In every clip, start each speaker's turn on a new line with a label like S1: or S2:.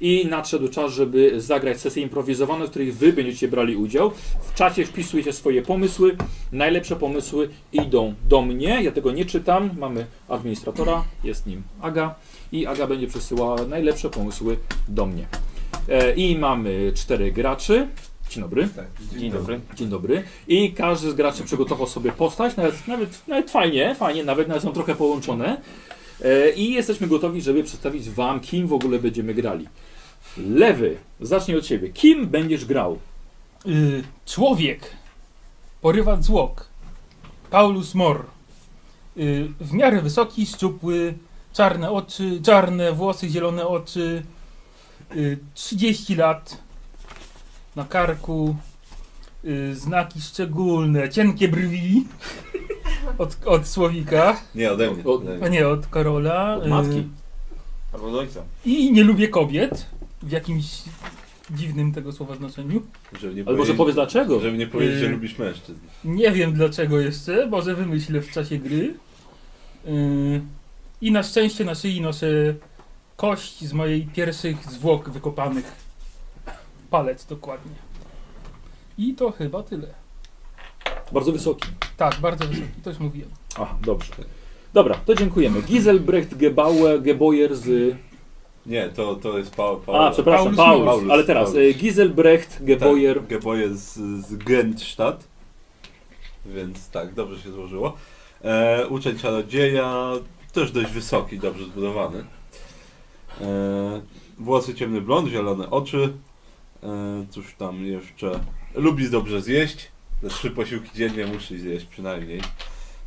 S1: I nadszedł czas, żeby zagrać sesje improwizowane, w których wy będziecie brali udział. W czacie wpisujecie swoje pomysły. Najlepsze pomysły idą do mnie. Ja tego nie czytam. Mamy administratora, jest nim Aga. I Aga będzie przesyłała najlepsze pomysły do mnie. E, I mamy czterech graczy. Dzień dobry.
S2: Dzień dobry.
S1: Dzień dobry. I każdy z graczy przygotował sobie postać, nawet, nawet, nawet fajnie, fajnie, nawet, nawet są trochę połączone. E, I jesteśmy gotowi, żeby przedstawić Wam, kim w ogóle będziemy grali. Lewy, zacznij od Ciebie. Kim będziesz grał?
S3: Y, człowiek, porywacz złok, Paulus Mor. Y, w miarę wysoki, szczupły, czarne oczy, czarne włosy, zielone oczy, y, 30 lat, na karku, y, znaki szczególne, cienkie brwi od, od Słowika,
S2: Nie, ode mnie.
S1: Od-
S2: Ode
S3: a
S2: mnie.
S3: nie od Karola.
S1: Od
S3: y,
S1: matki.
S2: Albo od ojca.
S3: I nie lubię kobiet, w jakimś dziwnym tego słowa znaczeniu.
S2: Żeby nie
S1: Ale może
S2: powiedzieć-
S1: powiedz dlaczego?
S2: Żeby nie powiedzieć, e, że
S3: Yy.
S2: lubisz mężczyzn.
S3: Nie wiem dlaczego jeszcze, może wymyślę w czasie gry. Yy, I na szczęście na szyi noszę kość z mojej pierwszych zwłok wykopanych. Palec dokładnie. I to chyba tyle.
S1: Bardzo wysoki.
S3: Tak, bardzo wysoki, to już mówiłem.
S1: Aha, dobrze. Dobra, to dziękujemy. Giselbrecht Gebauer, Geboyer z...
S2: Nie, to, to jest Paul. Paul
S1: A, przepraszam,
S3: Paulus
S1: Paulus.
S2: Paulus,
S1: Ale teraz,
S2: Paulus.
S1: e, Giselbrecht Geboyer.
S2: Tak, Geboje z, z Gentstadt. Więc tak, dobrze się złożyło. E, uczeń czarodzieja, też dość wysoki, dobrze zbudowany. E, włosy ciemny blond, zielone oczy. E, cóż tam jeszcze. Lubi dobrze zjeść. Te trzy posiłki dziennie musi zjeść przynajmniej.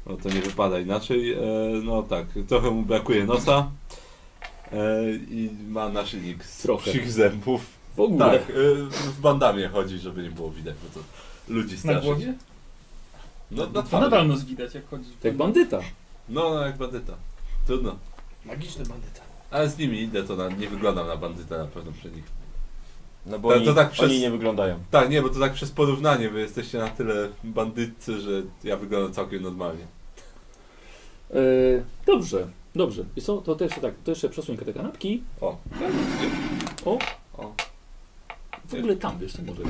S2: Bo to nie wypada inaczej. E, no tak, trochę mu brakuje nosa. E, I ma naszyjnik z
S1: Trochę.
S2: psich zębów.
S1: W ogóle.
S2: Tak, y, w bandamie chodzi, żeby nie było widać, bo to ludzi
S3: Na
S2: straszyć.
S3: głowie?
S2: No, na
S3: To
S2: twarzy.
S3: nadal nos widać jak chodzi.
S1: Tak, bandyta.
S2: No, no, jak bandyta. Trudno.
S4: Magiczny bandyta.
S2: Ale z nimi idę, to na, nie wyglądam na bandyta na pewno przy nich.
S4: No bo
S2: To-
S4: oni,
S2: to tak przez-
S4: oni nie wyglądają.
S2: Tak, nie, bo to tak przez porównanie, wy jesteście na tyle bandytcy, że ja wyglądam całkiem normalnie.
S1: E, dobrze, dobrze. I co, to też tak, to jeszcze przesuń te kanapki.
S2: O.
S1: O.
S2: O.
S1: W ogóle tam, wiesz, to może.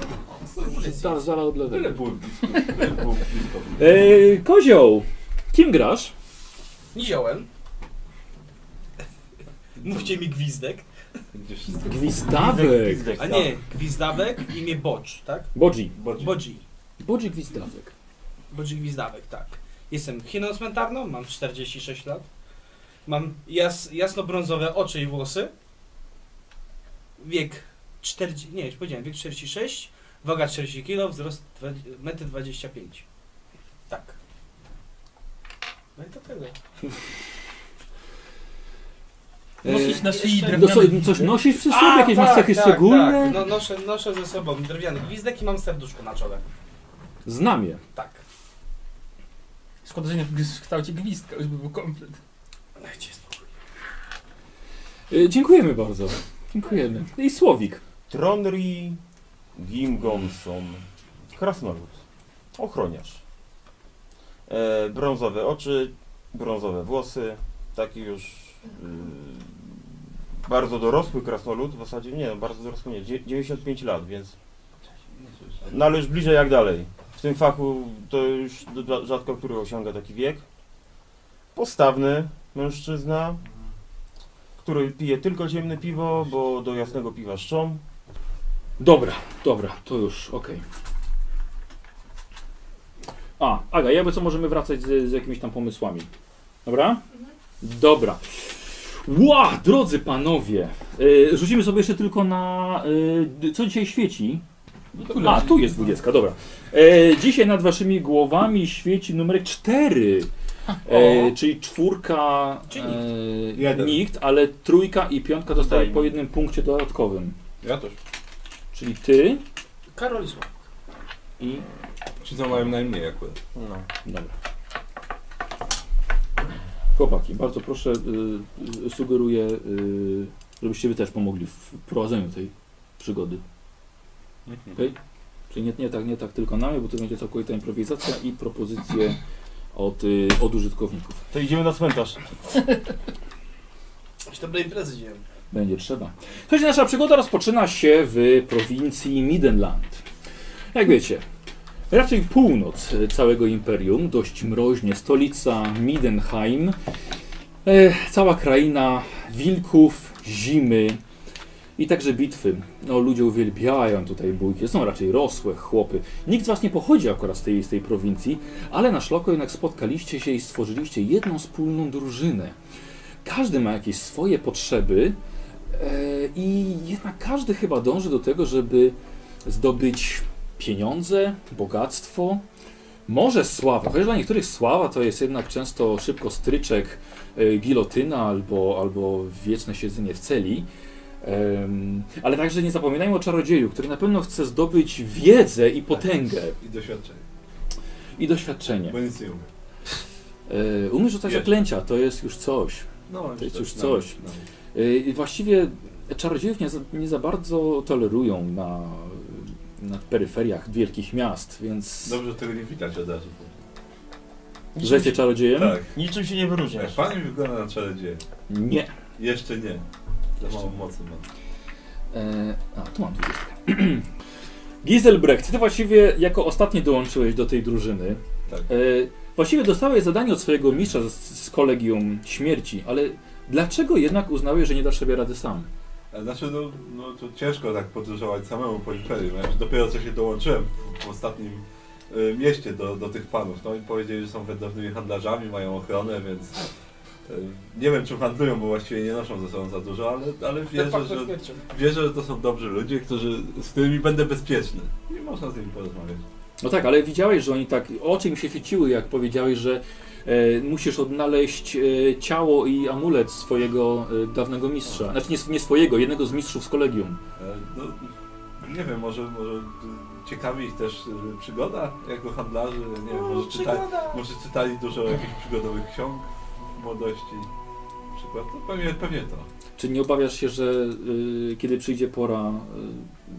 S1: Zaraz, zaraz od
S2: Tyle
S1: lewego.
S2: było blisko, tyle było blisko.
S1: E, kozioł, kim grasz?
S4: Niziołem. Mówcie mi gwizdek.
S2: Będziesz wszystko...
S1: Gwizdawek.
S4: A
S2: tak.
S4: nie, gwizdawek, imię Bocz, tak?
S1: Bodzi.
S2: Bodzi.
S4: Bodzi.
S1: Bodzi Gwizdawek.
S4: Bodzi gwizdawek, tak. Jestem chiną cmentarną, mam 46 lat. Mam jas, jasnobrązowe oczy i włosy. Wiek 40, nie, już powiedziałem, wiek 46, waga 40 kg, wzrost 1,25 m. Tak. No i to tyle.
S3: Nosić na szyi
S4: jeszcze-
S1: No co,
S3: drewniany.
S1: coś nosisz przy sobie? Jakieś masz cechy
S4: tak,
S1: szczególne?
S4: Tak. No, noszę, noszę ze sobą drewniany gwizdek i mam serduszko na czole.
S1: Znamie.
S4: Tak.
S3: Szkoda, że nie w kształcie gwizdka, już by był komplet.
S4: Dajcie spokój.
S1: E, dziękujemy bardzo. Dziękujemy. I Słowik.
S5: Tronri Gimgonson. Krasnolud. Ochroniarz. E, brązowe oczy, brązowe włosy. Taki już y, bardzo dorosły krasnolud. W zasadzie nie, bardzo dorosły nie. dzie- 95 lat, więc. No ale już bliżej jak dalej. W tym fachu to już d- d- rzadko który osiąga taki wiek. Postawny mężczyzna, który pije tylko ciemne piwo, bo do jasnego piwa szczą.
S1: Dobra, dobra, to już, okej. A, Aga, jakby co możemy wracać z, z jakimiś tam pomysłami. Dobra? Dobra. Ła, drodzy panowie, yy, rzucimy sobie jeszcze tylko na y, co dzisiaj świeci. A, tu jest 20, dobra. E, dzisiaj nad waszymi głowami świeci numer 4. E, czyli czwórka,
S4: Czyli
S1: e,
S2: Jeden.
S1: nikt, ale trójka i piątka dostaje
S5: Daj mi.
S1: po jednym punkcie dodatkowym.
S2: Ja też.
S1: Czyli ty,
S4: Karol Zło.
S1: i.
S2: Ci co mają najmniej akurat.
S5: No.
S1: Dobra. Chłopaki, bardzo proszę, y, y, sugeruję, y, żebyście wy też pomogli w prowadzeniu tej przygody. Okej? Czyli nie, nie tak, nie tak tylko nami, bo to będzie całkowita improwizacja i propozycje od, y, od użytkowników.
S5: To idziemy na cmentarz.
S4: Już to były imprezy dziełem.
S1: Będzie trzeba. Słuchajcie, nasza przygoda rozpoczyna się w prowincji Midenland. Jak wiecie, raczej północ e, całego imperium, dość mroźnie, stolica Midenheim, e, cała kraina wilków, zimy i także bitwy. No, ludzie uwielbiają tutaj bójki, są raczej rosłe chłopy. Nikt z was nie pochodzi akurat z tej, z tej prowincji, ale na szloko jednak spotkaliście się i stworzyliście jedną wspólną drużynę. Każdy ma jakieś swoje potrzeby e, i jednak każdy chyba dąży do tego, żeby zdobyć pieniądze, bogactwo, może sława, chociaż dla niektórych sława to jest jednak często szybko stryczek, e, gilotyna albo, albo wieczne siedzenie w celi. Em, Ale także nie zapominajmy o czarodzieju, który na pewno chce zdobyć wiedzę i potęgę
S2: I doświadczenie,
S1: i doświadczenie.
S2: bo nic nie umiem.
S1: E, Umiesz rzucać
S2: Jest.
S1: zaklęcia, to jest już coś.
S2: No,
S1: To jest
S2: coś,
S1: już
S2: no,
S1: coś.
S2: no.
S1: E, i Właściwie czarodziejów nie za, nie za bardzo tolerują na, na peryferiach wielkich miast, więc...
S2: No. Dobrze, że tego nie widać od razu.
S1: Że jesteś czarodziejem?
S2: Tak,
S5: Niczym się nie
S2: jak
S5: wyróżniasz.
S2: pan mi wygląda na czarodzieja.
S1: Nie.
S2: Jeszcze nie. Za mało mocy mam.
S1: E, a, tu mam dwudziestkę. Giselbrecht, ty właściwie jako ostatni dołączyłeś do tej drużyny.
S2: Tak.
S1: E, właściwie dostałeś zadanie od swojego mistrza z, z kolegium śmierci, ale dlaczego jednak uznałeś, że nie dasz sobie rady sam?
S2: A Znaczy, no, no to ciężko tak podróżować samemu po imperium. Ja dopiero co się dołączyłem w, w ostatnim y, mieście do, do tych panów. No i powiedzieli, że są wędrownymi handlarzami, mają ochronę, więc y, nie wiem czym handlują, bo właściwie nie noszą ze sobą za dużo, ale, ale
S4: tak,
S2: wierzę, że, wierzę, że to są dobrzy ludzie, którzy, z którymi będę bezpieczny. I można z nimi porozmawiać.
S1: No tak, ale widziałeś, że oni tak, oczy im się świeciły, jak powiedziałeś, że e, musisz odnaleźć e, ciało i amulet swojego e, dawnego mistrza. Znaczy nie, nie swojego, jednego z mistrzów z kolegium.
S2: E, No, nie wiem, może, może y, ciekawi ich też y, przygoda jako handlarzy. Nie wiem, może, czyta, może czytali dużo jakichś przygodowych ksiąg w młodości. Na przykład, no, pewnie, pewnie to.
S1: Czy nie obawiasz się, że y, kiedy przyjdzie pora, y,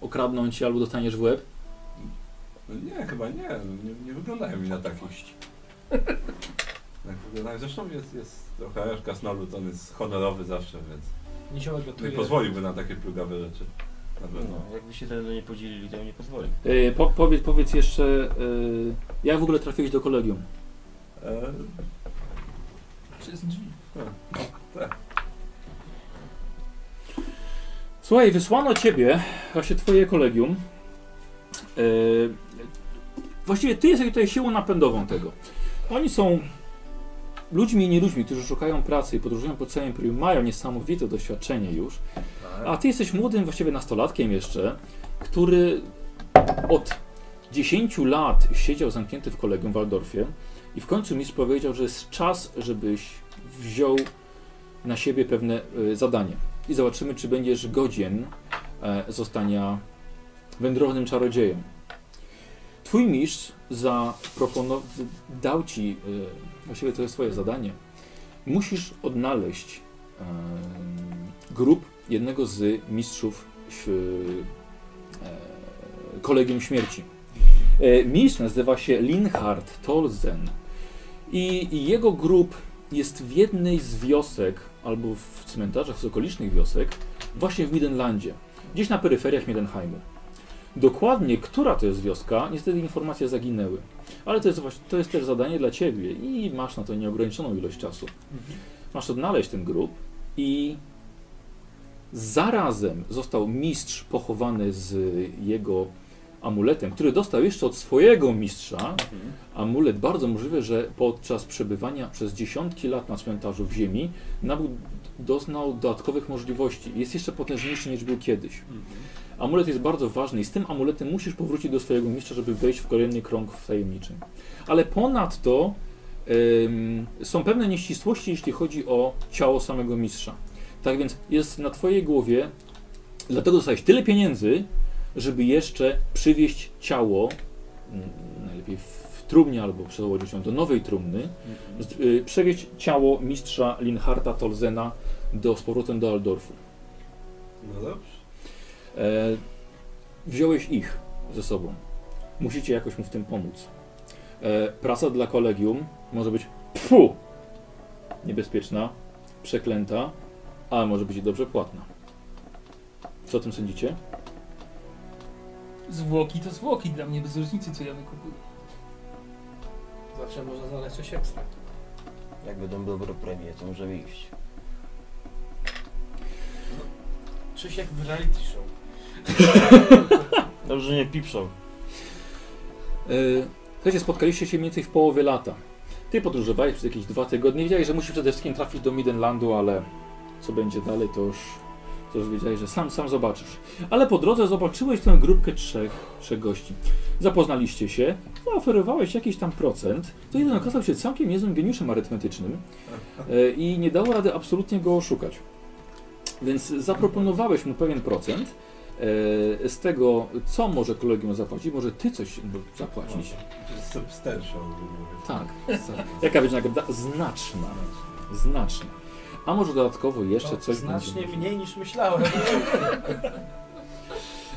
S1: okradną cię albo dostaniesz w łeb?
S2: No nie, chyba nie. Nie, nie wyglądają mi na takich. Tak wyglądają. Zresztą jest, jest trochę kasnolud, on jest honorowy zawsze, więc
S4: Nie się
S2: nie
S4: odgotuje.
S2: pozwoliłby na takie plugawe rzeczy. Na pewno.
S5: No, jakby się tego nie podzielili, to im nie pozwoli.
S1: Y, po, powiedz, powiedz jeszcze, y, jak w ogóle trafiłeś do kolegium?
S2: E,
S3: Przez drzwi.
S1: Słuchaj, wysłano ciebie, właśnie twoje kolegium. Y, właściwie ty jesteś tutaj siłą napędową tego. Oni są ludźmi i nieludźmi, którzy szukają pracy i podróżują po całym imperium, mają niesamowite doświadczenie już. A ty jesteś młodym, właściwie nastolatkiem jeszcze, który od 10 lat siedział zamknięty w kolegium w Waldorfie i w końcu mistrz powiedział, że jest czas, żebyś wziął na siebie pewne y, zadanie i zobaczymy, czy będziesz godzien e, zostania wędrownym czarodziejem. Twój mistrz zaproponował, dał ci, y, właściwie to jest twoje zadanie, musisz odnaleźć em, grób jednego z mistrzów ś- e, Kolegium Śmierci. E, Mistrz nazywa się Linhard Tolzen i i jego grób jest w jednej z wiosek, albo w cmentarzach z okolicznych wiosek, właśnie w Midenlandzie, gdzieś na peryferiach Midenheimu. Dokładnie, która to jest wioska, niestety informacje zaginęły. Ale to jest, właśnie- to jest też zadanie dla Ciebie i masz na to nieograniczoną ilość czasu. Masz odnaleźć ten grób i zarazem został mistrz pochowany z jego amuletem, który dostał jeszcze od swojego mistrza.
S2: mhm,
S1: Amulet bardzo możliwe, że podczas przebywania przez dziesiątki lat na cmentarzu w ziemi nabył, doznał dodatkowych możliwości. Jest jeszcze potężniejszy niż był kiedyś.
S2: mhm.
S1: Amulet jest bardzo ważny i z tym amuletem musisz powrócić do swojego mistrza, żeby wejść w kolejny krąg tajemniczy. Ale ponadto Ym, są pewne nieścisłości, jeśli chodzi o ciało samego mistrza. Tak więc jest na Twojej głowie, dlatego dostałeś tyle pieniędzy, żeby jeszcze przywieźć ciało, mm, najlepiej w trumnie albo przełożyć ją do nowej trumny, z- y, przewieźć ciało mistrza Linharta Tolzena do, z powrotem do Aldorfu.
S2: No dobrze.
S1: E, wziąłeś ich ze sobą. Musicie jakoś mu w tym pomóc. E, praca dla kolegium może być pfu, niebezpieczna, przeklęta, ale może być i dobrze płatna. Co o tym sądzicie?
S3: Zwłoki to zwłoki dla mnie, bez różnicy co ja wykupuję.
S4: Zawsze można znaleźć coś ekstra.
S5: Jak będą dobre premie, to możemy iść.
S4: Coś jak w reality show.
S5: Dobrze, że nie pipszą.
S1: Yy, Słuchajcie, spotkaliście się mniej więcej w połowie lata. Ty podróżowałeś przez jakieś dwa tygodnie. Wiedziałeś, że musisz przede wszystkim trafić do Midenlandu, ale co będzie dalej, to już, to już wiedziałeś, że sam, sam zobaczysz. Ale po drodze zobaczyłeś tę grupkę trzech, trzech gości. Zapoznaliście się, zaoferowałeś jakiś tam procent. To jeden okazał się całkiem niezłym geniuszem arytmetycznym yy, i nie dało rady absolutnie go oszukać. Więc zaproponowałeś mu pewien procent yy, z tego, co może kolegium zapłacić. Może ty coś no, zapłacić.
S2: To jest substantial. mówię.
S1: Tak. Jaka będzie nagroda? Znaczna. Znaczna. A może dodatkowo jeszcze
S4: To
S1: coś
S4: znacznie
S1: będzie.
S4: mniej niż myślałem.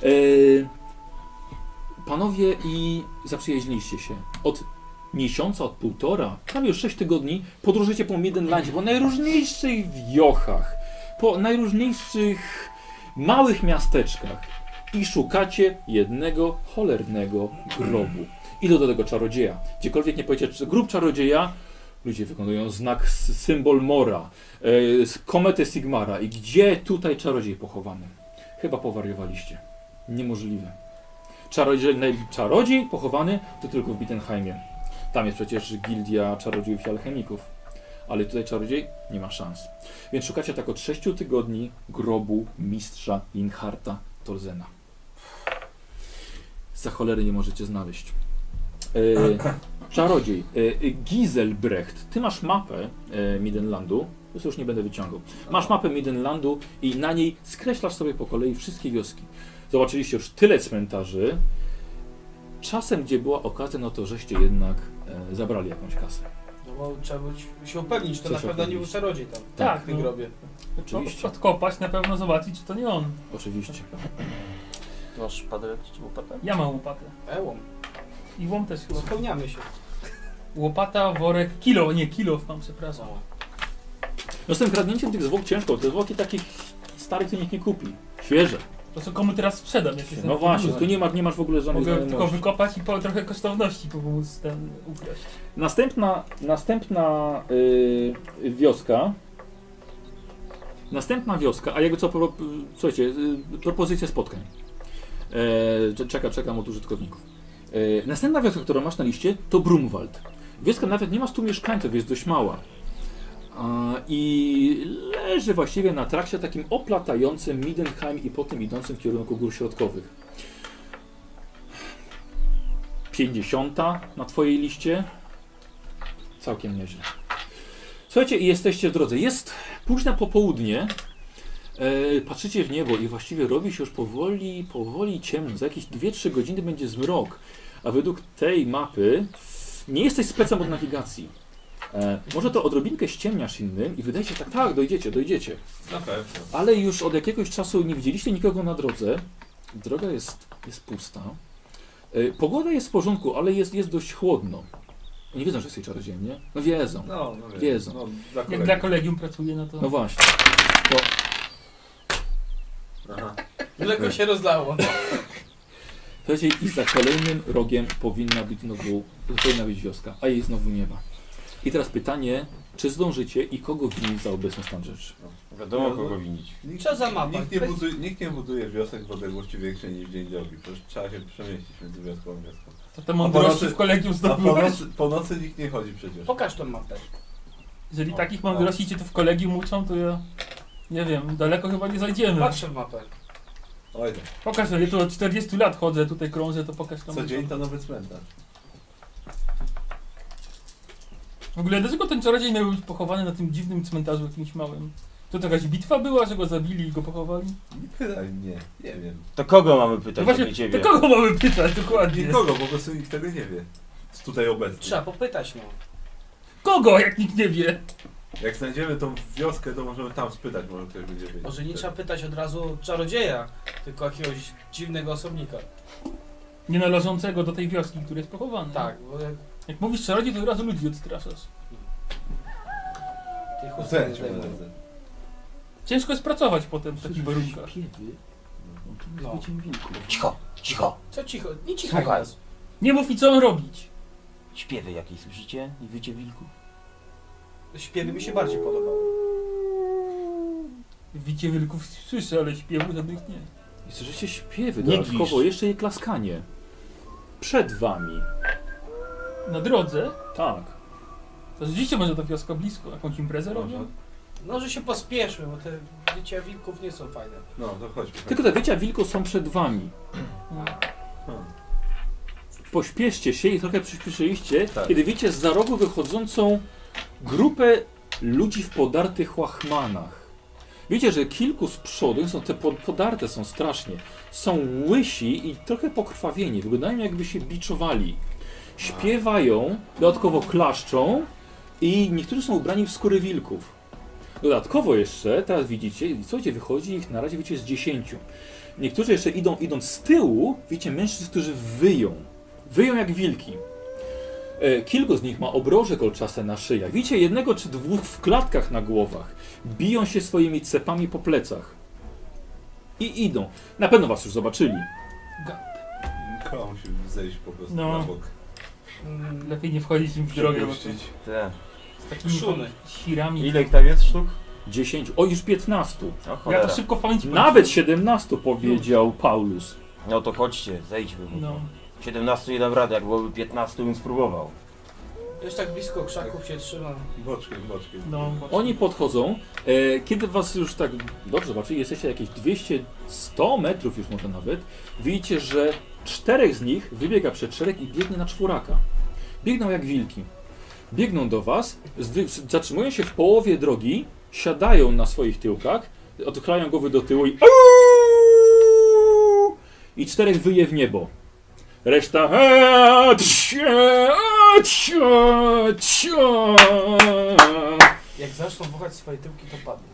S1: Yy, panowie i zaprzyjaźniliście się. Od miesiąca, od półtora, tam już sześć tygodni podróżujecie po Midlandzie, po najróżniejszych wiochach, po najróżniejszych małych miasteczkach i szukacie jednego cholernego grobu. Idą do tego czarodzieja. Gdziekolwiek nie powiecie, czy grób czarodzieja, ludzie wykonują znak, s- symbol Mora, yy, z komety Sigmara. I gdzie tutaj czarodziej pochowany? Chyba powariowaliście. Niemożliwe. Czarodziej, naj- czarodziej pochowany to tylko w Bittenheimie. Tam jest przecież gildia czarodziejów i alchemików. Ale tutaj czarodziej nie ma szans. Więc szukacie tak od 6 tygodni grobu mistrza Linharta Torzena. Za cholery nie możecie znaleźć. E, czarodziej. E, Giselbrecht. Ty masz mapę e, Midenlandu. To już nie będę wyciągał. Masz mapę Midenlandu i na niej skreślasz sobie po kolei wszystkie wioski. Zobaczyliście już tyle cmentarzy. Czasem, gdzie była okazja, no to żeście jednak e, zabrali jakąś kasę.
S4: No bo trzeba być, się upewnić, to
S1: Co
S4: na
S1: się
S4: pewno nie był
S1: upewnić?
S4: czarodziej tam.
S3: Tak,
S4: W tym
S3: no.
S4: grobie.
S1: Oczywiście.
S3: Od, odkopać na pewno zobaczyć, czy to nie on.
S1: Oczywiście.
S5: Ty masz szpadę jakiś czy łopatę?
S3: Ja mam łopatę.
S4: Ełom.
S3: I łom też chyba.
S4: Uzupełniamy się.
S3: Łopata, worek, kilo, nie kilof mam, przepraszam.
S4: No.
S1: No z tym kradnięciem tych zwłok ciężko. Te zwłoki takich starych to nikt nie kupi. Świeże.
S3: To co komu teraz sprzedam? Jak jestem
S1: No
S3: w
S1: właśnie,
S3: podróży?
S1: tu nie masz, nie masz w ogóle żadnych
S3: Mogę tylko
S1: znajomości.
S3: wykopać i po, trochę kosztowności pomóc ten ukraść.
S1: Następna, następna y, wioska. Następna wioska, a jakby co, pro, słuchajcie, y, propozycja spotkań. E, cze- czeka, czekam od użytkowników. E, następna wioska, którą masz na liście, to Brumwald. Wioska nawet nie ma 100 mieszkańców, jest dość mała. A, I leży właściwie na trakcie takim oplatającym Midenheim i potem idącym w kierunku gór środkowych. 50 na twojej liście. Całkiem nieźle. Słuchajcie, i jesteście w drodze. Jest późne popołudnie. E, patrzycie w niebo i właściwie robi się już powoli, powoli ciemno. Za jakieś 2-3 godziny będzie zmrok. A według tej mapy nie jesteś specem od nawigacji. E, może to odrobinkę ściemniasz innym i wydaje się tak, tak, dojdziecie, dojdziecie.
S2: Na pewno.
S1: Ale już od jakiegoś czasu nie widzieliście nikogo na drodze. Droga jest, jest pusta. E, Pogoda jest w porządku, ale jest, jest dość chłodno. Nie wiedzą, że jesteś czarodziejem, nie? No wiedzą.
S2: No, no wiem.
S1: Wiedzą.
S2: No, dla
S3: Jak
S2: kolegi.
S3: dla kolegium pracuję, no to...
S1: No właśnie.
S2: Aha.
S4: Mleko się rozlało.
S1: Słuchajcie, i za kolejnym rogiem powinna być znowu, powinna być wioska, a jej znowu nie ma. I teraz pytanie, czy zdążycie i kogo winić za obecny stan rzeczy?
S5: Wiadomo
S2: No,
S5: kogo
S2: no.
S5: winić.
S2: Nikt-
S4: Co za mapa?
S2: Nikt nie,
S4: Bez-
S2: buduje, nikt nie buduje wiosek w odległości większej niż dzień drogi. To już trzeba się przemieścić między wioską a wioską.
S3: To te mądrości
S2: ponocy-
S3: w kolegium
S2: A po
S3: zdobyłeś?
S2: nocy, po nocy nikt nie chodzi przecież.
S4: Pokaż tą mapę.
S3: Jeżeli takich mądrości cię tu w kolegium uczą, to ja... Nie wiem, daleko chyba nie zajdziemy.
S4: Patrzę w mapę.
S2: Oj, tak,
S3: Pokaż, że ja tu od 40 lat chodzę, tutaj krążę, to pokaż tam.
S2: co dzień to nowy cmentarz.
S3: W ogóle dlaczego ten czarodziej miał być pochowany na tym dziwnym cmentarzu jakimś małym? To jakaś bitwa była, że go zabili i go pochowali?
S5: Tak,
S2: Nie pytaj mnie, nie wiem.
S5: To kogo mamy
S3: No
S5: pytać, jak nie
S3: właśnie,
S5: ciebie?
S3: to kogo mamy pytać dokładnie?
S2: Nikogo, po prostu nikt tego nie wie. Z tutaj obecnych.
S4: Trzeba popytać no.
S3: Kogo, jak nikt nie wie?
S2: Jak znajdziemy tą wioskę, to możemy tam spytać, może ktoś będzie wiedział.
S4: Może nie trzeba pytać od razu czarodzieja, tylko jakiegoś dziwnego osobnika.
S3: Nie należącego do tej wioski, który jest pochowany.
S4: Tak, bo jak
S3: Jak mówisz czarodziej, to od razu ludzi odstraszasz.
S4: tych
S2: No
S4: ust
S2: co ja
S4: nie
S2: ci
S4: zdejmę.
S2: poradzę?
S3: Ciężko jest pracować potem w takich warunkach.
S1: Kiedy?
S4: No.
S1: No. wieku.
S6: Cicho, cicho.
S4: Co cicho? Nie cichaj
S6: Słuchaj.
S4: nas.
S3: Nie mów mi co mam robić.
S6: Śpiewy jakieś słyszycie? I wycie wilku?
S4: Śpiewy mi się bardziej podobały.
S3: Wicie wielków słyszę, ale śpiewu żadnych nie.
S1: I słyszycie śpiewy
S5: Nie
S1: dodatkowo,
S5: gwizdź.
S1: jeszcze i klaskanie. Przed wami.
S3: Na drodze,
S1: Tak.
S3: to rzeczywiście może ta wioska blisko, jakąś imprezę robią?
S4: No, że się pospieszmy, bo te dziecię wilków nie są fajne.
S2: No, to chodźmy.
S1: Tak. Tylko te wycia wilku są przed wami.
S3: No.
S1: Pośpieszcie się i trochę przyspieszyliście,
S2: Tak.
S1: kiedy widzicie z za rogu wychodzącą grupę ludzi w podartych łachmanach. Wiecie, że kilku z przodu są te po- podarte są strasznie. Są łysi i trochę pokrwawieni. Wyglądają jakby się biczowali. Śpiewają, dodatkowo klaszczą i niektórzy są ubrani w skóry wilków. Dodatkowo jeszcze, teraz widzicie, i słuchajcie, wychodzi ich na razie, wiecie, z 10. Niektórzy jeszcze idą, idąc z tyłu, wiecie, mężczyzn, którzy wyją. Wyją jak wilki. E, Kilku z nich ma obroże kolczaste na szyjach. Widzicie jednego czy dwóch w klatkach na głowach. Biją się swoimi cepami po plecach. I idą. Na pewno was już zobaczyli.
S2: Koła musi zejść po prostu
S3: No.
S2: na bok.
S4: Mm,
S3: Lepiej nie wchodzić im w drogę, bo to
S2: Przepuścić.
S5: Te.
S3: z takimi
S4: Szumy.
S3: sirami.
S5: Ile ich tam jest sztuk?
S1: 10, o już 15.
S5: O
S3: Ja
S5: cholera.
S3: to szybko w pamięci
S1: Nawet 17 powiedział Paulus.
S5: No to chodźcie, zejdźmy.
S3: No.
S5: 17 nie dam rady, jak byłoby 15 bym spróbował.
S4: Już tak blisko krzaków się trzymam.
S2: Boczkiem, boczkiem.
S3: No.
S1: Oni podchodzą. E, kiedy was już tak dobrze zobaczyli, jesteście jakieś 200, 100 metrów już może nawet, widzicie, że czterech z nich wybiega przed szereg i biegnie na czwóraka. Biegną jak wilki. Biegną do was, zdy- z- zatrzymują się w połowie drogi, siadają na swoich tyłkach, odchylają głowy do tyłu i i czterech wyje w niebo. Reszta
S4: Jak zaczną wąchać swoje tyłki, to padną.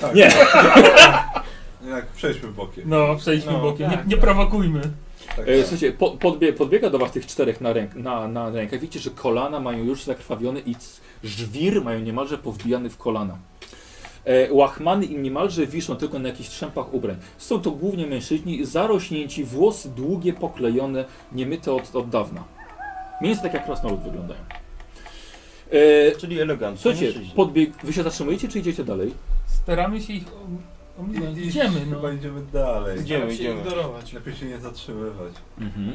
S2: Tak.
S1: Nie.
S2: Jak przejdźmy bokiem.
S3: No, przejdźmy
S5: No,
S3: bokiem.
S4: tak,
S3: nie, nie
S4: tak.
S3: prowokujmy.
S2: Tak,
S1: E,
S2: tak.
S1: Słuchajcie, po, podbie, podbiega do was tych czterech na, ręk, na, na rękach. Widzicie, że kolana mają już zakrwawione i c- żwir mają niemalże powbijany w kolana. E, łachmany im niemalże wiszą tylko na jakichś trzępach ubrań. Są to głównie mężczyźni zarośnięci, włosy długie, poklejone, niemyte od, od dawna. Między tak jak krasnolud wyglądają. E,
S5: Czyli elegancko.
S1: słuchajcie, podbieg, wy się zatrzymujecie czy idziecie dalej?
S3: Staramy się ich om- ominąć.
S2: I- i
S3: Idziemy, no.
S2: Chyba idziemy dalej.
S5: Idziemy,
S4: Staram się
S5: idziemy.
S4: ignorować.
S2: Lepiej się nie zatrzymywać.
S1: Mhm. E,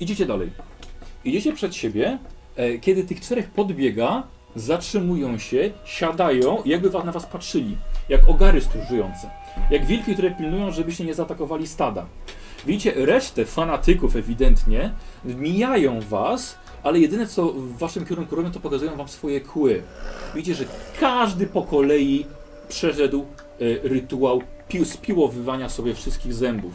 S1: idziecie dalej. Idziecie przed siebie. E, kiedy tych czterech podbiega, zatrzymują się, siadają i jakby wa- na was patrzyli. Jak ogary stróżujące. Jak wilki, które pilnują, żebyście nie zaatakowali stada. Widzicie, resztę fanatyków ewidentnie mijają was, ale jedyne co w waszym kierunku robią, to pokazują wam swoje kły. Widzicie, że każdy po kolei przeszedł e, rytuał pił, spiłowywania sobie wszystkich zębów.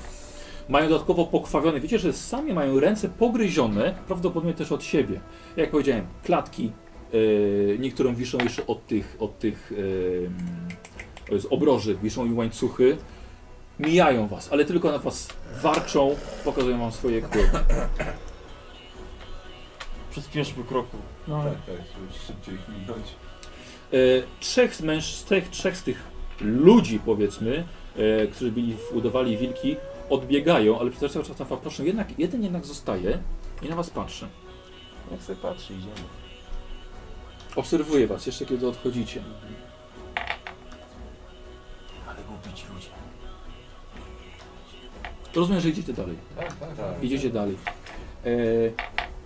S1: Mają dodatkowo pokrwawione. Wiecie, że sami mają ręce pogryzione, prawdopodobnie też od siebie. Jak powiedziałem, klatki yy, niektórym wiszą jeszcze od tych, od tych yy, z obroży, wiszą i łańcuchy. Mijają was, ale tylko na was warczą, pokazują wam swoje kły. E,
S5: Przyspieszmy kroku.
S3: no.
S2: Tak, tak, żeby szybciej ich minąć.
S1: E, trzech, z męż, trzech, trzech z tych ludzi, powiedzmy, e, którzy byli, w- udawali wilki, odbiegają, ale przez cały czas tam patrzą. Jednak, jeden jednak zostaje i na was patrzy.
S5: Jak sobie patrzy, idziemy.
S1: Obserwuje was jeszcze, kiedy odchodzicie.
S6: Ale głupić ludzie.
S1: Rozumiem, że idziecie dalej.
S4: Tak, tak, tak.
S2: Tak.
S1: Idziecie dalej. E,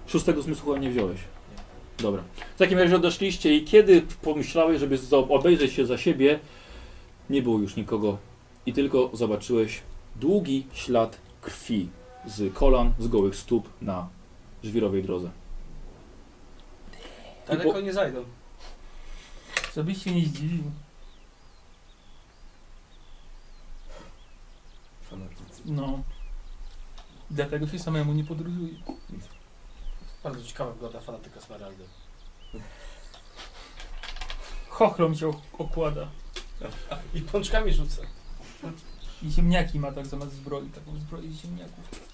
S1: szóstego zmysłu chyba nie wziąłeś. Dobra. W takim razie odeszliście i kiedy pomyślałeś, żeby zo- obejrzeć się za siebie, nie było już nikogo i tylko zobaczyłeś długi ślad krwi z kolan, z gołych stóp na żwirowej drodze.
S4: Daleko
S1: I po-
S4: nie zajdą.
S3: Żebyś się nie zdziwił.
S2: Fanatycy.
S3: No. Dlatego się samemu nie podróżuje.
S4: Bardzo ciekawa wygoda fanatyka Smaraldy.
S3: Chochlą się ok- okłada.
S4: I pączkami rzucę.
S3: I ziemniaki ma tak zamiast zbroi. Taką zbroję z ziemniaków.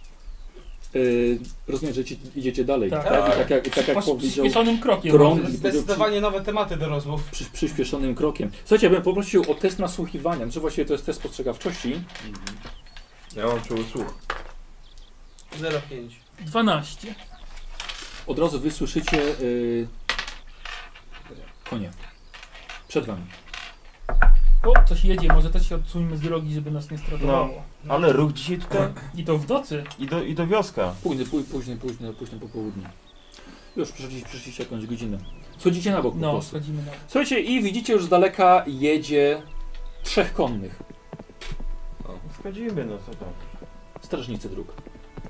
S1: Yy, rozumiem, że ci, idziecie dalej.
S3: Tak.
S1: Tak, tak, tak, jak, tak jak
S3: Posz-
S1: powiedział
S3: Przyspieszonym krokiem.
S1: Krąg.
S3: może.
S4: Zdecydowanie nowe tematy do rozmów.
S1: przy, przyspieszonym krokiem. Słuchajcie, ja bym poprosił o test nasłuchiwania. Znaczy właściwie to jest test spostrzegawczości.
S2: Ja mam czuły słuch.
S4: 0,5.
S3: 12.
S1: Od razu wysłyszycie yy, konie. Przed wami.
S3: O, coś jedzie, może też się odsuńmy z drogi, żeby nas nie stratowało. Tak.
S5: Ale ruch dzisiaj tutaj
S3: I to w nocy.
S5: i do, i do wioska.
S1: Późny, późny, późny, późny, późny popołudnie. Już przeszliście, przeszliście jakąś godzinę. Schodzicie na bok po
S3: No,
S1: prostu.
S3: schodzimy na
S1: Słuchajcie, i widzicie już z daleka jedzie trzech konnych.
S5: Wchodzimy, no co tam.
S1: Strażnicy dróg.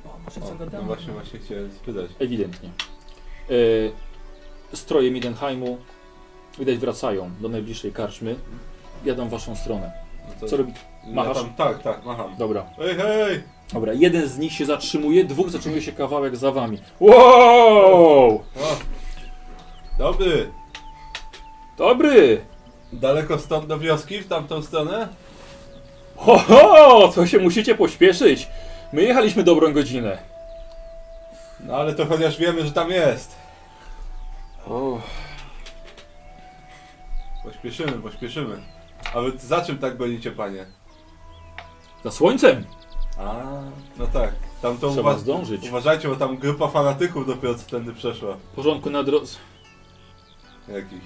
S3: O, może
S2: O, no
S3: zagadamy.
S2: właśnie, właśnie chciałem spytać.
S1: Ewidentnie. Yy, stroje Midenheimu widać wracają do najbliższej karczmy. Jadą w waszą stronę.
S2: No to-
S1: Co robi? machasz?
S2: Ja tam, tak, tak, macham.
S1: Dobra.
S2: Hej, hej!
S1: Dobra, jeden z nich się zatrzymuje, dwóch zatrzymuje się kawałek za wami. Wow!
S2: O. Dobry!
S1: Dobry!
S2: Daleko stąd do wioski, w tamtą stronę?
S1: Ho, ho! Co się musicie pośpieszyć? My jechaliśmy dobrą godzinę.
S2: No ale to chociaż wiemy, że tam jest. Pośpieszymy, pośpieszymy. A wy za czym tak gonicie, panie?
S1: Za słońcem!
S2: A, no tak. Tam to
S1: Trzeba
S2: uwa-
S1: zdążyć.
S2: uważajcie, bo tam grupa fanatyków dopiero co tędy przeszła.
S1: W porządku na drodze.
S2: Jakich.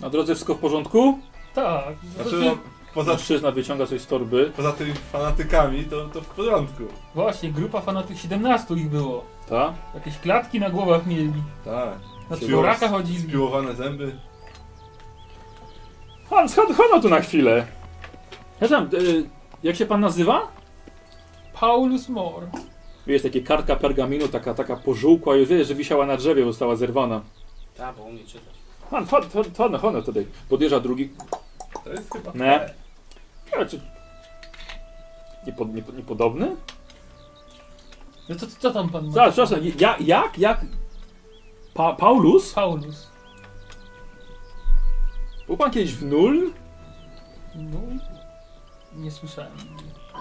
S1: Na drodze wszystko w porządku?
S3: Tak.
S2: Znaczy, no, poza,
S1: Mężczyzna wyciąga coś z torby.
S2: poza tymi fanatykami to, to w porządku.
S3: Właśnie, grupa fanatyk 17 ich było.
S1: Ta?
S3: Jakieś klatki na głowach mieli.
S2: Tak.
S3: Na
S2: Spiło-
S3: czworaka chodzili.
S2: Spiłowane zęby.
S1: Pan, schod- chodź tu na chwilę. Ja tam, y, jak się pan nazywa?
S3: Paulus Mor.
S1: Wiesz, takie kartka pergaminu, taka, taka pożółkła, już wiesz, że wisiała na drzewie, została zerwana.
S4: Tak, bo umie czytać.
S1: Pan, chodź, chodź, chodź, chodź tutaj. Podjeżdża drugi.
S2: To jest chyba...
S1: Ne. Ja, czy... Niepod, niepod, niepodobny?
S3: No co, co tam pan ma?
S1: Zaraz, przepraszam, ja, jak, jak? Pa, Paulus?
S3: Paulus.
S1: Był pan kiedyś w nul?
S3: No, nie słyszałem.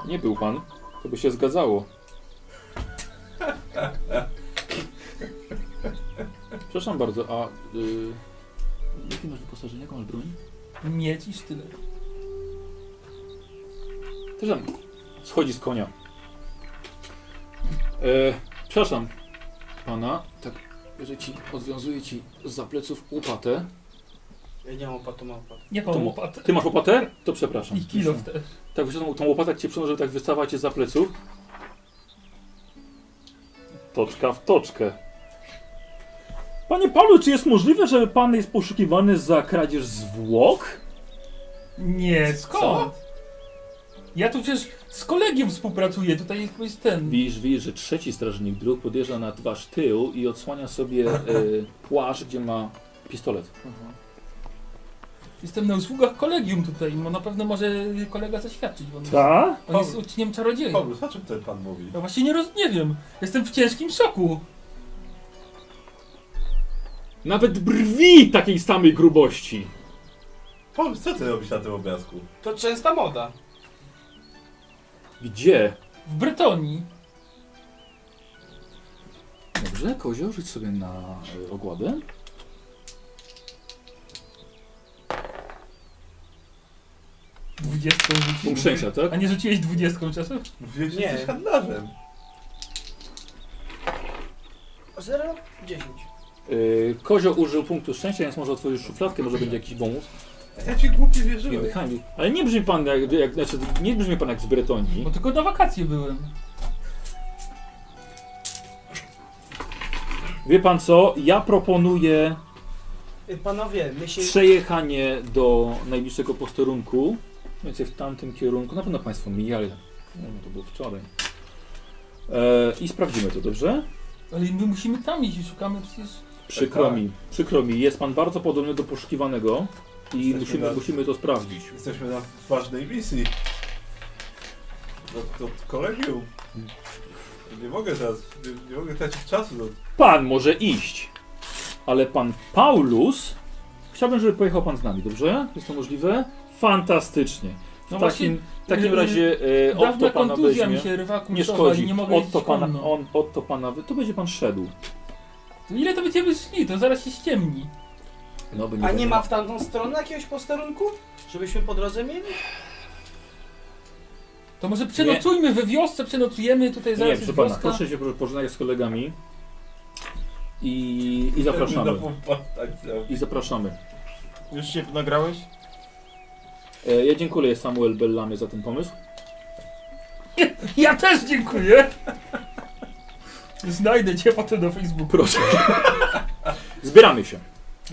S1: Nie był pan. To by się zgadzało. Przepraszam bardzo, a... Y, jakie masz wyposażenie? Jaką masz broń?
S3: Mieć i tyle.
S1: Też tam schodzi z konia. E, przepraszam pana, tak, że ci odwiązuję ci za pleców łopatę.
S4: Ja nie mam opatu, mam opatu.
S3: Nie pan
S1: To mu-
S3: łopatę.
S1: Ty masz łopatę? To przepraszam.
S3: I kilof też.
S1: Tak, wyciągnął tą łopatę, jak cię przynoszę, tak wystawa cię za pleców. Toczka w toczkę. Panie Paulu, czy jest możliwe, że pan jest poszukiwany za kradzież zwłok?
S3: Nie, skąd? Ja tu przecież z kolegiem współpracuję, tutaj jest- jest ten.
S1: Widzisz, widzisz, że trzeci strażnik dróg podjeżdża na wasz tył i odsłania sobie e, płaszcz, gdzie ma pistolet.
S3: Jestem na usługach kolegium tutaj, bo na pewno może kolega zaświadczyć,
S1: Tak.
S3: bo on, jest,
S1: Ta?
S3: on jest uczniem czarodzieja.
S2: Paulus, o czym ten pan mówi?
S3: Ja właśnie nie roz... nie wiem. Jestem w ciężkim szoku.
S1: Nawet brwi takiej samej grubości.
S2: Paulus, co ty robisz na tym obrazku?
S4: To częsta moda.
S1: Gdzie?
S3: W Bretonii.
S1: Dobrze, kozioł, rzuć sobie na y, ogładę.
S3: Dwudziestką rzuciłem.
S1: Umrzęcia, tak?
S3: A nie rzuciłeś dwudziestką czasem?
S2: Mówiłeś, że
S4: Nie.
S2: jesteś handlarzem.
S4: 0, 10.
S1: Y, kozioł użył punktu szczęścia, więc może otworzyć szufladkę, może będzie jakiś bonus.
S2: Ja ci głupie
S1: Nie,
S2: wierzyłem.
S1: Michał, ale nie brzmi pan jak, jak znaczy, nie brzmi pan jak z Bretonii.
S3: Bo No tylko na wakacje byłem.
S1: Wie pan co? Ja proponuję
S4: Y, Panowie, my się...
S1: przejechanie do najbliższego posterunku. Więc w tamtym kierunku. Na pewno państwo mijali. Nie wiem, to było wczoraj. E, I sprawdzimy to, dobrze?
S3: Ale my musimy tam iść i szukamy przecież...
S1: Przykro
S2: Tak, tak.
S1: mi, przykro mi. Jest pan bardzo podobny do poszukiwanego i
S2: Jesteśmy
S1: musimy,
S2: razem.
S1: musimy to sprawdzić.
S2: Jesteśmy na ważnej misji. To, to kolegium. Nie mogę teraz, nie, nie mogę tracić czasu. No.
S1: Pan może iść, ale pan Paulus. Chciałbym, żeby pojechał pan z nami, dobrze? Jest to możliwe? Fantastycznie. W
S3: No właśnie,
S1: takim takim razie e, od
S3: Dawna
S1: to pana
S3: kontuzja
S1: weźmie.
S3: mi się rwa
S1: Nie
S3: kurczowa i
S1: szkodzi.
S3: nie mogę
S1: Od
S3: jeździć
S1: to pana,
S3: konno.
S1: on, od to pana, wy- to będzie pan szedł.
S3: To Ile to będziemy szli? To zaraz się ściemni.
S1: No, by
S4: A nie
S1: było.
S4: ma w tamtą stronę jakiegoś posterunku? Żebyśmy po drodze mieli?
S3: To może przenocujmy we wiosce, przenocujemy tutaj
S1: Nie,
S3: zaraz
S1: proszę
S3: jest
S1: pana,
S3: wioska.
S1: proszę się proszę pożegnać z kolegami i, i
S2: Na
S1: zapraszamy.
S2: pompach tak zrobić.
S1: I zapraszamy.
S5: Już się nagrałeś?
S1: E, ja dziękuję Samuel Bellamie za ten pomysł.
S3: Ja też dziękuję! Znajdę cię potem na Facebooku.
S1: Proszę. Zbieramy się.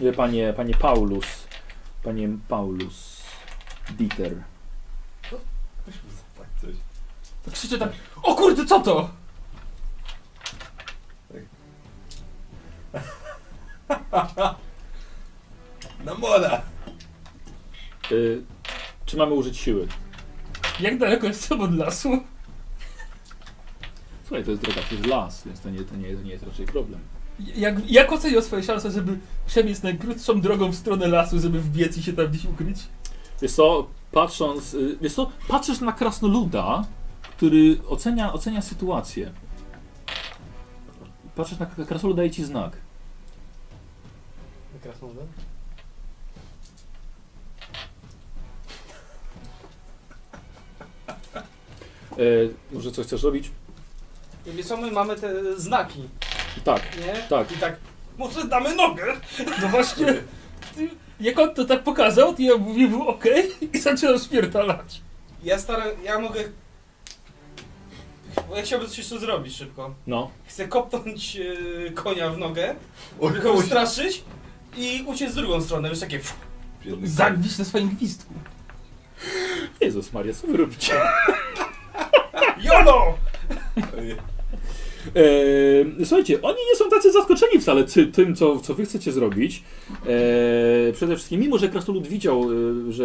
S1: E, Panie, panie Paulus. Panie Paulus. Dieter.
S2: Weźmy zapłać coś.
S3: Krzyczę tak, o kurde, co to?
S2: Na mola!
S1: E, czy mamy użyć siły?
S3: Jak daleko jestem od lasu?
S1: Słuchaj, to jest droga przez las, więc to nie, to nie, to nie jest raczej problem.
S3: Jak, jak oceniał swoje szanse, żeby przemieść najkrótszą drogą w stronę lasu, żeby wbiec i się tam gdzieś ukryć?
S1: Wiesz co, patrząc, y, wiesz co, patrzysz na krasnoluda, który ocenia, ocenia sytuację. Patrzysz na k- krasnolud, daje ci znak.
S4: Mikrofon,
S1: E, może coś chcesz robić?
S4: I co, my mamy te znaki,
S1: Tak.
S4: nie?
S1: Tak.
S4: I tak, może damy nogę?
S3: No właśnie, ty- jak on to tak pokazał, to ja mówię mu okej i zaczynam spierdalać.
S4: Ja staram, ja mogę... Bo ja chciałbym coś tu zrobić szybko.
S1: No.
S4: Chcę kopnąć e, konia w nogę,
S2: O,
S4: go ustraszyć i uciec w drugą stronę, wiesz, takie... fff.
S2: Biedny
S3: Zagwić na swoim gwizdku.
S1: Jezus Maria, co wy robicie?
S4: JOLO!
S2: koń.
S1: E, słuchajcie, oni nie są tacy zaskoczeni wcale ty, tym, co, co wy chcecie zrobić. E, przede wszystkim, mimo że Krasnolud widział, e, że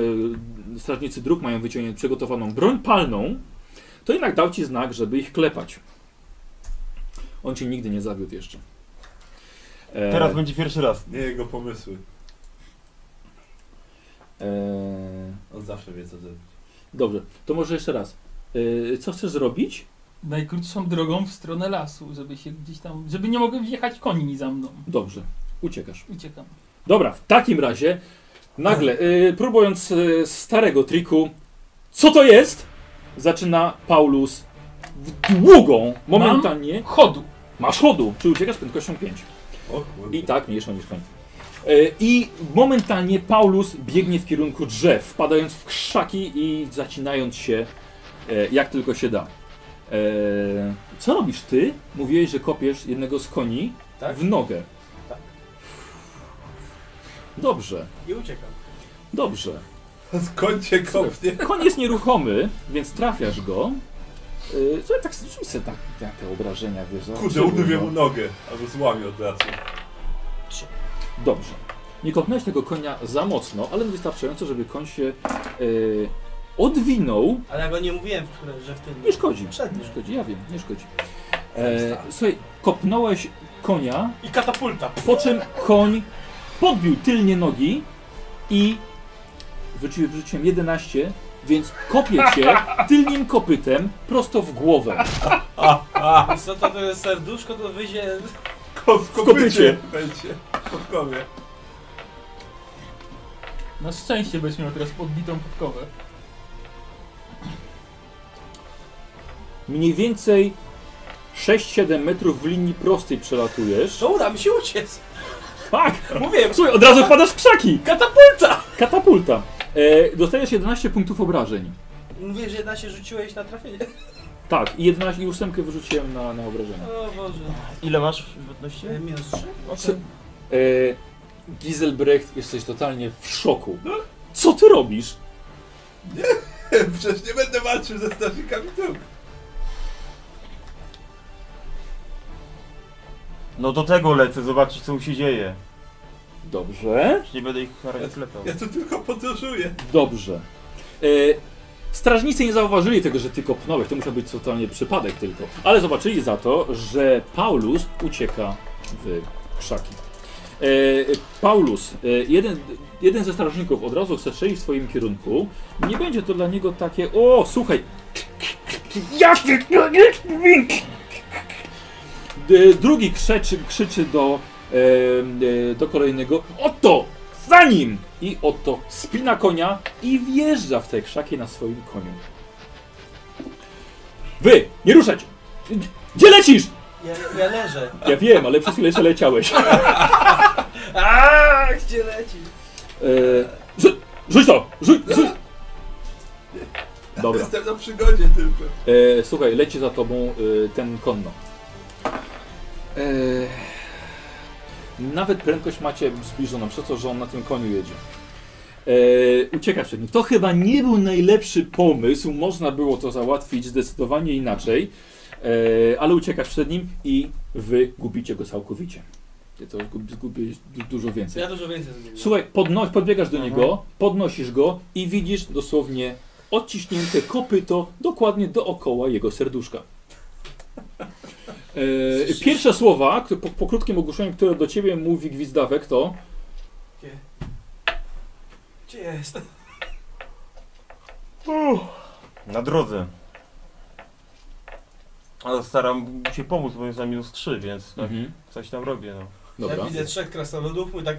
S1: strażnicy dróg mają wyciągniętą przygotowaną broń palną, to jednak dał ci znak, żeby ich klepać. On cię nigdy nie zawiódł jeszcze. E,
S5: Teraz będzie pierwszy raz.
S2: Nie jego pomysły.
S1: e,
S2: On zawsze wie co zrobić.
S1: Dobrze, to może jeszcze raz. E, co chcesz zrobić?
S3: Najkrótszą drogą w stronę lasu, żeby się gdzieś tam, żeby nie mogę wjechać koni za mną.
S1: Dobrze, uciekasz.
S3: Uciekam.
S1: Dobra, w takim razie nagle, y, próbując y, starego triku, co to jest? Zaczyna Paulus w długą, momentalnie.
S3: Chodu.
S1: Masz chodu, czy uciekasz prędkością 5.
S2: O kurde.
S1: I tak mniejszą niż koń. Y, I momentalnie Paulus biegnie w kierunku drzew, wpadając w krzaki i zacinając się e, jak tylko się da. E, co robisz ty? Mówiłeś, że kopiesz jednego z koni
S4: Tak.
S1: w nogę.
S4: Tak.
S1: Dobrze,
S4: I uciekam.
S1: dobrze.
S2: Skąd cię kopnie?
S1: Koń jest nieruchomy, więc trafiasz go. Yy, Słuchaj, tak rzuć sobie tak, tak te obrażenia, wiesz.
S2: Kurde,
S1: zobaczymy,
S2: udywię
S1: no.
S2: mu nogę. Albo złamię od razu.
S1: Dobrze. Nie kopnąłeś tego konia za mocno, ale wystarczająco, żeby koń się yy, odwinął.
S4: Ale ja go nie mówiłem, w które, że w tym...
S1: Nie szkodzi.
S4: Przednie.
S1: Nie szkodzi, ja wiem, nie szkodzi. E, słuchaj, kopnąłeś konia,
S4: I katapulta.
S1: po czym koń podbił tylnie nogi i wrzuci- wrzuciłem 11, więc kopie cię tylnym kopytem prosto w głowę.
S4: Co to, to jest serduszko, to wyjdzie...
S2: Ko w
S1: kopycie.
S2: kopycie będzie. Podkowie.
S3: Na szczęście będziesz miał teraz podbitą podkowę.
S1: mniej więcej 6-7 metrów w linii prostej przelatujesz.
S4: To uda mi się uciec.
S1: Tak!
S4: Mówiłem,
S1: Słuchaj, od razu wpadasz w krzaki!
S4: katapulta!
S1: Katapulta! E, dostajesz 11 punktów obrażeń.
S4: Mówię, że jedna się rzuciłeś na trafienie.
S1: Tak, i 11 i 8 wyrzuciłem na, na obrażenia.
S4: O Boże.
S5: Ile masz w odności?
S4: E, Minus trzy?
S1: Co- E, Giselbrecht, jesteś totalnie w szoku. Co ty robisz?
S2: Przecież nie będę walczył ze strażnikami dróg.
S5: No do tego lecę, zobaczyć co mu się dzieje.
S1: Dobrze,
S5: Już nie będę ich karać sklepał.
S2: Ja tu tylko podróżuję.
S1: dobrze. E, strażnicy nie zauważyli tego, że ty kopnąłeś. To musiał być totalnie przypadek tylko. Ale zobaczyli za to, że Paulus ucieka w krzaki. E, Paulus, e, jeden, jeden ze strażników od razu chce przejść w swoim kierunku. Nie będzie to dla niego takie, o, słuchaj, jaki to jest dźwięk?" D- Drugi krzeczy, krzyczy do, e, e, do kolejnego, oto, za nim! I oto spina konia i wjeżdża w te krzaki na swoim koniu. Wy, nie ruszać! Gdzie lecisz?
S4: Ja, ja leżę.
S1: Ja wiem, ale przez chwilę jeszcze leciałeś.
S4: Aaaa, Tak, gdzie leci?
S1: Eee, rzu- rzuć to! Rzuć! rzuć. Dobra.
S2: Jestem na przygodzie tylko.
S1: Eee, słuchaj, leci za tobą e, ten konno. Eee, nawet prędkość macie zbliżoną, przez to, że on na tym koniu jedzie. Eee, ucieka przed nim. To chyba nie był najlepszy pomysł. Można było to załatwić zdecydowanie inaczej. Eee, ale uciekasz przed nim i wy gubicie go całkowicie. Ty to gubi- gubisz du- dużo więcej.
S4: Ja dużo więcej zrobiłem.
S1: Słuchaj, podno- podbiegasz do
S5: Mhm.
S1: niego, podnosisz go i widzisz dosłownie odciśnięte kopyto dokładnie dookoła jego serduszka. E, pierwsze słowa, które- po, po krótkim ogłoszeniu, które do ciebie mówi gwizdawek, to
S4: Gdzie? Gdzie jest?
S5: Na drodze. Ale staram się pomóc, bo jest na minus 3, więc tak,
S1: mhm.
S5: coś tam robię. No.
S1: Dobra.
S4: Ja widzę trzech krasnoludów, my tak...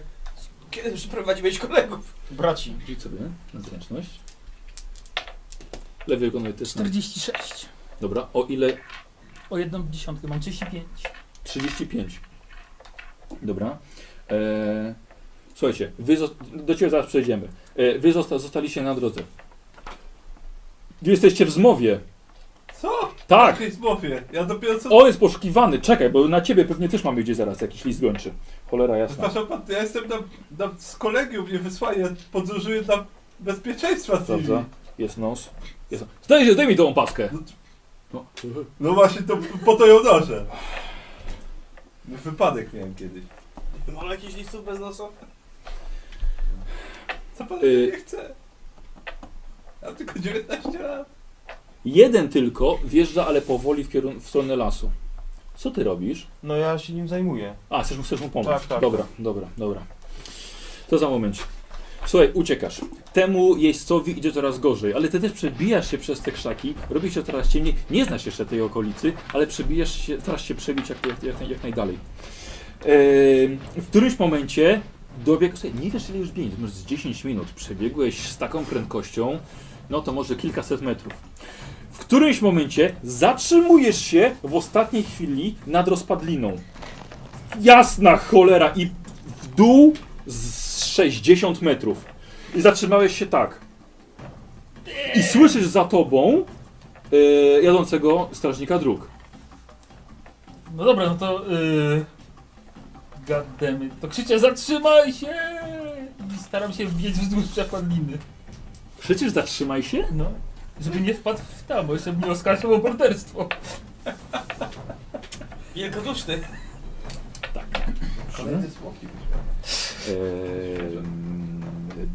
S4: Kiedy przyprowadziłeś kolegów?
S5: Braci.
S1: Rzuć sobie na zręczność. Lewy wykonuje też. na-
S3: 46.
S1: Dobra, o ile
S3: O jedną dziesiątkę mam 35.
S1: 35. Dobra. E, słuchajcie, wy zo- do ciebie zaraz przejdziemy. E, wy zosta zostaliście na drodze. Wy jesteście w zmowie.
S2: Co? W
S1: Tak!
S2: jakiej zmowie? Ja dopiero co...
S1: On jest poszukiwany, czekaj, bo na ciebie pewnie też mamy gdzieś zaraz jakiś list gończy. Cholera jasna.
S2: Przepraszam pan, ja jestem na, na, z kolegium, nie wysłanie, ja podróżuję dla bezpieczeństwa
S1: Sprawdza.
S2: TV.
S1: Jest nos. Jest... Zdaj się, zdejmij tą opaskę. No.
S2: No właśnie, to po to ją noszę. Wypadek miałem kiedyś.
S4: Mam jakiś listów bez nosa?
S2: Co pan
S1: Y-
S2: nie chce? Ja mam tylko 19 lat.
S1: Jeden tylko wjeżdża, ale powoli w, kierun- w stronę lasu. Co ty robisz?
S5: No ja się nim zajmuję.
S1: A, chcesz mu, chcesz mu pomóc?
S5: Tak, tak.
S1: Dobra, dobra, dobra. To za moment. Słuchaj, uciekasz. Temu jeźdźcowi idzie coraz gorzej, ale ty też przebijasz się przez te krzaki, robi się coraz ciemniej, nie znasz jeszcze tej okolicy, ale przebijasz się, starasz się przebić jak, jak, jak, naj- jak najdalej. Ehm, w którymś momencie dobiegł, słuchaj, nie wiesz ile już biegniesz, może z 10 minut przebiegłeś z taką prędkością, no to może kilkaset metrów. W którymś momencie zatrzymujesz się w ostatniej chwili nad rozpadliną. Jasna cholera i w dół z 60 metrów. I zatrzymałeś się tak. I słyszysz za tobą e, jadącego strażnika dróg.
S3: No dobra, no to... Yy... Goddammit. To krzyczę zatrzymaj się! I staram się wbiec wzdłuż przepadliny.
S1: Przecież zatrzymaj się?
S3: No. Żeby nie wpadł w tam, bo jeszcze mnie oskarżał o morderstwo.
S4: Wielkoduszny.
S2: Kolejne smoki.
S1: Em,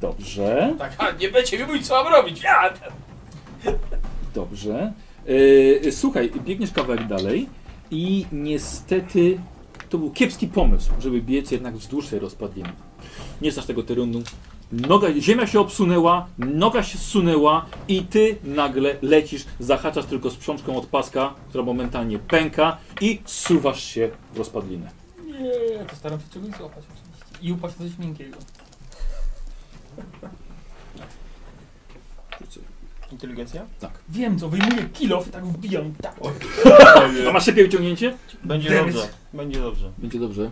S1: dobrze,
S4: Tak, a nie będzie mi mówić, co mam robić. Ja!
S1: dobrze. E, słuchaj, biegniesz kawałek dalej i niestety to był kiepski pomysł, żeby biec jednak wzdłuż tej rozpadliny. Nie znasz tego terenu. Noga, ziemia się obsunęła, noga się zsunęła i ty nagle lecisz, zahaczasz tylko z przączką od paska, która momentalnie pęka i suwasz się w rozpadlinę.
S3: Nie, to staram się czegoś złapać oczywiście. I upaść do coś miękkiego.
S5: Inteligencja?
S3: Wiem co, wyjmuję kilof i tak wbijam. Tak.
S1: A masz szybkie wyciągnięcie?
S5: Będzie
S3: Teraz-
S5: dobrze. Będzie dobrze.
S1: Będzie dobrze.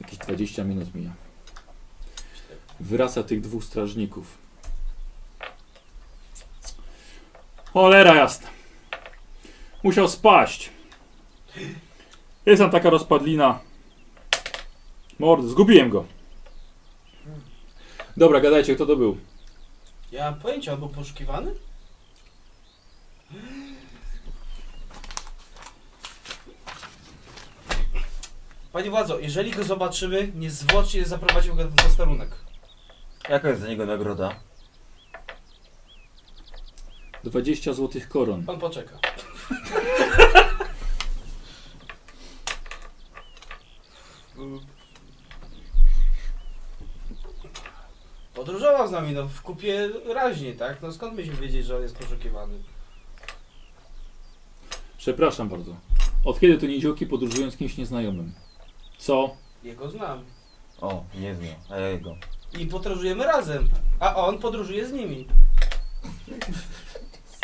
S1: Jakieś 20 minut mija. Wraca tych dwóch strażników. Cholera jasna. Musiał spaść. Jest tam taka rozpadlina. Mord, zgubiłem go. Dobra, gadajcie, kto to był?
S4: Ja mam pojęcie, on był poszukiwany? Panie władzo, jeżeli go zobaczymy, niezwłocznie zaprowadzimy go na posterunek.
S5: Jaka jest za niego nagroda?
S1: 20 złotych koron.
S4: Pan poczeka. rozpoznał mnie no, w kupie raźnie, tak? No skąd myśmy wiedzieć, że on jest poszukiwany?
S1: Przepraszam bardzo. Od kiedy to niziołki podróżują z kimś nieznajomym? Co?
S4: Jego znam.
S5: O, nie znam, a ja jego.
S4: I podróżujemy razem, a on podróżuje z nimi.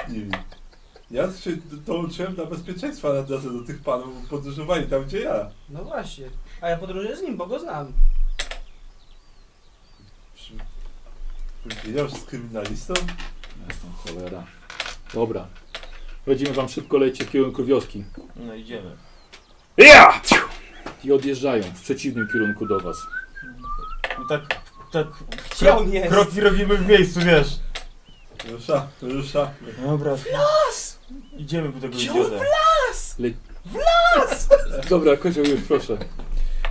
S2: Nie wiem. Ja się to uczyłem dla bezpieczeństwa na drodze do tych panów, bo podróżowali tam gdzie ja.
S4: No właśnie. A ja podróżuję z nim, bo go znam.
S2: Wiedział, że z kryminalistą?
S1: Jestem cholera. Dobra. Będziemy wam szybko lecieć w kierunku wioski.
S5: No idziemy.
S1: Ja! I odjeżdżają w przeciwnym kierunku do was.
S5: I tak, tak,
S4: Gdzie on jest?
S5: kroki robimy w miejscu, wiesz.
S2: Rusza, rusza.
S5: Dobra. W las! Idziemy po tego idiotę.
S1: Dobra, kozioł już proszę.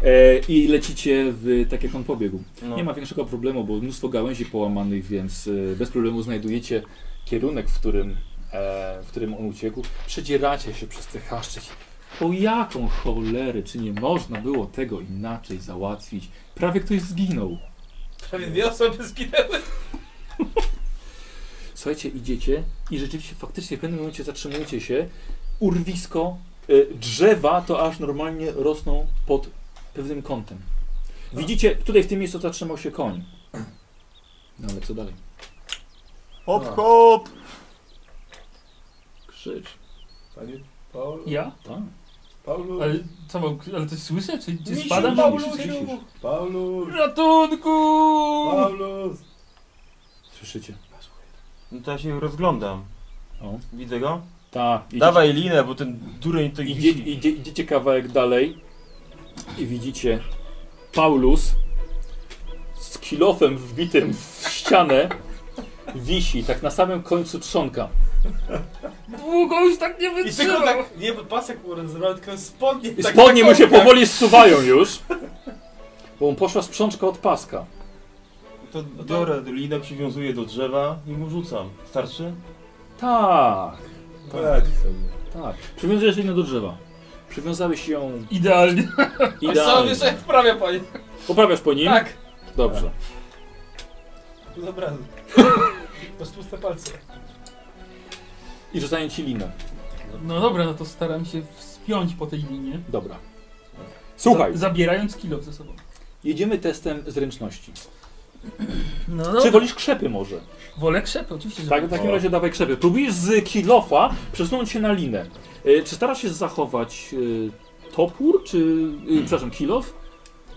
S1: E, I lecicie w tak jak on pobiegł.
S5: No.
S1: Nie ma większego problemu, bo mnóstwo gałęzi połamanych, więc e, bez problemu znajdujecie kierunek, w którym, e, w którym on uciekł. Przedzieracie się przez te chaszcze. O jaką cholerę, czy nie można było tego inaczej załatwić? Prawie ktoś zginął.
S4: Prawie dwie osoby zginęły.
S1: Słuchajcie, idziecie i rzeczywiście faktycznie w pewnym momencie zatrzymujecie się. Urwisko, y, drzewa to aż normalnie rosną pod pewnym kątem. Widzicie, tutaj w tym miejscu zatrzymał się koń. No ale co dalej? No.
S5: Hop, hop!
S1: Krzycz.
S2: Panie Paulu?
S3: Ja?
S1: Tak.
S2: Paulu?
S3: Ale co mam, ale coś słyszę? Czy, czy
S4: Misiu,
S3: spadam?
S4: Paulusiu.
S1: Słyszysz?
S2: Paulu?
S3: Ratunku!
S2: Paulu?
S1: Słyszycie?
S5: No to ja się rozglądam.
S1: O.
S5: Widzę go?
S1: Ta, idziecie,
S5: Dawaj linę, bo ten dureń to
S1: idzie,
S5: idzie.
S1: idzie, idziecie kawałek dalej i widzicie Paulus z kilofem wbitym w ścianę wisi tak na samym końcu trzonka.
S3: Długo już tak nie
S4: I tylko
S3: wytrzymał.
S4: tak, nie pasek mu rozerwał, tylko spodnie.
S1: I
S4: tak
S1: Spodnie
S4: na
S1: mu się
S4: kostkach.
S1: powoli zsuwają już. Bo mu poszła sprzączka od paska.
S5: To biorę linę, przywiązuję do drzewa i mu rzucam. Starszy?
S1: Tak,
S2: Poradź sobie.
S1: tak. Przywiązujesz linę do drzewa. Przywiązałeś ją
S3: Idealnie.
S4: I sobie
S1: idealnie.
S4: sobie wprawia pani.
S1: Poprawiasz po nim?
S4: Tak.
S1: Dobrze.
S4: No Dobra. Bez puste palce.
S1: I rzucają ci linę.
S3: No dobra, no to staram się wspiąć po tej linie.
S1: Dobra. Słuchaj,
S3: Za, zabierając kilo ze sobą.
S1: jedziemy testem zręczności.
S3: No
S1: Czy wolisz krzepy może?
S3: Wolę krzepy, oczywiście, że
S1: Tak, w takim
S2: O.
S1: razie dawaj krzepy. Próbujesz z kilofa przesunąć się na linę. E, Czy starasz się zachować y, topór, czy... y, przepraszam, kilof?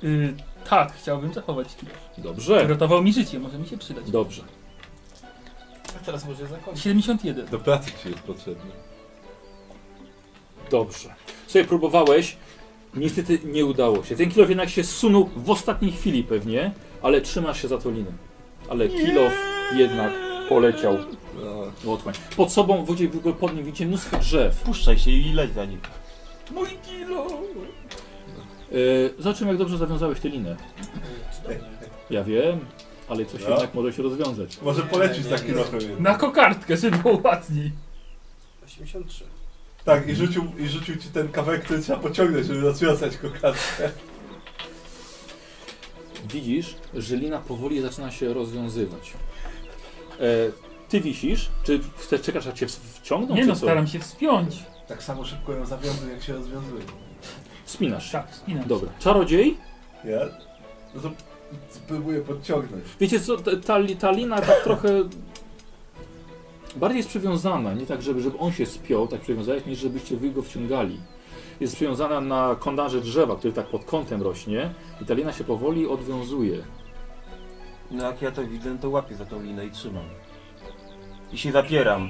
S3: Y, tak, chciałbym zachować kilo.
S1: Dobrze,
S3: Ratował mi życie, może mi się przydać.
S1: dobrze.
S4: A teraz może zakończyć.
S3: 71.
S2: Do pracy ci jest potrzebny.
S1: Dobrze. Sobie próbowałeś, niestety nie udało się. Ten kilof jednak się zsunął w ostatniej chwili pewnie, ale trzymasz się za tą linę. Ale kilof jednak poleciał
S2: No.
S1: w otchłań. Pod sobą, w wodzie, pod nim widzicie mnóstwo drzew.
S5: Puszczaj się i leć za nim.
S3: Mój kilo!
S1: Yy, zobaczymy jak dobrze zawiązałeś tę linę. Ja wiem, ale coś
S2: No.
S1: jednak może się rozwiązać.
S2: Może
S4: Nie,
S2: polecisz
S4: nie,
S2: za
S4: nie.
S2: kilofem.
S3: Na kokardkę, żeby było ładniej.
S4: 83.
S2: Tak, i rzucił, i rzucił ci ten kawałek, który trzeba pociągnąć, żeby rozwiązać kokardkę.
S1: Widzisz, że lina powoli zaczyna się rozwiązywać. E, ty wisisz? Czy chcesz, czekasz aż cię w- wciągną?
S3: Nie
S1: czy
S3: no,
S1: co?
S3: staram się wspiąć.
S2: Tak samo szybko ją zawiązuj, jak się rozwiązuje.
S1: Spinasz się.
S3: Tak, wspinam
S1: Dobra. Czarodziej?
S2: Ja? No to spróbuję podciągnąć.
S1: Wiecie co, ta, ta, li- ta lina tak trochę bardziej jest przywiązana, nie tak, żeby, żeby on się spiął, tak przywiązałeś, niż żebyście wy go wciągali. Jest przywiązana na kondarze drzewa, który tak pod kątem rośnie i ta lina się powoli odwiązuje.
S5: No jak ja to widzę, to łapię za tą linę i trzymam. I się zapieram.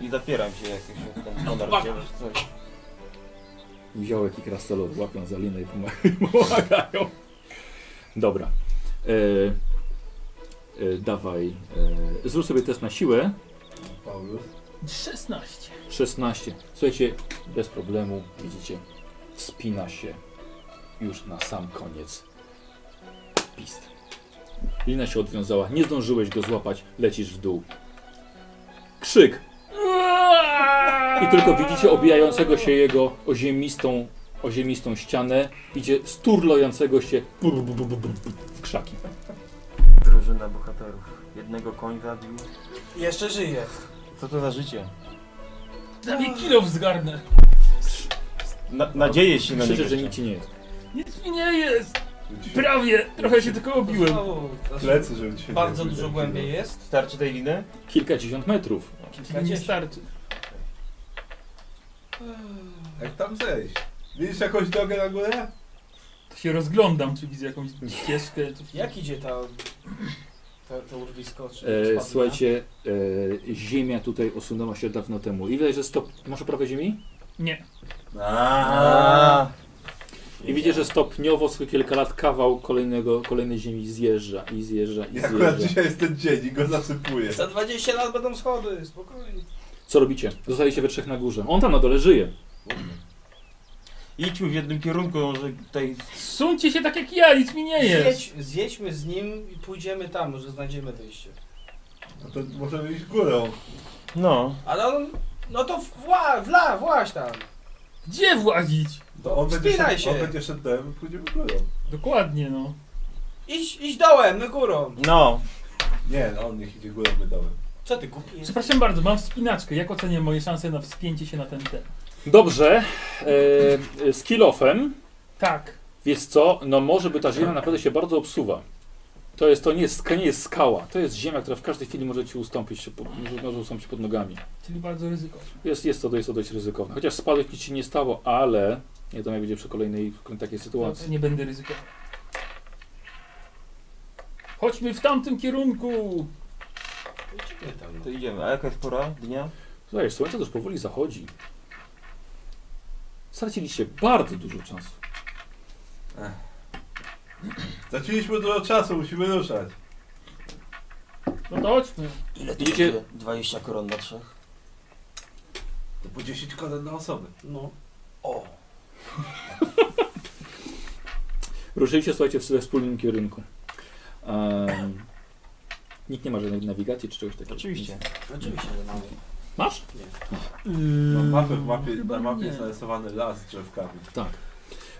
S5: I zapieram się jak się
S1: No
S5: ten konar wziął, czy coś.
S1: Wziąłek i krasnolud łapią za linę i pomagają. pomagają. Dobra. E, e, dawaj. E, zrób sobie test na siłę.
S2: Paulus.
S3: 16.
S1: 16. Słuchajcie, bez problemu, widzicie, wspina się już na sam koniec pist. Lina się odwiązała, nie zdążyłeś go złapać, lecisz w dół. Krzyk! I tylko widzicie obijającego się jego o ziemistą, o ziemistą
S4: Znaczy,
S1: ścianę, idzie sturlojącego się w krzaki.
S6: drużyna bohaterów. Jednego koń zabił.
S4: Jeszcze żyje.
S6: Co to za życie?
S3: Prawie kilo zgarnę.
S5: Na, nadzieję się
S4: no,
S5: na niego.
S1: Krzyczę, że
S5: jeszcze.
S1: nic ci nie jest.
S3: Nic mi nie jest. Prawie. Trochę się tylko obiłem.
S4: Znowu,
S2: Plecy, żeby ci się
S4: bardzo
S2: nie
S4: dużo
S2: wydaje.
S4: głębiej jest.
S5: Starczy tej liny?
S1: Kilkadziesiąt metrów.
S3: Czyli nie starczy.
S2: Jak tam zejść? Widzisz jakąś drogę na górę?
S3: To się rozglądam, czy widzę jakąś ścieżkę. Coś.
S4: Jak idzie ta, ta, to urwisko? Czy
S1: E,
S4: spadnie?
S1: słuchajcie, e, ziemia tutaj osunęła się dawno temu. I widać, że stop... Masz oprawę ziemi?
S3: Nie.
S2: No.
S5: Aaaa!
S1: I widzisz, że stopniowo co kilka lat kawał kolejnego, kolejnej ziemi zjeżdża i zjeżdża i
S2: I akurat
S1: zjeżdża.
S2: dzisiaj jest ten dzień i go zasypuje.
S4: Za 20 lat będą schody, spokojnie.
S1: Co robicie? Zostajecie we trzech na górze. On tam na dole żyje.
S5: Idźmy w jednym kierunku, może tutaj
S3: Suncie się tak jak ja, nic mi nie jest.
S4: Zjedź, zjedźmy z nim i pójdziemy tam, może znajdziemy wyjście.
S2: No to możemy iść górą.
S5: No,
S4: Ale on, no to wła, wla, właś tam.
S3: Gdzie włazić?
S2: To on będzie,
S4: Wspinaj
S2: szedł, on
S4: się.
S2: będzie szedł dołem, pójdziemy górą.
S3: Dokładnie, no.
S4: Idź, idź dołem, my górą.
S5: no.
S2: Nie, no on niech idzie górą, my dołem.
S4: Co ty kupi? jest?
S3: Przepraszam bardzo, mam wspinaczkę. Jak ocenię moje szanse na wspięcie się na ten ten?
S1: Dobrze. E, e, z kilofem,
S3: Tak.
S1: wiesz co, no może by ta ziemia naprawdę się bardzo obsuwa. To jest, to nie jest, nie jest skała. To jest ziemia, która w każdej chwili może ci ustąpić, się pod- może, może ustąpić pod nogami.
S3: Czyli bardzo ryzyko.
S1: Jest, jest, to, jest to dość ryzykowne. Chociaż spadek nic ci nie stało, ale nie wiem jak będzie przy kolejnej takiej
S3: No,
S1: sytuacji.
S3: to nie będę ryzykował. Chodźmy w tamtym kierunku.
S4: Pójdziemy tam. no.
S5: To idziemy. A jaka jest pora dnia?
S1: Słuchaj, słońce już powoli zachodzi. Straciliście bardzo dużo czasu.
S2: Zaczęliśmy dużo czasu, musimy ruszać.
S3: No to chodźmy.
S6: Ile to
S1: Idzie-
S6: będzie? 20 koron na trzech?
S2: To po 10 koron na osobę.
S4: No.
S6: O!
S1: Ruszyliście, słuchajcie, w we wspólnym kierunku. Em, nikt nie ma żadnej nawigacji czy czegoś takiego.
S5: Oczywiście.
S4: Oczywiście, że mamy.
S1: Masz? Yy,
S2: Na mapie, No, w mapie,
S3: Chyba
S2: na mapie
S3: nie.
S2: jest narysowany las z drzewkami.
S1: Tak.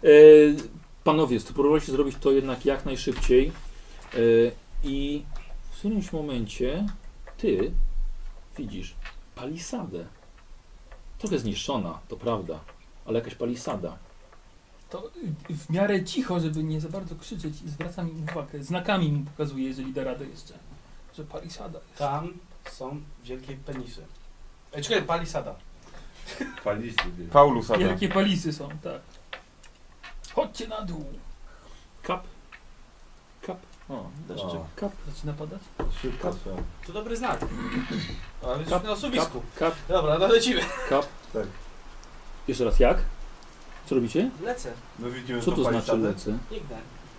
S1: E, panowie, spróbowaliście zrobić to jednak jak najszybciej. E, I w którymś momencie ty widzisz palisadę. Trochę zniszczona, to prawda, ale jakaś palisada.
S3: To y, w miarę cicho, żeby nie za bardzo krzyczeć, zwracam im uwagę. Znakami mu pokazuję, jeżeli da radę jeszcze, że palisada.
S4: Tam są wielkie penisy. Ej, czekaj, palisada.
S2: Paliście, nie?
S5: Paulus Adam.
S3: Wielkie palisy są, tak. Chodźcie na dół.
S1: Kap, kap,
S5: O, deszczyk.
S2: O,
S1: kap,
S3: Zaczyna padać?
S2: szybko trzeba.
S4: To dobry znak. Ale już
S1: Kap,
S4: na osuwisku.
S1: kap,
S4: Dobra, no lecimy.
S1: kap.
S2: Tak.
S1: Jeszcze raz jak? Co robicie?
S4: Lecę,
S2: No widzimy
S1: Co
S2: tą
S1: to znaczy
S2: palisadę.
S1: lecę?
S4: biegnę.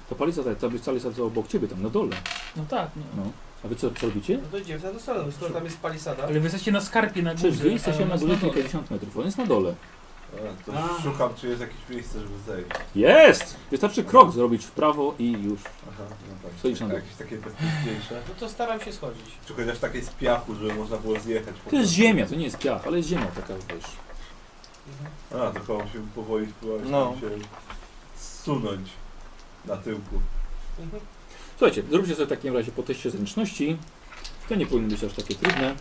S1: To palisada, ta palisada obok ciebie tam na dole.
S3: No tak, no.
S1: No. A wy co, co robicie?
S4: No to idziemy w tę stronę, skoro tam jest palisada.
S3: Ale wy jesteście na skarpie na górze.
S1: Przecież wy jesteście
S3: a
S1: na
S3: nas
S1: górze
S3: dole.
S1: kilkadziesiąt metrów, on jest na dole.
S2: A, to
S4: A.
S2: szukam, czy jest jakieś miejsce, żeby zejść.
S1: Jest! Wystarczy krok zrobić w prawo i już.
S2: Aha, no tak.
S1: Stoisz na dół.
S2: Jakieś takie bezpieczniejsze.
S4: No to staram się schodzić.
S2: Czy chociaż takie z piachu, żeby można było zjechać. po
S1: To jest
S2: prostu.
S1: ziemia, to nie jest piach, ale jest ziemia taka, wiesz.
S4: Mhm.
S2: A, to chyba musimy powoli spróbować
S5: No.
S2: tam się zsunąć na tyłku.
S4: Mhm.
S1: Słuchajcie, zróbcie sobie w takim razie po teście zręczności. To nie powinno być aż takie trudne.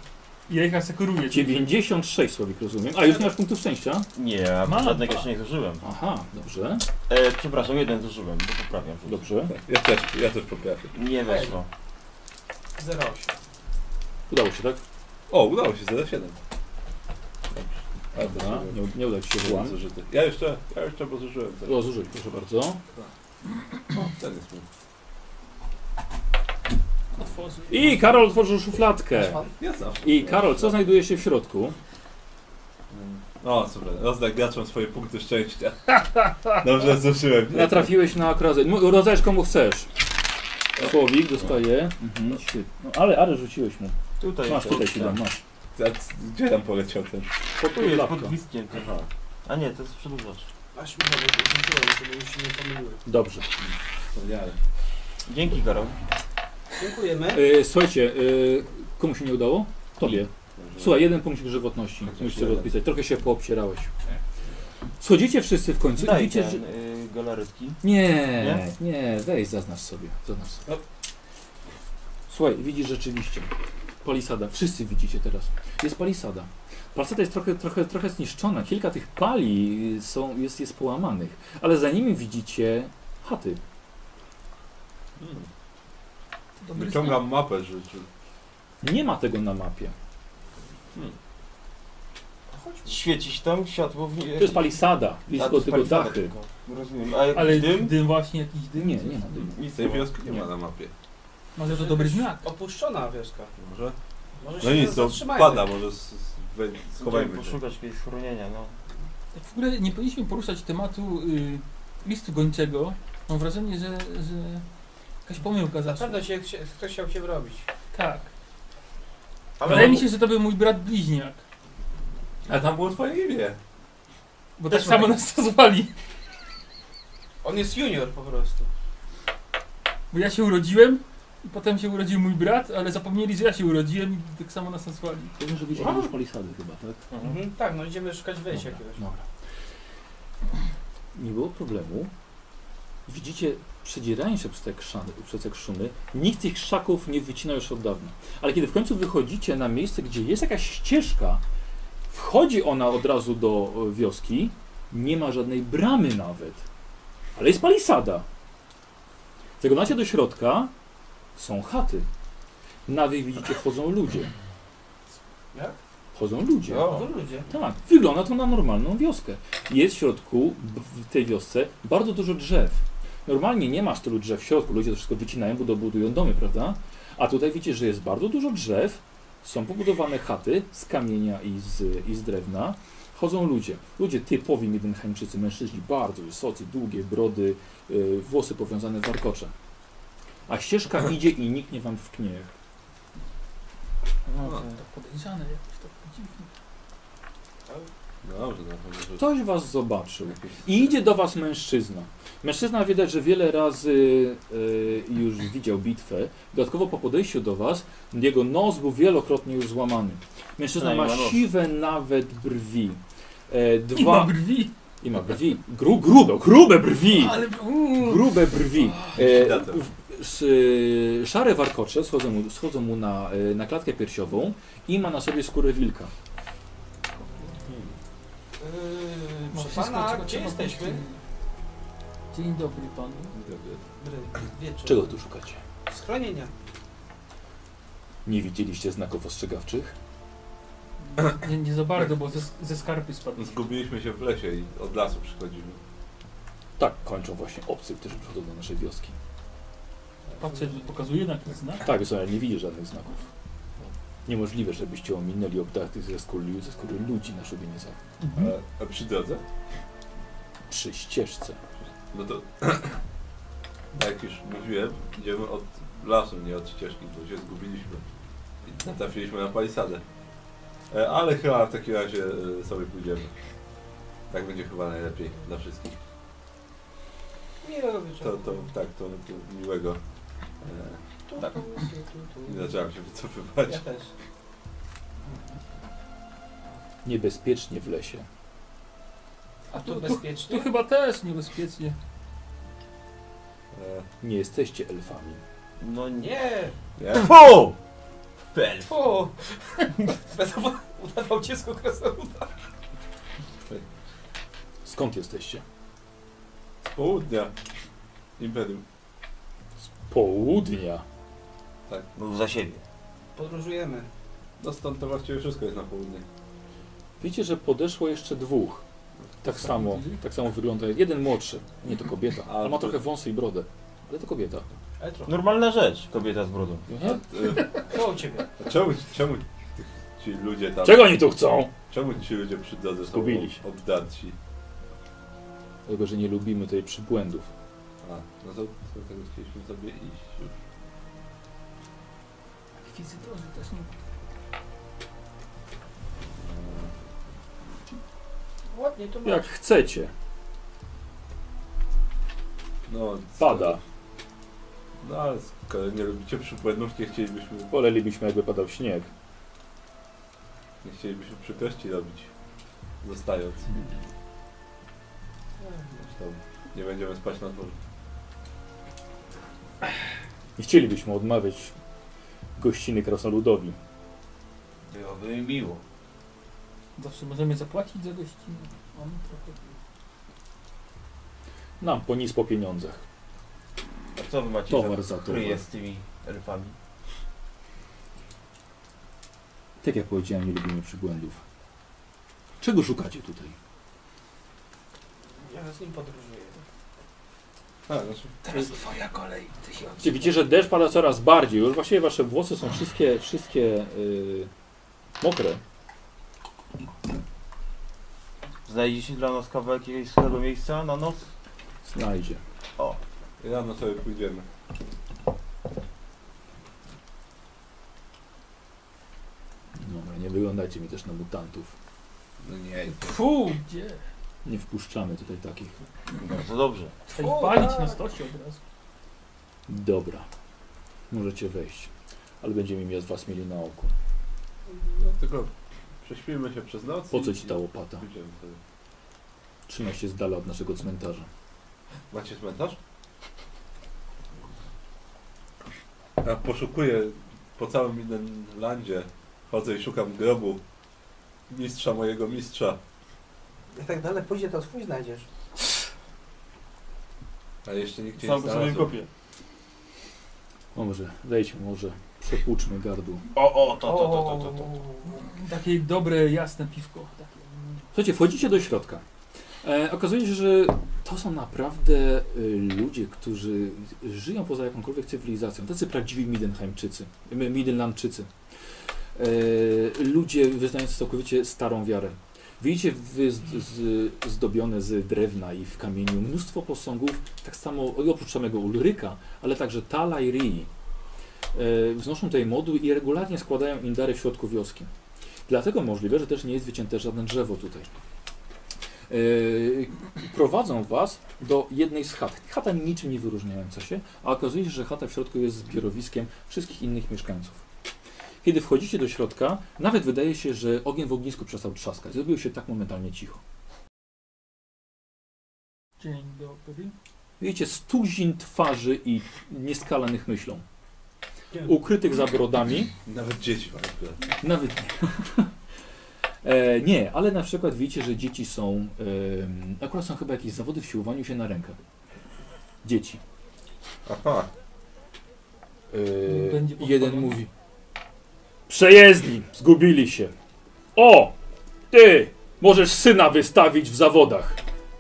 S3: Ja ich asekuruje.
S1: 96 słowik, rozumiem. A, już nie masz punktu szczęścia?
S5: Nie, a
S3: Ma.
S5: żadnego jeszcze nie zużyłem.
S1: Aha, dobrze,
S5: E, przepraszam, jeden zużyłem, bo poprawiam.
S1: dobrze.
S2: Ja też, ja też poprawię.
S5: Nie weszło.
S4: 08.
S1: Udało się, tak?
S2: O, udało się, 07. Dobrze.
S1: Dobra, nie, nie udało ci się
S2: Byłem
S1: wyłam.
S2: zużyty. Ja jeszcze, ja jeszcze bo zużyłem ten.
S1: O, zużyj, proszę bardzo.
S2: Ten jest mój.
S3: Otworzy.
S1: I Karol otworzył szufladkę.
S2: Ja zawsze.
S1: I Karol, co znajduje się w środku?
S2: O, No, super. Rozdaj graczom swoje punkty szczęścia. Dobrze, zużyłem.
S1: Natrafiłeś na okrazę. Rodzajesz komu chcesz. Słowik dostaje. Mhm, świetnie. No, ale, ale rzuciłeś mu.
S5: Tutaj
S1: Masz
S5: jeszcze-
S1: tutaj ci dam,
S5: tak.
S1: masz.
S2: A c- Gdzie tam poleciał ten?
S1: Pod
S5: Tu jest
S1: lapka.
S5: pod listkiem.
S2: Aha.
S5: A nie, to jest przedłużacz.
S4: Aż mi nawet rzuciłem, żeby mi się nie pomyliły.
S1: Dobrze.
S2: Wspaniale.
S5: Dzięki, Karol.
S4: Dziękujemy.
S1: E, słuchajcie, e, komu się nie udało? Tobie.
S2: Dobrze.
S1: Słuchaj, jeden punkt żywotności.
S2: Chociaż
S1: Musisz sobie
S2: jeden.
S1: odpisać. Trochę się poobcierałeś. Schodzicie wszyscy w końcu i
S5: Daj
S1: widzicie,
S5: ten
S1: że...
S5: y, galaretki.
S6: No.
S1: Nie, nie, weź, zaznacz sobie. Zaznacz sobie. Słuchaj, widzisz rzeczywiście. Palisada. Wszyscy widzicie teraz. Jest palisada. Palisada jest trochę, trochę, trochę zniszczona. Kilka tych pali są, jest, jest połamanych. Ale za nimi widzicie chaty.
S3: Dobry
S2: Hmm, Wyciągam mapę, że czy
S1: Nie ma tego na mapie.
S6: Świeci się tam światło w nie...
S1: To jest palisada. Widzisz
S6: A,
S1: tylko,
S6: Tak, to
S1: tylko
S6: jest palisada
S1: dachy.
S6: tylko. Rozumiem. A jak
S3: Ale dym?
S6: dym?
S3: dym właśnie, jakiś dym?
S1: Nie, nie ma dymu.
S2: nic tej wioski nie ma na mapie.
S3: Może to dobry znak.
S4: Opuszczona wioska.
S2: Może?
S4: Może
S2: No
S4: się
S2: nic, to
S4: zatrzymajmy.
S2: pada, może s- s- we-
S6: Będziemy
S2: schowajmy się.
S6: poszukać jakiegoś schronienia, no.
S3: Tak w ogóle nie powinniśmy poruszać tematu y, listu gończego. Mam wrażenie, że, że jakaś pomyłka
S4: Na
S3: zaszła.
S4: pewno się, się, ktoś chciał cię wrobić.
S3: Tak.
S2: Ale-
S3: Wydaje mi się, że to był mój brat bliźniak.
S2: A tam było twoje imię.
S3: Bo
S4: Też
S3: tak samo
S4: moje.
S3: nas nazwali.
S4: On jest junior po prostu.
S3: Bo ja się urodziłem i potem się urodził mój brat, ale zapomnieli, że ja się urodziłem i tak samo nas nazwali.
S1: To może widzicie już palisady chyba, tak?
S4: Mhm. Tak, no idziemy szukać wyjścia
S1: Dobra, No.
S4: jakiegoś.
S1: Dobra. Nie było problemu. Widzicie, przedzierając się przez te, krzany, przez te krzumy, nikt tych krzaków nie wycina już od dawna. Ale kiedy w końcu wychodzicie na miejsce, gdzie jest jakaś ścieżka, wchodzi ona od razu do e, wioski, nie ma żadnej bramy nawet, ale jest palisada. Zaglądacie do środka, są chaty. Na wyjście widzicie, chodzą ludzie.
S4: Jak?
S1: Chodzą ludzie.
S4: To są No. ludzie.
S1: Tak, wygląda to na normalną wioskę. Jest w środku, b- w tej wiosce, bardzo dużo drzew. Normalnie nie masz tylu drzew w środku, ludzie to wszystko wycinają, bo dobudują domy, prawda? A tutaj widzicie, że jest bardzo dużo drzew, są pobudowane chaty z kamienia i z, i z drewna. Chodzą ludzie. Ludzie typowi Miedenheimczycy, mężczyźni, bardzo wysocy, długie brody, y, włosy powiązane w warkocze. A ścieżka idzie i nikt nie wam wknie.
S6: No,
S2: No.
S6: to-
S4: tak,
S3: To podejrzane jakieś, to dziwne.
S2: Dobrze, no, może...
S1: Ktoś was zobaczył.
S2: jakieś-
S1: I idzie do was mężczyzna. Mężczyzna widać, że wiele razy y, już widział bitwę. Dodatkowo po podejściu do was jego nos był wielokrotnie już złamany. Mężczyzna
S5: Ej,
S1: ma
S5: ma nos.
S1: siwe nawet brwi. E, dwa...
S3: I ma brwi.
S1: I ma brwi. Gru, grube, grube brwi!
S3: Ale uuu.
S1: Grube brwi. E,
S2: Datem.
S1: w- s- y, szare warkocze schodzą mu, schodzą mu na, y, na klatkę piersiową i ma na sobie skórę wilka.
S4: Yy,
S3: Ma
S4: proszę
S3: No, wszystko,
S4: pana,
S3: czego
S4: gdzie
S3: trzeba
S4: jesteśmy?
S3: powiedzieć. Dzień dobry panu.
S2: Dobry.
S4: Dobry Wieczór.
S1: Czego tu szukacie?
S4: Schronienia.
S1: Nie widzieliście znaków ostrzegawczych?
S3: Nie, nie za bardzo, bo ze, ze skarpy spadł.
S2: Zgubiliśmy się w lesie i od lasu przychodzimy.
S1: Tak kończą właśnie obcy, którzy przychodzą do naszej wioski.
S3: Patrzę, pokazuje na ten znak.
S1: Tak, Zoja nie widzi żadnych znaków. Niemożliwe, żebyście ominęli obdartych ze skóry, ze skóry ludzi na szubienicach.
S3: Mhm.
S2: A, a przy drodze?
S1: Przy ścieżce.
S2: No to... Jak już mówiłem, idziemy od lasu, nie od ścieżki, bo się zgubiliśmy. I natrafiliśmy na palisadę. E, Ale chyba w takim razie e, sobie pójdziemy. Tak będzie chyba najlepiej dla wszystkich.
S4: Miłego
S2: To,
S4: wieczoru.
S2: to tak, to, to miłego. E,
S4: Tu,
S2: tak.
S4: tu, tu, tu.
S2: Nie zaczęłam się wycofywać.
S4: Ja też.
S1: Niebezpiecznie w lesie.
S4: A tu
S3: Tu- tu-
S4: bezpiecznie?
S3: Tu chyba też niebezpiecznie.
S2: E,
S1: Nie jesteście elfami.
S6: No nie.
S4: Nie!
S2: nie?
S5: Po! Pel.
S4: O! Udawał- Udawał dziecko krasnoluda.
S1: Skąd jesteście?
S2: Z południa. Imperium.
S1: Z południa.
S6: No,
S5: Mów za siebie.
S4: Podróżujemy.
S2: No stąd to właściwie wszystko jest na południe.
S1: Wiecie, że podeszło jeszcze dwóch. Tak samo, tak samo wygląda. Jeden młodszy. Nie, to kobieta. Ale ma trochę wąsy i brodę. Ale to kobieta.
S4: Ale trochę.
S5: Normalna rzecz, kobieta z brodą.
S1: Mhm.
S2: E,
S6: No.
S4: Co u ciebie?
S2: a czemu, czemu ci ludzie tam...
S1: Czego oni tu chcą?
S2: Czemu ci ludzie przy drodze są
S1: Zgubili się.
S2: obdarci?
S1: Dlatego, że nie lubimy tej przybłędów.
S2: A, no to, to tego chcieliśmy sobie iść już.
S3: Wizytorzy też nie
S4: Ładnie tu
S1: Jak
S4: masz.
S1: chcecie.
S2: No,
S1: Pada.
S2: No ale skoro nie lubicie przybłędów, nie chcielibyśmy,
S1: Polelibyśmy, jakby padał śnieg.
S2: nie chcielibyśmy przykrości robić. Zostając. Zresztą nie będziemy spać na dworze.
S1: Nie chcielibyśmy odmawiać gościny krasnoludowi.
S6: Byłoby mi miło.
S3: Zawsze możemy zapłacić za gościnę. On trochę...
S1: Nam po nic po pieniądzach.
S6: A co wy macie
S1: Towar za
S6: który
S1: towar.
S6: jest z tymi elfami?
S1: Tak jak powiedziałem, nie lubimy przybłędów. Czego szukacie tutaj?
S4: Ja z nim podróżuję.
S6: A, znaczy,
S4: twoja kolej, ty się
S1: Widzicie, widzicie, że deszcz pada coraz bardziej. Już właściwie wasze włosy są wszystkie, wszystkie yy, mokre.
S6: znajdzie się dla nas kawałek jakiegoś schowego miejsca na noc?
S1: Znajdzie.
S2: Rano sobie pójdziemy.
S1: Dobra, nie wyglądajcie mi też na mutantów.
S2: No nie.
S3: Fu, gdzie?
S1: Nie wpuszczamy tutaj takich.
S6: Bardzo dobrze.
S3: Chcę
S4: O,
S3: ich palić
S4: tak.
S3: na stosie od razu.
S1: Dobra, możecie wejść. Ale będziemy mieć was mieli na oku.
S2: No tylko prześpimy się przez noc.
S1: Po co
S2: i-
S1: ci ta łopata?
S2: Pójdziemy sobie.
S1: Trzymaj się z dala od naszego cmentarza.
S2: Macie cmentarz? Ja poszukuję po całym Midenlandzie. Chodzę i szukam grobu mistrza mojego mistrza.
S4: Jak tak dalej pójdzie, to swój znajdziesz.
S2: Ale jeszcze nikt nie
S5: Sam go sobie
S2: znalazł.
S5: kopię.
S1: O, może, wejdźmy, może przepłuczmy gardło.
S6: O, o, to, to, to, to, to. to.
S3: Takie dobre, jasne piwko. Takie. mm.
S1: Słuchajcie, wchodzicie do środka. E, okazuje się, że to są naprawdę y, ludzie, którzy żyją poza jakąkolwiek cywilizacją. Tacy prawdziwi Midenheimczycy, M- Midenlandczycy. E, ludzie wyznający całkowicie starą wiarę. Widzicie wy z, z, zdobione z drewna i w kamieniu mnóstwo posągów, tak samo oprócz samego Ulryka, ale także Tala i Rii. E, wznoszą tutaj modły i regularnie składają indary w środku wioski. Dlatego możliwe, że też nie jest wycięte żadne drzewo tutaj. Yy, prowadzą was do jednej z chat. Chata niczym nie wyróżniająca się, a okazuje się, że chata w środku jest zbiorowiskiem wszystkich innych mieszkańców. Kiedy wchodzicie do środka, nawet wydaje się, że ogień w ognisku przestał trzaskać. Zrobiło się tak momentalnie cicho.
S3: Dzień dobry.
S1: Widzicie stuzin twarzy i nieskalanych myślą. Ukrytych za brodami,
S2: Nawet dzieci mają pracę.
S1: Nawet nie. E, nie, ale na przykład widzicie, że dzieci są. em, akurat są chyba jakieś zawody w siłowaniu się na rękach. Dzieci.
S2: Aha.
S1: E,
S3: Będzie
S1: jeden
S3: podpalony.
S1: mówi: Przejezdni, zgubili się. O! Ty! Możesz syna wystawić w zawodach.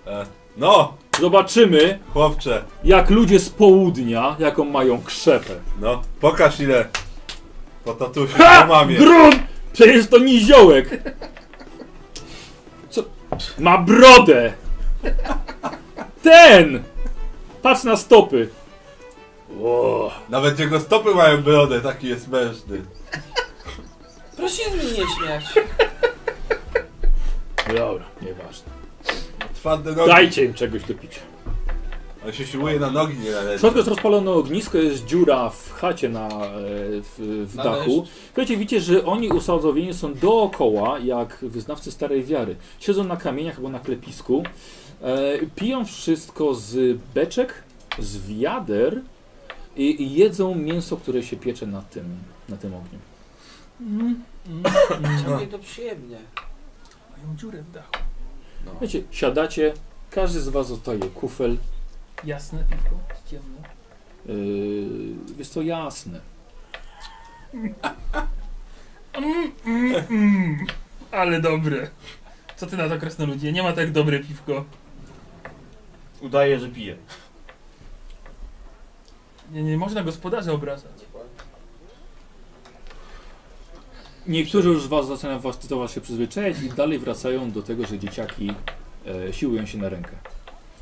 S2: E, no,
S1: Zobaczymy,
S2: chłopcze,
S1: jak ludzie z południa, jaką mają krzepę.
S2: no, pokaż ile po tatusiu,
S1: Ha!
S2: po mamie.
S1: Grun! Przecież to niziołek! Co? Ma brodę! Ten! Patrz na stopy! O,
S2: Nawet jego stopy mają brodę, taki jest mężny.
S4: Proszę się z mnie nie śmiać.
S1: No dobra, nieważne.
S2: Twarde nogi.
S1: Dajcie im czegoś do picia.
S2: On się siłuje na nogi, nie na
S1: W
S2: ręce.
S1: środku jest rozpalone ognisko, jest dziura w chacie na, e, w, w
S2: Na
S1: dachu. Słuchajcie, widzicie, że oni usadzowieni są dookoła, jak wyznawcy starej wiary. Siedzą na kamieniach albo na klepisku, e, piją wszystko z beczek, z wiader i, i jedzą mięso, które się piecze na tym, na tym ogniu.
S3: Mm, mm,
S4: Ciągle to przyjemnie.
S3: Mają dziurę w dachu.
S1: Wiecie, siadacie, każdy z was dostaje kufel.
S3: Jasne piwko, ciemne.
S1: Yy, jest to jasne.
S3: Mm, mm, mm. Ale dobre. Co ty na to krasnoludzie? Nie ma tak dobre piwko.
S6: Udaje, że pije.
S3: Nie, nie można gospodarza obrażać.
S1: Niektórzy już z Was zaczynają was, do Was się przyzwyczaić i dalej wracają do tego, że dzieciaki e, siłują się na rękę.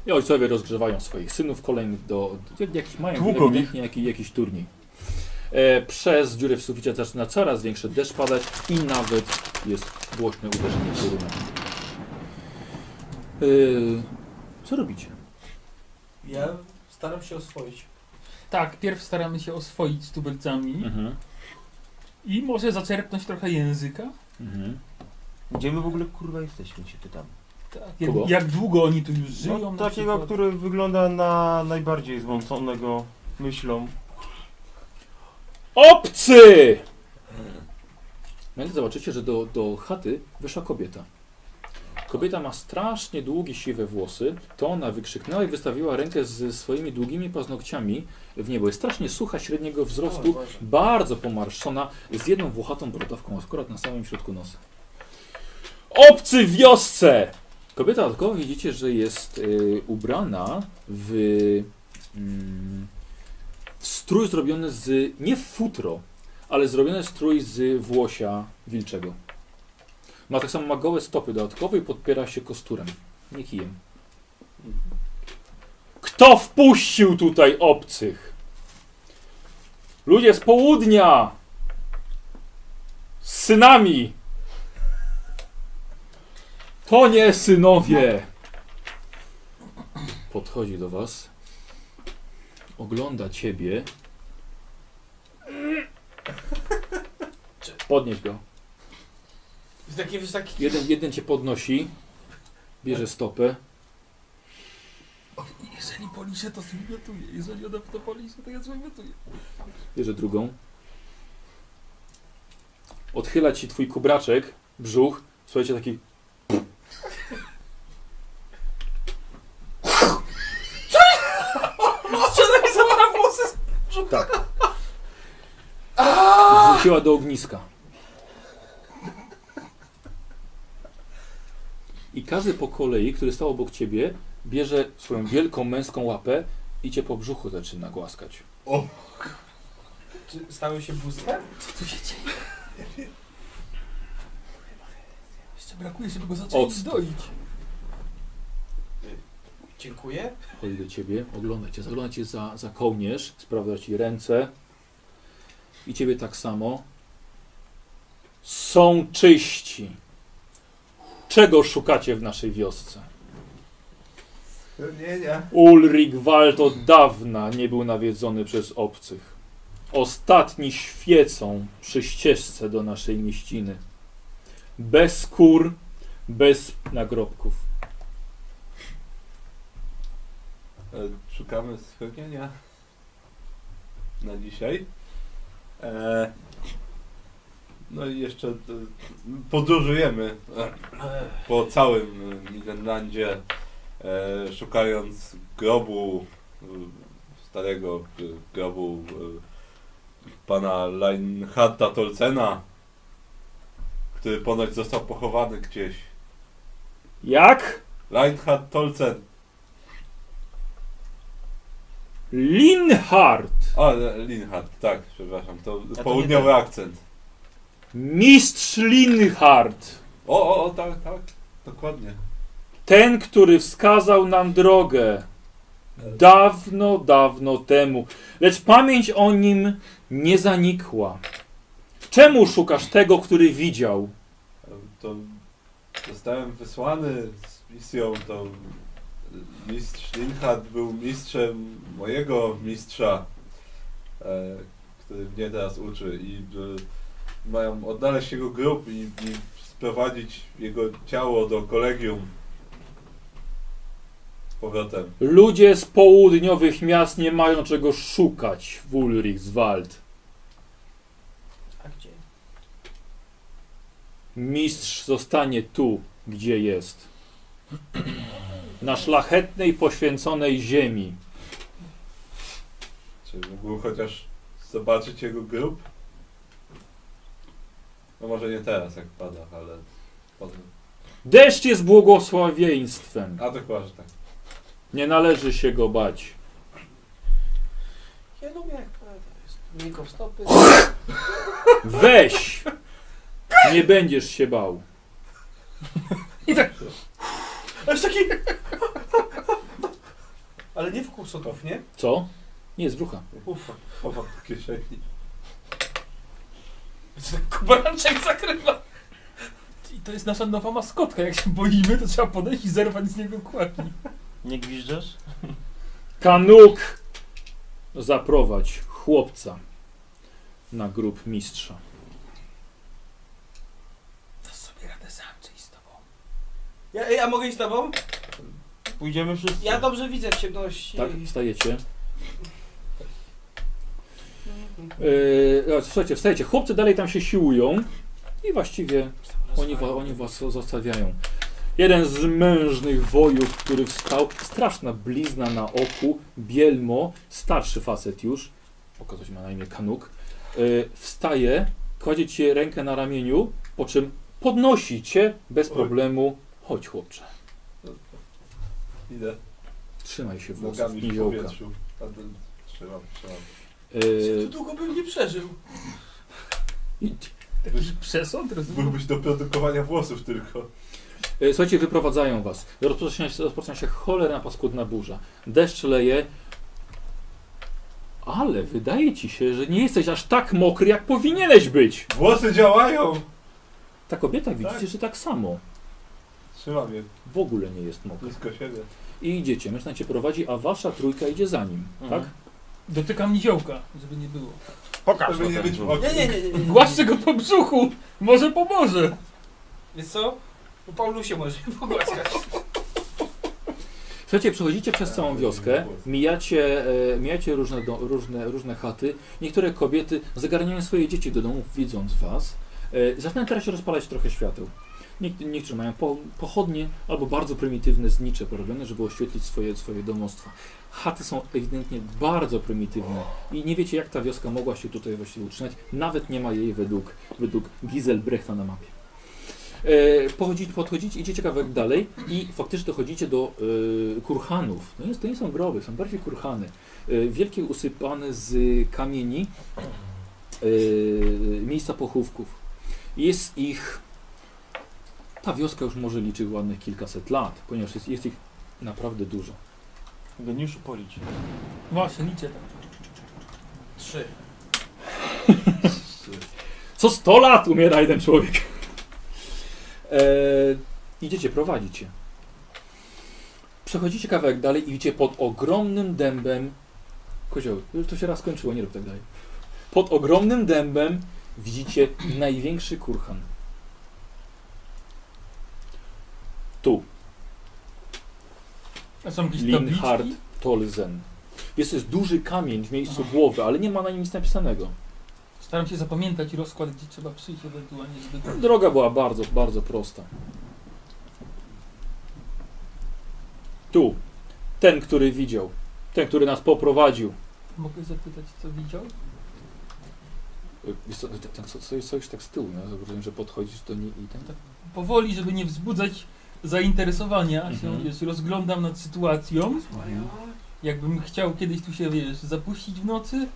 S1: I ojcowie rozgrzewają swoich synów kolejnych do, do jak- jakiś mają
S5: Tłuką ich.
S1: ewidentnie jakiś, jakiś turniej. E, przez dziurę w suficie zaczyna coraz większy deszcz padać i nawet jest głośne uderzenie pioruna. E, co robicie?
S4: Ja staram się oswoić.
S3: Tak, pierw staramy się oswoić z tubelcami
S1: Hmm.
S3: i może zaczerpnąć trochę języka.
S1: Mhm.
S6: Gdzie my w ogóle kurwa jesteśmy, się pytam.
S3: Tak, jak,
S1: Kogo?
S3: jak długo oni tu już żyją?
S6: No,
S3: na
S6: takiego,
S3: przykład.
S6: który wygląda na najbardziej zmąconego myślą.
S1: Obcy! Nagle zobaczycie, że do, do chaty wyszła kobieta. Kobieta ma strasznie długie siwe włosy. To ona wykrzyknęła i wystawiła rękę ze swoimi długimi paznokciami w niebo. Jest strasznie sucha, średniego wzrostu, bardzo pomarszczona, z jedną włochatą brodawką akurat na samym środku nosa. Obcy w wiosce! Kobieta dodatkowo widzicie, że jest y, ubrana w, mm, w strój zrobiony z, nie w futro, ale zrobiony strój z włosia wilczego. Ma tak samo ma gołe stopy dodatkowe i podpiera się kosturem, nie kijem. Kto wpuścił tutaj obcych? Ludzie z południa! Z synami! To nie synowie! Podchodzi do was. Ogląda ciebie. Podnieś go.
S4: Z takiej wysokiej...
S1: Jeden, jeden cię podnosi. Bierze stopę.
S3: Jeżeli policzę, to zwymiotuję. Jeżeli ona to policzy, to ja zwymiotuję.
S1: Bierze drugą. Odchyla ci twój kubraczek, brzuch. Słuchajcie, taki...
S4: Strzelaj za ma włosy!
S1: Wróciła Tak. do ogniska. I każdy po kolei, który stał obok ciebie, bierze swoją wielką męską łapę i cię po brzuchu zaczyna głaskać.
S4: Czy stały się bóstwem?
S3: Co tu się dzieje? Jeszcze brakuje, żeby go zacząć
S1: Odstąp.
S3: zdoić.
S4: Dziękuję.
S1: Chodzi do ciebie, ogląda cię, zagląda cię za, za kołnierz, sprawdza ci ręce i ciebie tak samo. Są czyści. Czego szukacie w naszej wiosce?
S2: No
S7: Nie, nie.
S1: Ulrich Wald od dawna nie był nawiedzony przez obcych. Ostatni świecą przy ścieżce do naszej mieściny. Bez kur, bez nagrobków.
S2: E, Szukamy schronienia na dzisiaj. E, no i jeszcze e, podróżujemy e, po całym e, Milenlandzie, e, szukając grobu, e, starego e, grobu e, pana Leinharta Tolcena, który ponoć został pochowany gdzieś.
S1: Jak?
S2: Leinhard Tolcen.
S1: Linhart,
S2: O, Linhard, tak, przepraszam, to
S5: to
S2: południowy
S5: nie
S2: akcent.
S1: mistrz Linhart,
S2: O, o, o, tak, tak, dokładnie.
S1: ten, który wskazał nam drogę dawno, dawno temu, lecz pamięć o nim nie zanikła. Czemu szukasz tego, który widział?
S2: To zostałem wysłany z misją, to mistrz Linhard był mistrzem mojego mistrza, e, który mnie teraz uczy i e, mają odnaleźć jego grób i, i sprowadzić jego ciało do kolegium z powrotem.
S1: Ludzie z południowych miast nie mają czego szukać w Ulrichswald.
S4: A gdzie?
S1: Mistrz zostanie tu, gdzie jest. Na szlachetnej, poświęconej ziemi.
S2: Czy mógł chociaż zobaczyć jego grób? No może nie teraz, jak pada, ale potem.
S1: Deszcz jest błogosławieństwem.
S2: A to chyba, że tak.
S1: Nie należy się go bać.
S4: Ja lubię jak pada. Jest Niko w stopy.
S1: Weź! Nie będziesz się bał.
S4: Aż taki... Ale nie w kłusotów, nie?
S1: Co? Nie, z brucha.
S4: Ufa.
S2: Chowa w kieszeni.
S3: Kubaranczek zakrywa. I to jest nasza nowa maskotka. Jak się boimy, to trzeba podejść i zerwać z niego kłaki.
S5: Nie gwiżdżasz?
S1: Kanuk! Zaprowadź chłopca na grób mistrza.
S3: Dasz sobie radę sam, czy i z tobą.
S4: Ja, ja mogę iść z tobą?
S5: Pójdziemy wszyscy.
S4: Ja dobrze widzę w ciemności.
S1: Tak, wstajecie. Yy, a, słuchajcie, wstajecie, chłopcy dalej tam się siłują i właściwie oni, wa, oni was zostawiają. Jeden z mężnych wojów, który wstał, straszna blizna na oku, bielmo, starszy facet już, okazał się ma na imię Kanuk, yy, wstaje, kładzie ci rękę na ramieniu, po czym podnosi cię bez
S2: Oj.
S1: problemu. Chodź chłopcze,
S2: Idę
S1: trzymaj się włosów
S2: nogami w
S1: niziołka.
S2: powietrzu. A ten- Trzymam, trzymam.
S1: Yy,
S4: Długo bym nie przeżył.
S1: i-
S3: Taki przesąd, rozumiem?
S2: Byłbyś do produkowania włosów tylko.
S1: E, Słuchajcie, wyprowadzają was. Rozpoczyna się, rozpoczyna się cholerna paskudna burza. Deszcz leje. Ale wydaje ci się, że nie jesteś aż tak mokry, jak powinieneś być.
S2: Włosy działają!
S1: Ta kobieta widzicie,
S2: Tak.
S1: że tak samo.
S2: Trzymam je
S1: W ogóle nie jest mokra.
S2: blisko siebie.
S1: I idziecie, mężczyzna cię prowadzi, a wasza trójka idzie za nim,
S5: Mhm.
S1: tak?
S3: Dotykam niziołka, żeby nie było.
S5: Pokaż
S2: Żeby
S5: to
S2: nie
S5: ten
S2: być
S5: dół.
S2: mokry.
S4: Nie, nie, nie, nie. nie.
S3: Głaszczę go po brzuchu! Może pomoże!
S4: Wiesz co? Po Paulusie może pogłaskać.
S1: Słuchajcie, przechodzicie przez całą wioskę, mijacie, e, mijacie różne, do, różne, różne chaty. Niektóre kobiety zagarniają swoje dzieci do domów, widząc was. E, zaczynają teraz się rozpalać trochę świateł. Niek- Niektórzy mają po, pochodnie albo bardzo prymitywne znicze porobione, żeby oświetlić swoje, swoje domostwa. Chaty są ewidentnie bardzo prymitywne i nie wiecie jak ta wioska mogła się tutaj właściwie utrzymać. Nawet nie ma jej według, według Giselbrechta na mapie. E, pochodzić, podchodzić, idziecie kawałek dalej i faktycznie dochodzicie do e, kurhanów. No jest, to nie są groby, są bardziej kurhany. E, wielkie usypane z kamieni e, miejsca pochówków. Jest ich, ta wioska już może liczy ładnych kilkaset lat, ponieważ jest, jest ich naprawdę dużo.
S5: Geniuszu policz.
S3: Właśnie, liczę tam.
S4: Trzy.
S1: Co 100 lat umiera jeden człowiek. E, idziecie, prowadzicie. Przechodzicie kawałek dalej i idziecie pod ogromnym dębem. Kozioł, już to się raz skończyło, nie rób tak dalej. Pod ogromnym dębem widzicie największy kurhan. Tu,
S3: A są jakieś
S1: Linhard
S3: tabliczki?
S1: Tolzen. Jest to jest duży kamień w miejscu głowy, ale nie ma na nim nic napisanego.
S3: Staram się zapamiętać rozkład, gdzie trzeba przyjść ewentualnie, żeby...
S1: Droga była bardzo, bardzo prosta. Tu. Ten, który widział. Ten, który nas poprowadził.
S3: Mogę zapytać, co widział?
S1: Y, wiesz co, ten- Ten, co, co jest coś tak z tyłu, no? Rozumiem, że podchodzisz do niej i ten tak.
S3: Powoli, żeby nie wzbudzać zainteresowania, się
S1: Mhm.
S3: wiesz, rozglądam nad sytuacją. Jakbym chciał kiedyś tu się, wiesz, zapuścić w nocy,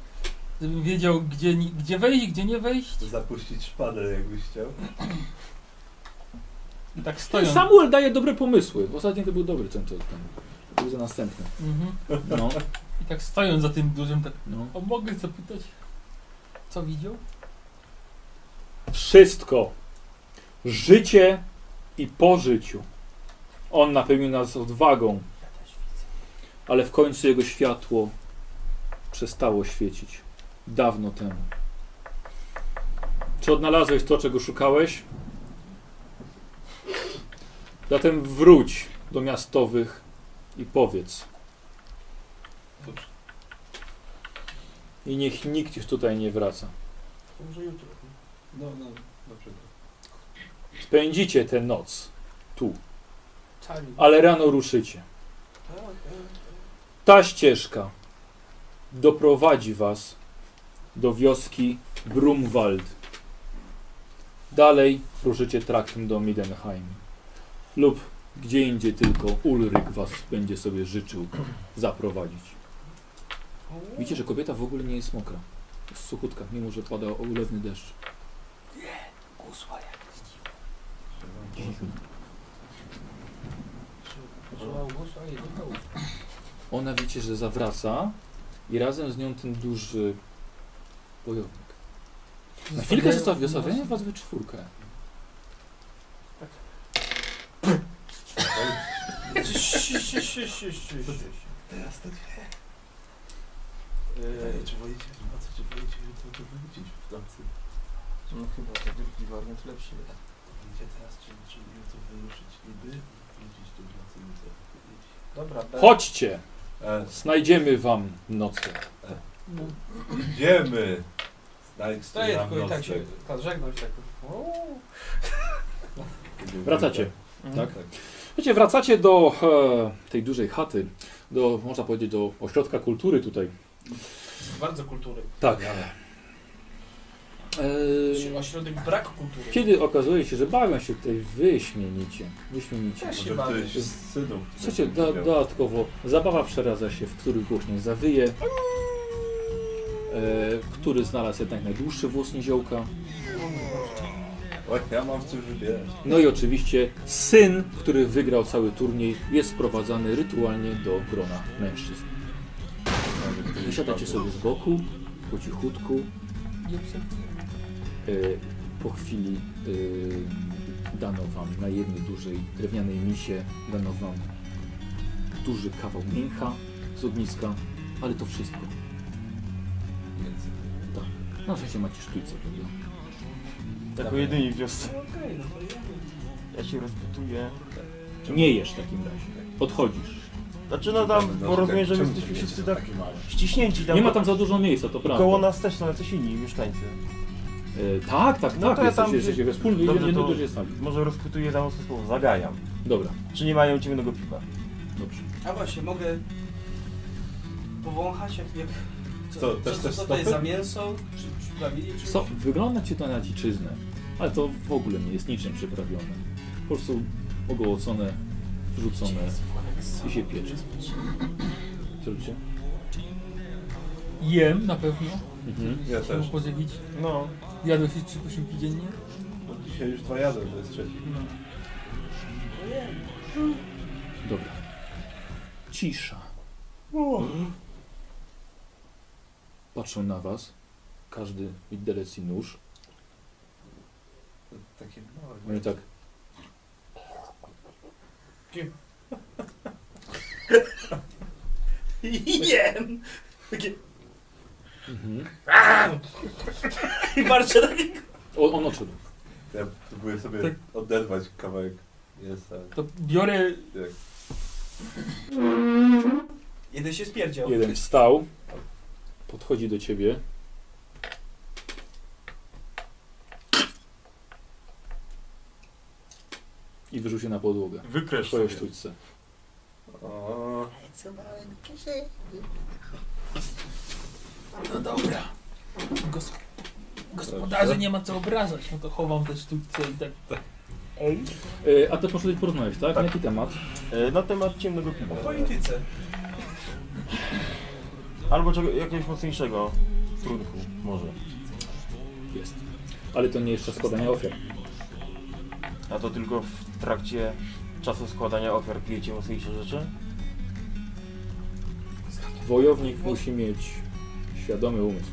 S3: żebym wiedział, gdzie, ni- gdzie wejść, gdzie nie wejść.
S2: Zapuścić szpadę jakbyś chciał.
S3: I tak stoją.
S1: Samuel daje dobre pomysły. Ostatnio to był dobry ten, ten, ten. Był za następny.
S3: Mhm.
S1: No,
S3: I tak stoją za tym dużym, tak,
S1: no.
S3: o mogę zapytać, co widział?
S1: Wszystko. Życie i po życiu. On napełnił nas odwagą, ale w końcu jego światło przestało świecić. Dawno temu. Czy odnalazłeś to, czego szukałeś? Zatem wróć do miastowych i powiedz. I niech nikt już tutaj nie wraca.
S4: To może jutro.
S2: No, no, na przykład.
S1: Spędzicie tę noc tu.
S4: Cali.
S1: ale rano ruszycie.
S4: Tak, tak, tak.
S1: Ta ścieżka doprowadzi was do wioski Brumwald. Dalej ruszycie traktem do Midenheim. Lub gdzie indziej tylko Ulryk was będzie sobie życzył zaprowadzić.
S4: O.
S1: Widzicie, że kobieta w ogóle nie jest mokra. Jest suchutka, mimo że pada ulewny deszcz.
S4: Kusła jak zdziwa. Trzymał głos, a jego to
S1: Ona wiecie, że zawraca i razem z nią ten duży bojownik. Na chwilkę zostawię,
S3: No.
S1: zostawiają was we czwórkę.
S2: Teraz to nie. Pytanie, czy wolicie, a co, czy wolicie jutro, czy wrócić w nocy?
S5: No chyba to wielki wariant lepszy jest.
S2: Idzie teraz, czy, czy jutro wyruszyć niby i wrócić tu w nocy jutro.
S4: Dobra, tak.
S3: No,
S1: Chodźcie, znajdziemy wam nocę.
S2: E, Idziemy! Dalej
S4: Stoję
S2: na
S4: tylko i tak
S2: miostek.
S4: się, tak, żegnam się tak. Uuu.
S1: Wracacie.
S3: Mhm.
S1: Tak? Wiecie, wracacie do e, tej dużej chaty, do, można powiedzieć, do ośrodka kultury tutaj.
S4: Bardzo kultury.
S1: Tak. E,
S4: Oś- Ośrodek brak kultury.
S1: Kiedy okazuje się, że bawią się tutaj wyśmienicie. Wyśmienicie.
S4: Też się
S2: Może
S4: bawię.
S2: któryś z synów.
S1: Słuchajcie, do, dodatkowo zabawa przeradza się, w których głośniej zawyje, e, który znalazł jednak najdłuższy włos niziołka.
S2: O, ja mam w czym wybierać.
S1: No i oczywiście syn, który wygrał cały turniej, jest sprowadzany rytualnie do grona mężczyzn. Wysiadacie sobie z boku, po cichutku. E, Po chwili e, dano wam na jednej dużej drewnianej misie, dano wam duży kawał mięcha z ogniska, ale to wszystko. Tak.
S2: Więc
S1: Na szczęście macie sztućce, prawda?
S5: Jako jedyni w wiosce.
S4: Okej, no to ja.
S5: Ja się rozpytuję.
S1: Nie jesz w takim razie. Odchodzisz.
S5: Znaczy no tam,
S2: Znaczy,
S5: bo rozumiem, że
S2: czemu
S5: my
S2: to
S5: jesteśmy
S2: wiecie,
S5: wszyscy
S2: że
S5: tak
S2: taki mały?
S5: ściśnięci tam.
S1: Nie ma tam za dużo miejsca, to prawda.
S5: Koło nas też są jacyś inni mieszkańcy.
S1: E, tak, tak,
S5: No
S1: tak.
S5: to ja
S1: jesteście,
S5: tam-
S1: jesteście we wspólnej
S5: Dobrze,
S1: jednej
S5: to-
S1: dużej sali.
S5: Może rozpytuję tam o co słowo, zagajam.
S1: Dobra,
S5: Czy nie mają ciemnego piwa?
S1: dobrze.
S4: A właśnie, mogę powąchać jak, jak
S2: Co,
S4: co, co,
S2: też
S4: co,
S2: te
S4: to jest
S2: stopy?
S4: za mięso, czy przyprawili, czy...
S1: So, wygląda ci to na dziczyznę, ale to w ogóle nie jest niczym przyprawione. Po prostu ogołocone, wrzucone i się piecze. Co robicie?
S3: Jem na pewno.
S1: Mhm.
S2: Ja też.
S3: Muszę pożywić.
S5: No,
S3: Jadłeś już trzy posiłki dziennie?
S2: No, dzisiaj już dwa jadę, to jest trzeci.
S3: No.
S1: Dobra. Cisza. Patrzą na was. Każdy widelec i nóż.
S2: Takie małe.
S1: Oni tak.
S4: Jem! Takie...
S1: Mhm.
S4: I marczę na niego.
S1: O, on odszedł.
S2: Ja próbuję sobie
S3: Tak.
S2: oderwać kawałek mięsa.
S3: To biorę
S2: Jak
S4: Jeden się spierdział.
S1: Jeden wstał. Podchodzi do ciebie. I wyrzucił się na podłogę.
S5: wykreś
S1: Twoje sztućce.
S2: O,
S3: No dobra. Gos gospodarzy nie ma co obrażać, no to chowam te sztućce i tak.
S1: E, a ty poszedłeś porozmawiać, tak? Na jaki temat?
S5: E, Na temat ciemnego piwa.
S4: O polityce.
S5: Albo czego, jakiegoś mocniejszego trunku, może.
S1: Jest. Ale to nie jeszcze składanie ofiar.
S5: A to tylko w trakcie czasu składania ofiar pijecie mocniejsze rzeczy?
S1: Wojownik musi mieć świadomy umysł.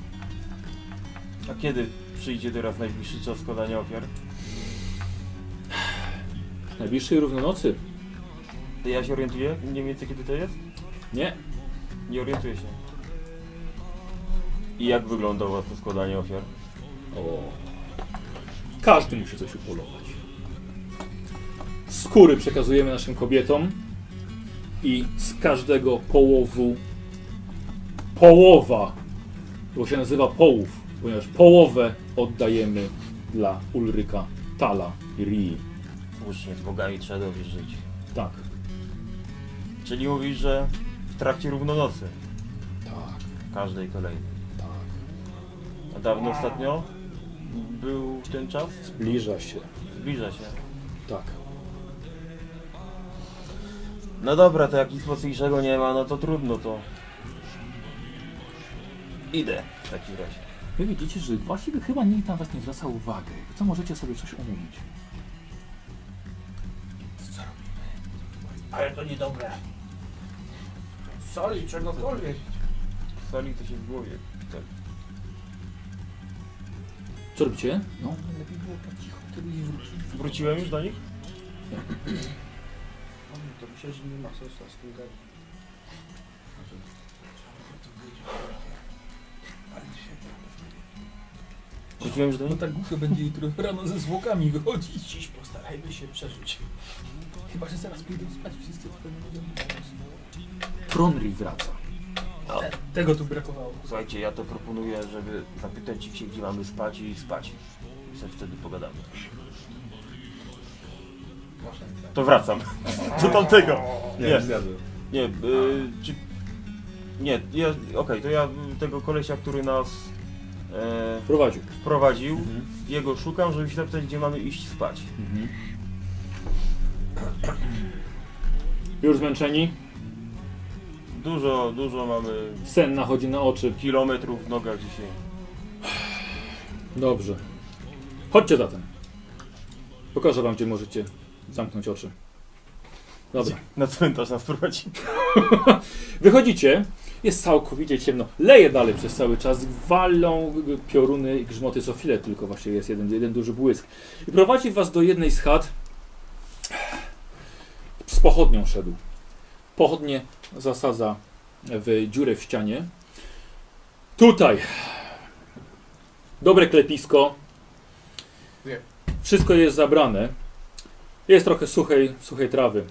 S5: A kiedy przyjdzie teraz najbliższy czas składania ofiar?
S1: W najbliższej równonocy?
S5: To ja się orientuję mniej więcej kiedy to jest?
S1: Nie.
S5: Nie orientuję się. I jak wygląda u was to składanie ofiar?
S1: O. Każdy musi coś upolować. Skóry przekazujemy naszym kobietom i z każdego połowu połowa, bo się nazywa połów, ponieważ połowę oddajemy dla Ulryka, Tala i Rii.
S5: Słusznie, z bogami trzeba dobrze żyć.
S1: Tak.
S5: Czyli mówisz, że w trakcie równonocy,
S1: Tak,
S5: każdej kolejnej.
S1: tak.
S5: A dawno ostatnio był ten czas?
S1: Zbliża się.
S5: Zbliża się.
S1: Tak.
S5: No dobra, to jak nic mocniejszego nie ma, no to trudno to. Idę w takim razie.
S1: Wy widzicie, że właściwie chyba nikt na was nie zwraca uwagi. Co możecie sobie coś omówić?
S4: Ale to niedobre. Soli, czegokolwiek.
S5: Soli to się w głowie.
S1: Co robicie? No,
S3: Lepiej było po cichu, kiedyś wrócić.
S5: Wróciłem już do nich?
S4: O, No, To myślę, że nie ma sensu z tym gadać.
S5: Wróciłem już do
S3: No
S5: nich?
S3: tak głupio będzie jutro rano ze zwłokami wychodzić.
S4: Dziś postarajmy się przeżyć.
S3: Chyba, że zaraz pójdą spać wszyscy, to nie będziemy
S1: Tronri wraca.
S3: Tego tu brakowało.
S6: Słuchajcie, ja to proponuję, żeby zapytać ich się, gdzie mamy spać i spać. I sobie wtedy pogadamy.
S5: To wracam. Do tamtego.
S2: Nie,
S5: Nie.
S2: nie. zjadłem.
S5: Nie, y, czy... Nie, ja, okej, to ja y, tego kolesia, który nas e,
S1: Prowadził.
S5: wprowadził,
S2: Mhm.
S5: jego szukam, żeby się zapytać, gdzie mamy iść spać.
S2: Mhm.
S1: Już zmęczeni,
S5: Dużo, dużo mamy
S1: sen nachodzi na oczy.
S5: kilometrów w nogach dzisiaj.
S1: Dobrze. Chodźcie zatem. Pokażę wam, gdzie możecie zamknąć oczy. Dobra.
S5: Na cmentarz nas prowadzi.
S1: Wychodzicie, jest całkowicie ciemno. Leje dalej przez cały czas, walą pioruny i grzmoty co chwilę, tylko właśnie jest jeden, jeden duży błysk. I prowadzi was do jednej z chat. Z pochodnią szedł. Pochodnie zasadza w dziurę w ścianie. Tutaj. Dobre klepisko.
S4: Nie.
S1: Wszystko jest zabrane. Jest trochę suchej, suchej trawy.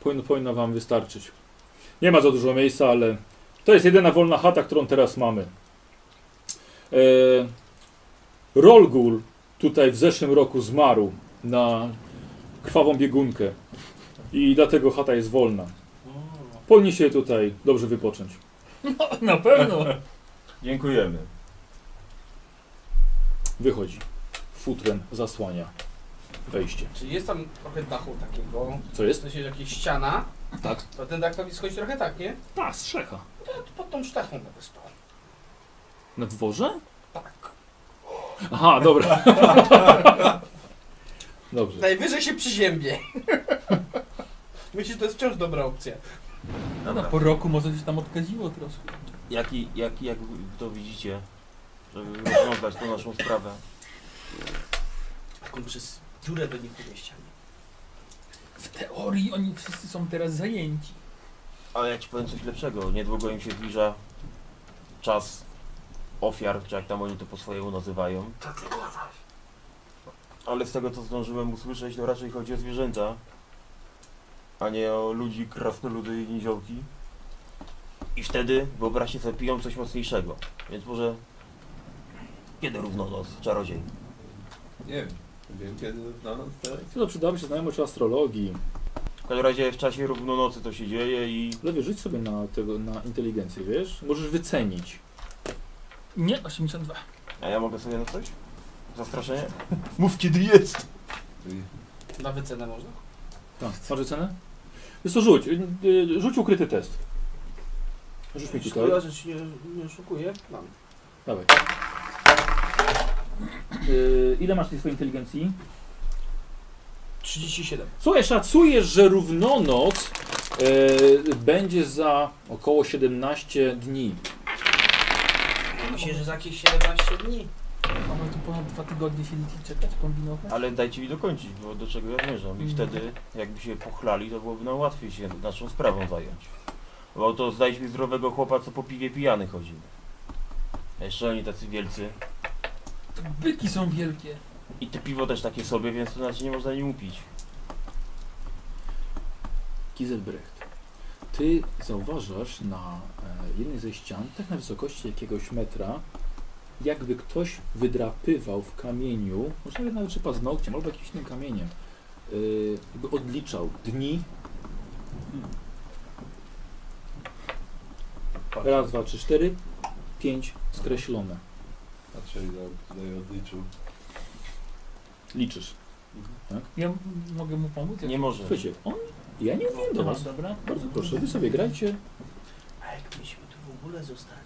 S1: Powinno, powinno wam wystarczyć. Nie ma za dużo miejsca, ale to jest jedyna wolna chata, którą teraz mamy. E, Rolgul tutaj w zeszłym roku zmarł na krwawą biegunkę i dlatego chata jest wolna. Powinni się tutaj dobrze wypocząć.
S3: No, na pewno.
S5: Dziękujemy.
S1: Wychodzi. Futrem zasłania wejście.
S4: Czyli jest tam trochę dachu takiego,
S1: Co
S4: w
S1: jest?
S4: sensie że jakieś ściana,
S1: Tak.
S4: to ten dach powinien schodzić trochę tak, nie? No,
S1: Ta, strzecha.
S4: To pod tą sztachą będę spał.
S1: Na dworze?
S4: Tak.
S1: Aha, dobra. Dobrze.
S4: Najwyżej się przyziębię. Myślę, że to jest wciąż dobra opcja.
S3: No, no, po roku może się tam odkaziło troszkę.
S5: Jaki, jak, jak to widzicie, żeby rozwiązać tą naszą sprawę?
S4: Taką przez dziurę do niektórych ścian.
S3: W teorii oni wszyscy są teraz zajęci.
S5: Ale ja ci powiem coś lepszego. Niedługo im się zbliża czas ofiar, czy jak tam oni to po swojemu nazywają. Ale z tego co zdążyłem usłyszeć, to raczej chodzi o zwierzęta, a nie o ludzi, krasnoludy i niziołki. I wtedy, wyobraźcie sobie, piją coś mocniejszego. Więc może... Kiedy równonoc, czarodziej?
S2: Nie wiem. Wiem kiedy na nas teraz?
S1: To przydałaby się znajomość astrologii.
S5: W każdym razie w czasie równonocy to się dzieje i...
S1: Lewy, rzuć sobie na, tego, na inteligencję, wiesz? Możesz wycenić.
S3: Nie, 82.
S5: A ja mogę sobie na coś? Zastraszenie? Mów kiedy jest!
S4: Na wycenę można?
S1: Tak. Masz wycenę? Wiesz co, rzuć. y, y, Rzuć ukryty test. Rzuć mi tutaj.
S4: Szkoda, że się nie, nie oszukuję. Mam.
S1: Dawaj. Y, ile masz tej swojej inteligencji?
S4: 37.
S1: Słuchaj, szacujesz, że równonoc y, będzie za około 17 dni.
S4: No, Myślę, że za jakieś 17 dni.
S3: Mamy tu ponad dwa tygodnie siedzieć i czekać, kombinować.
S5: Ale dajcie mi dokończyć, bo do czego ja zmierzam.
S3: Mhm.
S5: I wtedy jakby się pochlali, to byłoby nam łatwiej się naszą sprawą zająć. Bo to znajdźmy zdrowego chłopa, co po piwie pijany chodził. A Jeszcze oni tacy wielcy.
S3: To byki są wielkie.
S5: I te piwo też takie sobie, więc to znaczy nie można nim upić.
S1: Giselbrecht, ty zauważasz na e, jednej ze ścian, tak na wysokości jakiegoś metra, jakby ktoś wydrapywał w kamieniu, może nawet nawet czy paznokciem, albo jakimś innym kamieniem, y, jakby odliczał dni. Raz, dwa, trzy, cztery, pięć skreślone.
S2: Patrzę ile tutaj odliczył.
S1: Liczysz.
S3: Ja m- mogę mu pomóc?
S5: Nie może.
S1: Słuchajcie, on, ja nie mówiłem do
S3: Aha,
S1: was.
S3: Dobra.
S1: Bardzo proszę, wy sobie grajcie.
S4: A jak myśmy tu w ogóle zostali,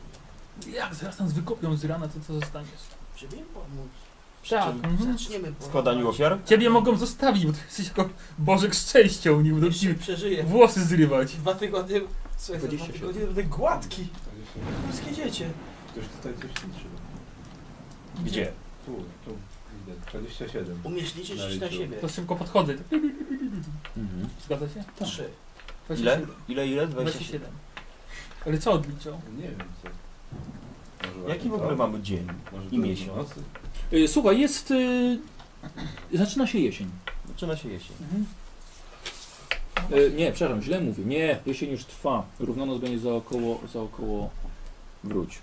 S3: Jak zaraz nas wykopią z rana, to co zostaniesz?
S4: żeby im pomóc,
S3: Tak. Mhm.
S4: zaczniemy pomóc.
S5: Składaniu ofiar?
S3: Ciebie mogą zostawić, bo ty jesteś jako bożek szczęścia u nich. Będą
S4: Jeśli
S3: ci
S4: przeżyję.
S3: włosy zrywać.
S4: Dwa tygodnie, słuchaj, za dwa
S1: 27.
S4: tygodnie będę gładki. Polskie dziecię.
S2: Ktoś tutaj coś liczył.
S5: Gdzie?
S2: Tu, tu. Widzę. 27.
S4: Umiesz liczyć
S2: Na
S4: no na
S2: liczbę.
S4: siebie.
S3: To szybko podchodzę.
S1: Mhm.
S3: Zgadza się?
S1: tak.
S4: Trzy.
S5: Ile? Ile, ile? 27.
S3: 27. Ale co odliczał?
S2: Nie wiem co. Może właśnie
S5: Jaki w
S6: Tak.
S5: ogóle
S2: to?
S5: mamy dzień?
S2: Może
S5: i
S2: to jest
S5: miesiąc?
S2: nocy?
S1: Y, Słuchaj, jest... y, Zaczyna się jesień.
S5: Zaczyna się jesień.
S1: E, nie, przepraszam, źle mówię. Nie, jesień już trwa. Równonoc będzie za około, za około Wróć.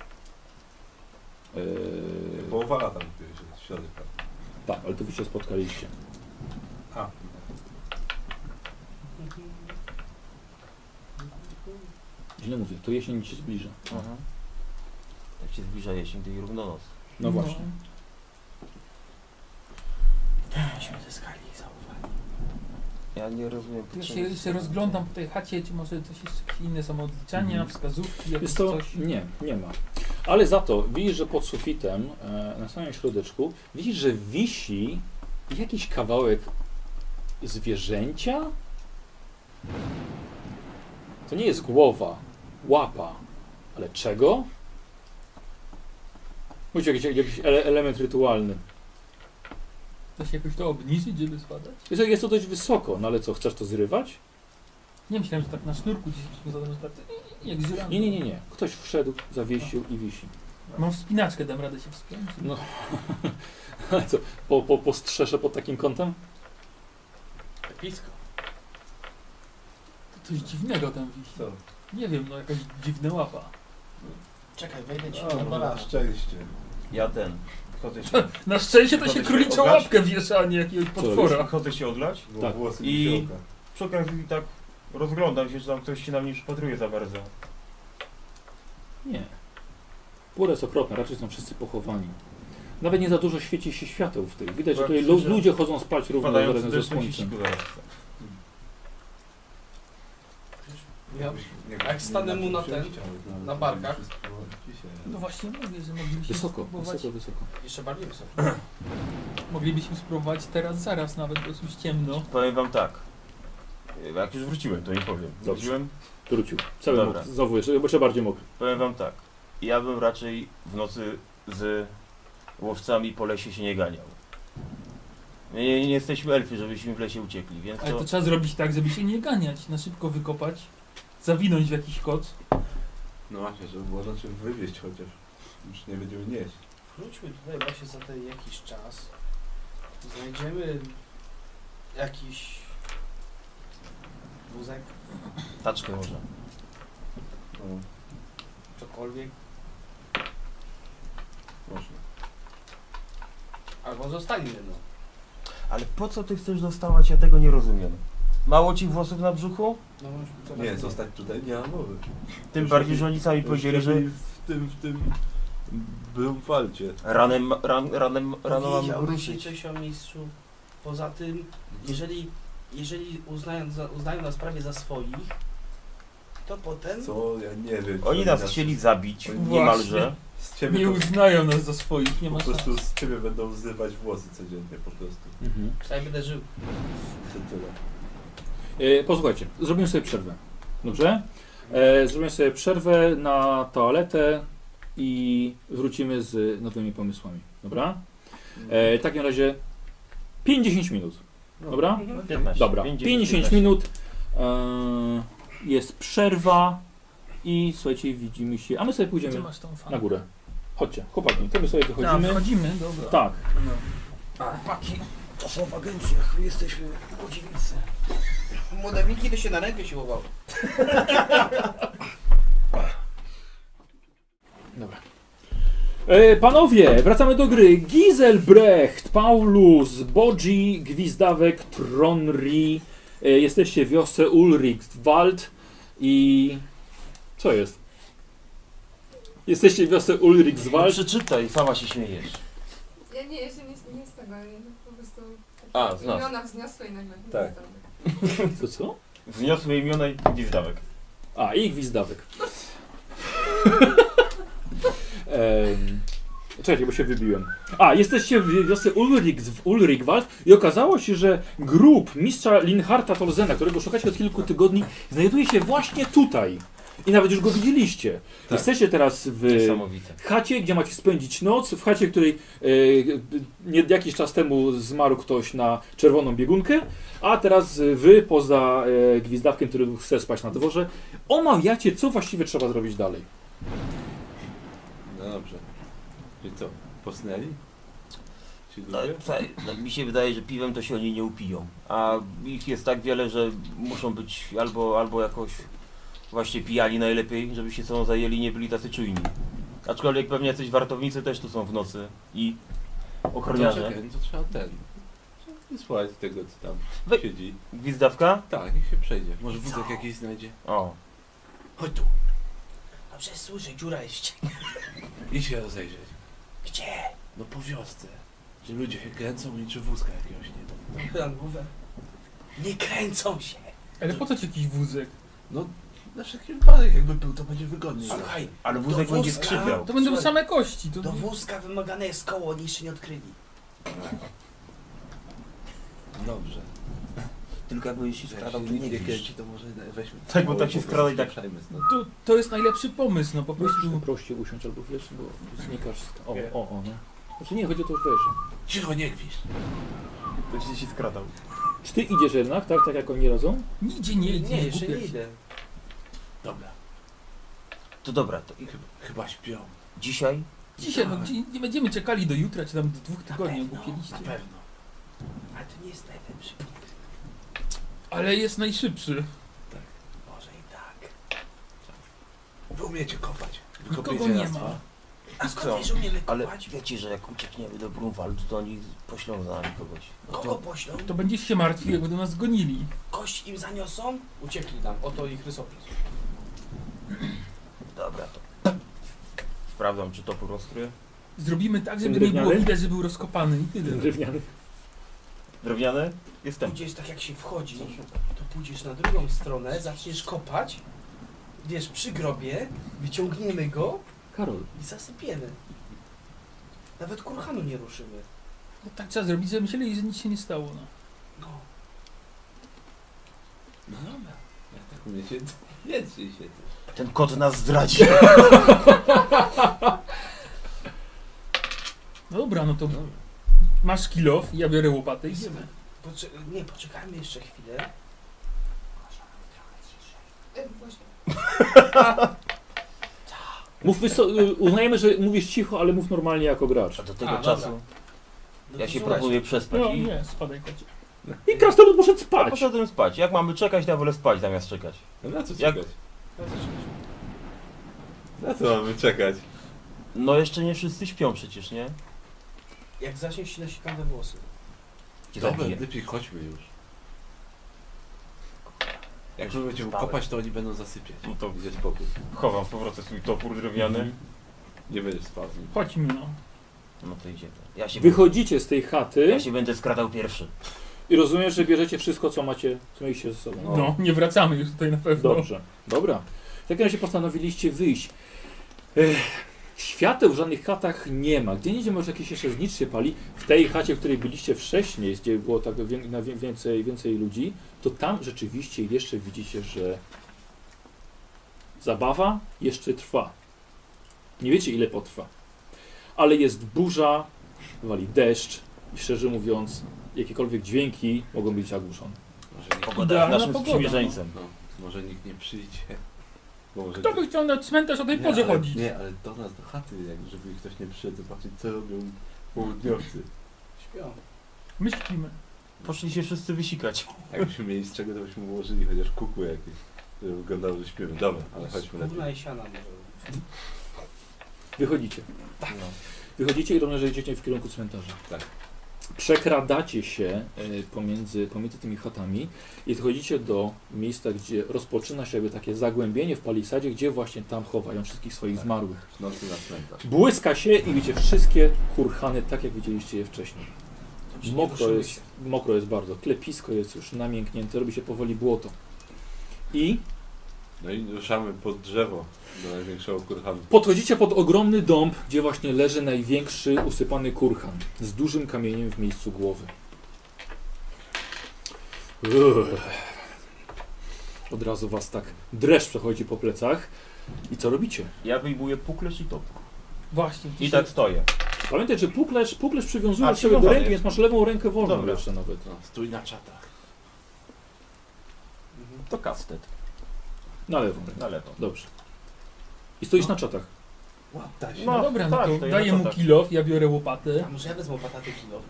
S1: Eee,
S2: Połowa lata mówiłeś, że w środek.
S1: tak, ale to wy się spotkaliście.
S2: A.
S4: Mhm.
S1: Źle mówię, to jesień się zbliża.
S3: Mhm.
S5: Aha.
S6: Jak się zbliża jesień, to i równonoc.
S1: No właśnie.
S4: Myśmy zyskali zaufanie.
S6: Ja nie rozumiem.
S3: Ja się, się rozglądam po tej chacie, czy może coś jeszcze jakieś inne są odliczania,
S1: Mhm.
S3: wskazówki, jakieś
S1: Jest to,
S3: coś.
S1: nie, nie ma. Ale za to widzisz, że pod sufitem, e, na samym środeczku, widzisz, że wisi jakiś kawałek zwierzęcia? To nie jest głowa, łapa, ale czego? Musi jakiś, jakiś ele, element rytualny.
S3: Da się jakoś to obniżyć, żeby spadać?
S1: Jest, jest to dość wysoko, no ale co, chcesz to zrywać?
S3: Nie myślałem, że tak na sznurku gdzieś przywiązałem, że tak jak zielam.
S1: Nie, nie, nie, nie. Ktoś wszedł, zawiesił i wisi.
S3: Mam wspinaczkę, dam radę się wspiąć.
S1: No. Ale co, po, po, po strzesze pod takim kątem?
S4: Blisko.
S3: To coś dziwnego tam wisi.
S2: Co?
S3: Nie wiem, no jakaś dziwna łapa.
S4: Czekaj, wejdę ci
S2: A,
S4: na
S2: no, na
S4: balans.
S2: szczęście.
S5: Ja ten. Chodzę się,
S3: Na szczęście to
S5: Mamy
S3: się
S5: się
S3: króliczą
S5: obrać?
S3: łapkę wiesza, a nie jakiegoś potwora.
S5: chodzę się odlać.
S2: Bo
S1: Tak.
S2: włosy
S5: I-
S2: I... wisielka.
S5: Przy okazji tak rozglądam się, czy tam ktoś się na mnie przypatruje za bardzo.
S1: Nie. Pura jest okropna, raczej są wszyscy pochowani. Nawet nie za dużo świeci się świateł w tych. Widać, że tutaj lu- ludzie chodzą spać równo
S5: Padający
S1: razem ze
S5: deszcz musi
S1: słońcem.
S5: siku zaraz.
S4: Ja,
S2: Nie-
S4: jak
S2: nie
S4: stanę mu na
S2: naciął
S4: ten,
S2: ściany, nawet
S4: na
S2: nie
S4: barkach.
S2: wszystko dzisiaj.
S3: No właśnie mówię, że moglibyśmy
S1: Wysoko,
S3: spróbować.
S1: wysoko, wysoko.
S4: jeszcze bardziej wysoko.
S3: Moglibyśmy spróbować teraz, zaraz nawet, bo jest już ciemno.
S5: Powiem wam tak. E, Jak już wróciłem, to nie powiem.
S1: Dobrze.
S5: Wróciłem?
S1: Wrócił. Cały
S5: Dobra.
S1: mokry. Znowu jeszcze, jeszcze bardziej mokry.
S5: Powiem wam tak. Ja bym raczej w nocy z łowcami po lesie się nie ganiał. My nie, nie jesteśmy elfy, żebyśmy w lesie uciekli, więc
S3: Ale
S5: to...
S3: to trzeba zrobić tak, żeby się nie ganiać. Na szybko wykopać, zawinąć w jakiś koc.
S2: No właśnie, żeby było na czym wywieźć chociaż. Już nie będziemy nieść.
S4: Wróćmy tutaj właśnie za ten jakiś czas. Znajdziemy jakiś wózek,
S5: Taczkę może.
S2: No,
S4: cokolwiek.
S2: proszę.
S4: Albo zostańmy, no.
S5: Ale po co ty chcesz dostawać? Ja tego nie rozumiem. Mało ci włosów na brzuchu?
S4: no co
S2: Nie,
S4: będzie?
S2: zostać tutaj nie ma mowy.
S5: Tym
S2: Już
S5: bardziej,
S2: lepiej-
S5: że oni sami
S2: już
S5: powiedzieli, że
S2: lepiej W tym, w tym... Był walcie.
S5: ranem, ran, ranem, rano mam
S4: Powiedziałby się
S5: ruszyć.
S4: coś o mistrzu. Poza tym, jeżeli, jeżeli uznają, za- uznają nas prawie za swoich, to potem...
S2: Co? Ja nie wiem.
S5: Oni nas chcieli zabić,
S2: Właśnie.
S5: niemalże.
S2: Z ciebie
S3: Nie
S2: to-
S3: uznają nas za swoich, nie ma
S2: po
S3: szans.
S2: prostu z ciebie będą zrywać włosy codziennie po prostu.
S1: Mhm.
S4: Przynajmniej będę żył.
S2: To tyle.
S1: E, posłuchajcie, zrobimy sobie przerwę. Dobrze? E, zrobimy sobie przerwę na toaletę i wrócimy z nowymi pomysłami. Dobra? E, w takim razie 50 minut. Dobra?
S5: 15.
S1: Dobra, 50 minut. e, Jest przerwa i słuchajcie, widzimy się. A my sobie
S3: Gdzie
S1: pójdziemy
S3: masz tą
S1: na
S3: fanę?
S1: górę. Chodźcie, chłopaki, to my sobie
S3: Tam,
S1: wychodzimy.
S3: wchodzimy, dobra.
S1: Tak,
S4: Chłopaki, to są w agencjach, jesteśmy podziwnicy. Młodewniki to się na rękę siłowały.
S1: E, Panowie, wracamy do gry. Giselbrecht, Paulus, Bodzi, Gwizdawek, Tronri. E, Jesteście w wiosce Ulrichwald i... Co jest? Jesteście w wiosce
S5: No
S1: Ulrichswald.
S5: przeczytaj, sama się śmiejesz.
S7: Ja nie, ja się nie, nie z tego, ja po prostu
S5: A, znasz.
S7: imiona wzniosła i nagle
S2: Tak.
S7: zostały.
S1: To co?
S5: Wniosły imiona i gwizdawek.
S1: A, i Gwizdawek. Em, Czekajcie, bo się wybiłem. A, jesteście w wiosce Ulrich, w Ulrichwald i okazało się, że grób mistrza Linharta Tolzena, którego szukacie od kilku tygodni, znajduje się właśnie tutaj. I nawet już go widzieliście.
S2: Tak.
S1: Jesteście teraz w
S5: Niesamowite.
S1: chacie, gdzie macie spędzić noc, w chacie, której e, nie, jakiś czas temu zmarł ktoś na czerwoną biegunkę, a teraz wy, poza e, gwizdawkiem, który chce spać na dworze, omawiacie, co właściwie trzeba zrobić dalej.
S2: No dobrze. I co? Posnęli? Ci
S5: No,
S2: ludzie?
S5: słuchaj, no, mi się wydaje, że piwem to się oni nie upiją. A ich jest tak wiele, że muszą być albo, albo jakoś właśnie pijani najlepiej, żeby się sobą zajęli i nie byli tacy czujni. Aczkolwiek pewnie jacyś wartownicy też tu są w nocy i
S2: To
S5: ochroniarze.
S2: No, czekaj, to trzeba ten. Trzeba Nie słuchać tego, co tam
S5: Wy-
S2: siedzi.
S5: Gwizdawka?
S2: Tak, niech się przejdzie. Może wózek jakiś znajdzie.
S5: O,
S4: Chodź tu. A przecież słyszę, dziura jest w ścianie.
S2: Idź się rozejrzeć.
S4: Gdzie?
S2: No po wiosce. Że ludzie się kręcą niczym wózka jakiegoś nie ma.
S4: Chylam głowę. Nie kręcą się.
S3: Ale po co ci jakiś wózek?
S2: Na wszelki wypadek jakby był, to będzie wygodniej.
S4: Słuchaj,
S5: ale wózek
S4: Do
S5: będzie
S4: wózka?
S5: skrzypiał.
S1: Tak,
S3: To będą
S4: Słuchaj.
S3: same kości. To...
S4: do wózka wymagane jest koło, oni jeszcze nie odkryli.
S2: Dobrze.
S6: Tylko jakby się
S2: Jak
S6: skradał,
S2: się
S6: to nie
S2: nikt nie
S6: wiesz.
S2: kręci, to może weźmy...
S5: Tak, bo tak się skrada i tak-
S2: Przejmy
S3: No to, to jest najlepszy pomysł, no po prostu.
S1: Proście usiąść albo wiesz, bo znikasz z... O, o, o, no. Znaczy nie, chodzi o to, że wiesz.
S2: Cicho, nie gwisz.
S5: Będzie się skradał.
S1: Czy ty idziesz jednak, tak? Tak jak oni radzą?
S3: Nigdzie nie idzie.
S4: nie jeszcze nie
S3: głupia.
S4: idę.
S2: Dobra,
S5: To dobra, to
S2: chyba, chyba śpią.
S5: dzisiaj
S3: Dzisiaj, no, gdzie- nie będziemy czekali do jutra, czy tam do dwóch
S4: Na
S3: tygodni,
S4: pewno, na
S3: głupieliście.
S4: pewno. Ale to nie jest najlepszy punkt.
S3: Ale jest najszybszy.
S4: Może i tak.
S2: Wy umiecie kopać.
S3: Nikogo
S2: Wykopiecie
S3: nie
S2: raz,
S3: ma.
S2: dwa.
S4: A
S5: co?
S4: skąd wiesz, umiemy
S5: Ale
S4: kopać?
S5: wiecie, że jak uciekniemy do Brunwaldu, to oni poślą za nami kogoś.
S4: Kogo poślą?
S3: To będziesz się martwił, jak będą nas gonili.
S4: Kość im zaniosą? Uciekli nam, oto ich rysopis.
S5: Dobra, to... Sprawdzam, czy topór ostry.
S3: Zrobimy tak, żeby nie
S1: drewnianym?
S3: było widać, że był rozkopany i tyle.
S1: Drewniany.
S5: Drewniany? Jestem.
S4: Pójdziesz tak jak się wchodzi, to pójdziesz na drugą stronę, zaczniesz kopać, wiesz, przy grobie, wyciągniemy go
S1: Karol,
S4: i zasypiemy. Nawet kurhanu nie ruszymy.
S3: No tak trzeba zrobić, żeby myśleli, że nic się nie stało. No.
S4: No.
S2: No dobra. Jak tak umiecie, to jedźcie się.
S5: Ten kot nas zdradzi.
S3: no dobra, no to masz kilof, ja biorę łopatę i idziemy.
S4: Poczek- nie, poczekajmy jeszcze chwilę.
S7: E, Głośno.
S1: mów wyso... y, uznajemy, że mówisz cicho, ale mów normalnie jako gracz.
S5: A do tego
S4: A, dobra.
S5: czasu
S4: No
S5: ja
S4: to
S5: się
S4: słuchaj,
S5: próbuję przespać
S3: No
S5: i...
S3: nie, spadaj kocie. Tak.
S1: I krasnolud poszedł
S5: A
S1: spać.
S5: poszedłem spać. Jak mamy czekać, to ja wolę spać zamiast czekać.
S2: No na co
S5: Jak-
S2: czekać? Na co mamy czekać?
S5: No jeszcze nie wszyscy śpią przecież, nie?
S4: Jak zaczniesz się nasikam we włosy.
S5: Cię
S2: Dobra,
S5: zabiję.
S2: lepiej chodźmy już. Jak
S5: Już
S2: my będziemy
S5: spałem.
S2: kopać, to oni będą zasypiać.
S5: No to-
S2: Będzie spokój.
S5: Chowam z powrotem swój topór drewniany.
S2: Nie będziesz spał z nim.
S3: Chodźmy no.
S5: Mhm. No to idziemy. Ja się,
S1: Wychodzicie z tej chaty
S5: ja się będę skradał pierwszy.
S1: i rozumiesz, że bierzecie wszystko, co macie, co mieliście ze sobą.
S3: No, nie wracamy już tutaj na pewno.
S1: Dobrze, dobra. W takim razie postanowiliście wyjść. Ech, świateł w żadnych chatach nie ma. Gdzie indziej może jakiś jeszcze znicz się pali. W tej chacie, w której byliście wcześniej, gdzie było tak wię- na wię- więcej, więcej ludzi, to tam rzeczywiście jeszcze widzicie, że zabawa jeszcze trwa. Nie wiecie ile potrwa. Ale jest burza, wali deszcz i szczerze mówiąc, jakiekolwiek dźwięki mogą być zagłuszone.
S2: Może nikt,
S5: Pogoda jest
S3: Idealna
S5: naszym
S3: pogoda,
S5: sprzymierzeńcem.
S2: no, może nikt nie przyjdzie. Bo może
S3: Kto by chciał na cmentarz o tej porze
S2: ale,
S3: chodzić?
S2: Nie, ale do nas, do chaty, jak żeby ktoś nie przyszedł zobaczyć, co robią południowcy.
S4: Śpią.
S3: My śpimy.
S5: Poszli się wszyscy wysikać.
S2: Jakbyśmy mieli z czego, to byśmy ułożyli chociaż kukły jakieś, żeby wyglądało, że śpimy. Dobra, ale chodźmy lepiej.
S4: Gówna i siana może.
S1: Wychodzicie. Tak.
S5: No.
S1: Wychodzicie i rozejrzycie w kierunku cmentarza.
S2: Tak.
S1: Przekradacie się e, pomiędzy, pomiędzy tymi chatami i dochodzicie do miejsca, gdzie rozpoczyna się jakby takie zagłębienie w palisadzie, gdzie właśnie tam chowają wszystkich swoich
S2: Tak.
S1: zmarłych.
S2: W nocy na cmentarz.
S1: Błyska się i widzicie wszystkie kurhany, tak jak widzieliście je wcześniej.
S4: To się nie
S1: Mokro
S4: ruszymy
S1: jest,
S4: się.
S1: mokro jest bardzo, klepisko jest już namięknięte, robi się powoli błoto. I
S2: No i ruszamy pod drzewo do największego kurhanu.
S1: Podchodzicie pod ogromny dąb, gdzie właśnie leży największy usypany kurhan z dużym kamieniem w miejscu głowy. Uff. Od razu was tak dreszcz przechodzi po plecach. I co robicie?
S5: Ja wyjmuję puklerz i topór.
S3: Właśnie. ty
S5: I
S3: się-
S5: tak stoję.
S1: Pamiętaj, że puklesz, puklesz
S5: A,
S1: przywiązujesz sobie do
S5: przywiązany
S1: ręki, więc
S5: jest.
S1: masz lewą rękę wolną
S5: Dobra.
S1: jeszcze nawet.
S2: No, stój na czatach.
S4: Mhm.
S5: To kastet.
S1: Na lewą rękę.
S5: Na lewo.
S1: Dobrze. I stoisz
S4: No.
S1: na czatach.
S2: Łapta się.
S3: No dobra, no
S5: tak,
S3: to
S5: to ja
S3: daję
S5: to
S3: mu
S5: tak.
S3: kilof, ja biorę łopatę.
S4: A może ja wezmę łopatę kilo?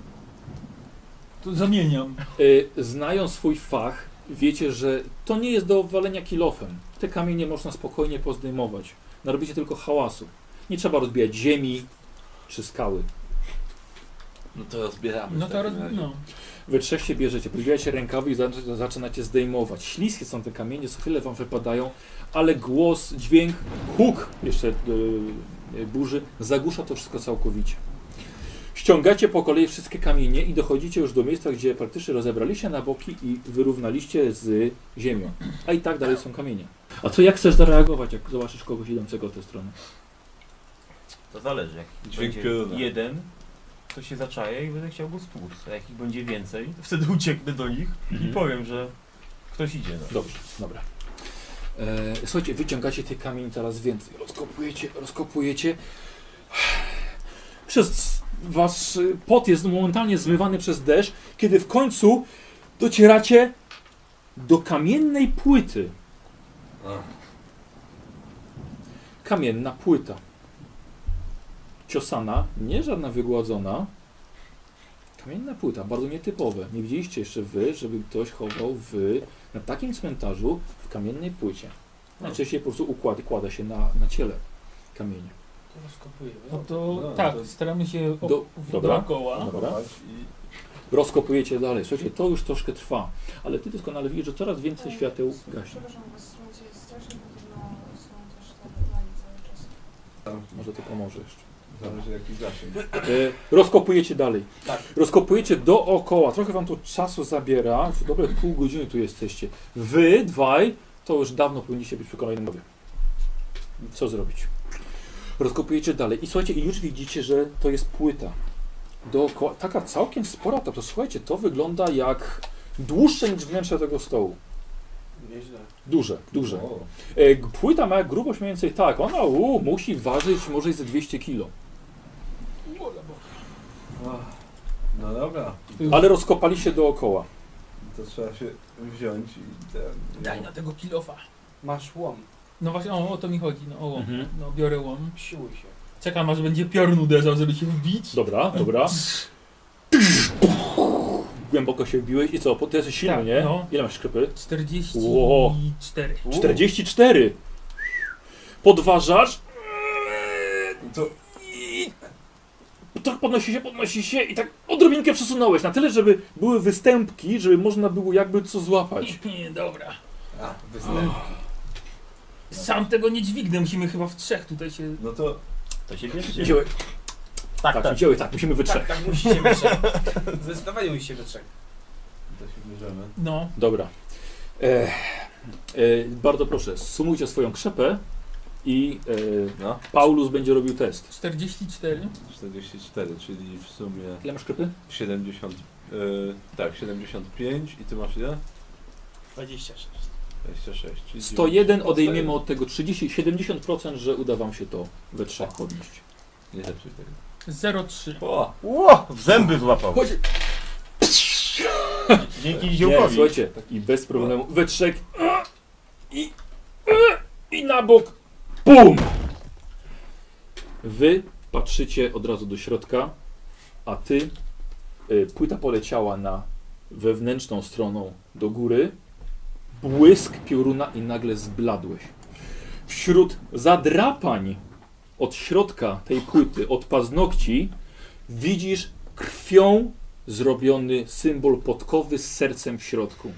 S3: To zamieniam.
S1: Y, Znając swój fach, wiecie, że to nie jest do walenia kilofem. Te kamienie można spokojnie pozdejmować. Narobicie tylko hałasu. Nie trzeba rozbijać ziemi czy skały.
S2: No to rozbieramy.
S3: No
S2: w
S3: to roz...
S2: takim razie.
S3: no.
S1: We trzech się bierzecie, podbijacie rękawy i zaczyna- zaczynacie zdejmować. Śliskie są te kamienie, co chwilę wam wypadają, ale głos, dźwięk, huk jeszcze yy, burzy zagłusza to wszystko całkowicie. Ściągacie po kolei wszystkie kamienie i dochodzicie już do miejsca, gdzie praktycznie rozebraliście na boki i wyrównaliście z ziemią. A i tak dalej są kamienie. A co, jak chcesz zareagować, jak zobaczysz kogoś idącego w tę stronę?
S5: To zależy. Jak
S2: Dźwięk
S5: będzie
S2: pioruna.
S5: jeden, to się zaczaję i będę chciał go stłuc. A jak ich będzie więcej, to wtedy ucieknę do nich
S1: Hmm.
S5: i powiem, że ktoś idzie. No.
S1: Dobrze, dobra. E, słuchajcie, wyciągacie tych kamieni coraz więcej. Rozkopujecie, rozkopujecie. Przez wasz y, pot jest momentalnie zmywany przez deszcz, kiedy w końcu docieracie do kamiennej płyty.
S2: A.
S1: Kamienna płyta. Ciosana, nie żadna wygładzona. Kamienna płyta, bardzo nietypowe. Nie widzieliście jeszcze wy, żeby ktoś chował w na takim cmentarzu w kamiennej płycie. Najczęściej po prostu układ, kłada się na, na ciele kamienia.
S4: To rozkopujemy.
S3: No to
S2: Dobra,
S3: tak,
S2: to-
S3: staramy się o...
S1: Do- dobra.
S2: No
S3: dookoła.
S1: Dobra.
S2: I
S1: Rozkopujecie dalej. Słuchajcie, to już troszkę trwa, ale ty doskonale widzisz, że coraz więcej świateł gaśnie.
S7: Przepraszam, bo słuchajcie, strasznie podobno są też te plany cały czas.
S2: tam
S1: Może to pomoże jeszcze.
S2: zależy jaki zasięg.
S1: E, rozkopujecie dalej.
S4: Tak.
S1: Rozkopujecie dookoła. Trochę wam to czasu zabiera. Już dobre pół godziny tu jesteście. Wy dwaj to już dawno powinniście być przy kolejnym mowie. Co zrobić? Rozkopujecie dalej. I słuchajcie, i już widzicie, że to jest płyta. Dookoła. Taka całkiem spora ta. To słuchajcie, to wygląda jak dłuższe niż wnętrze tego stołu.
S4: Nieźle.
S1: Duże, duże.
S2: O,
S1: E, g- Płyta ma grubość mniej więcej tak. Ona u, musi ważyć może i ze 200 kg.
S2: No dobra,
S1: Ale rozkopaliście dookoła.
S2: to trzeba się wziąć i ten...
S3: Daj na tego kilofa.
S4: Masz łom.
S3: No właśnie, o, o to mi chodzi, no o łom.
S1: Mhm.
S3: No biorę łom.
S4: Siłuj się.
S3: Czekam aż będzie piorun uderzał, żeby się wbić.
S1: Dobra, dobra. Głęboko się wbiłeś i co? Po- Ty jesteś silny,
S3: Tak,
S1: nie?
S3: no.
S1: Ile masz szkrypy?
S3: 44.
S4: U.
S1: 44! Podważasz
S2: To
S1: i... Tak podnosi się, podnosi się i tak odrobinkę przesunąłeś na tyle, żeby były występki, żeby można było jakby co złapać.
S3: Dobra.
S2: A, występ.
S3: Sam tego nie dźwignę, musimy chyba w trzech tutaj się...
S2: No to
S5: To się bierzcie.
S1: Wziąłeś,
S5: Tak,
S1: tak,
S5: tak.
S1: wziąłeś, tak, musimy wytrzeć.
S4: Tak, tak, musicie być trzech. Zdecydowanie musicie być trzech.
S2: to się bierzemy.
S3: No,
S1: Dobra. Ech, e, bardzo proszę, sumujcie swoją krzepę i e,
S2: No,
S1: Paulus będzie robił test.
S3: 44.
S2: 44, czyli w sumie
S1: Ile masz szkrypy?
S2: 70... Yy, tak, 75 i ty masz ile?
S4: 26.
S2: 26. czyli
S1: 101
S2: 90.
S1: odejmiemy od tego 30, 70%, że uda wam się to we trzech podnieść.
S2: Nie zepsuj tego.
S3: 03.
S2: O,
S5: Ło! W zęby złapał.
S1: Chodź.
S5: Dzięki
S1: Nie,
S5: ziołkowi.
S1: słuchajcie, i bez problemu we trzech i, i na bok, BUM! Wy patrzycie od razu do środka, a ty, y, płyta poleciała na wewnętrzną stroną do góry, błysk pioruna i nagle zbladłeś. Wśród zadrapań od środka tej płyty, od paznokci, widzisz krwią zrobiony symbol podkowy z sercem w środku.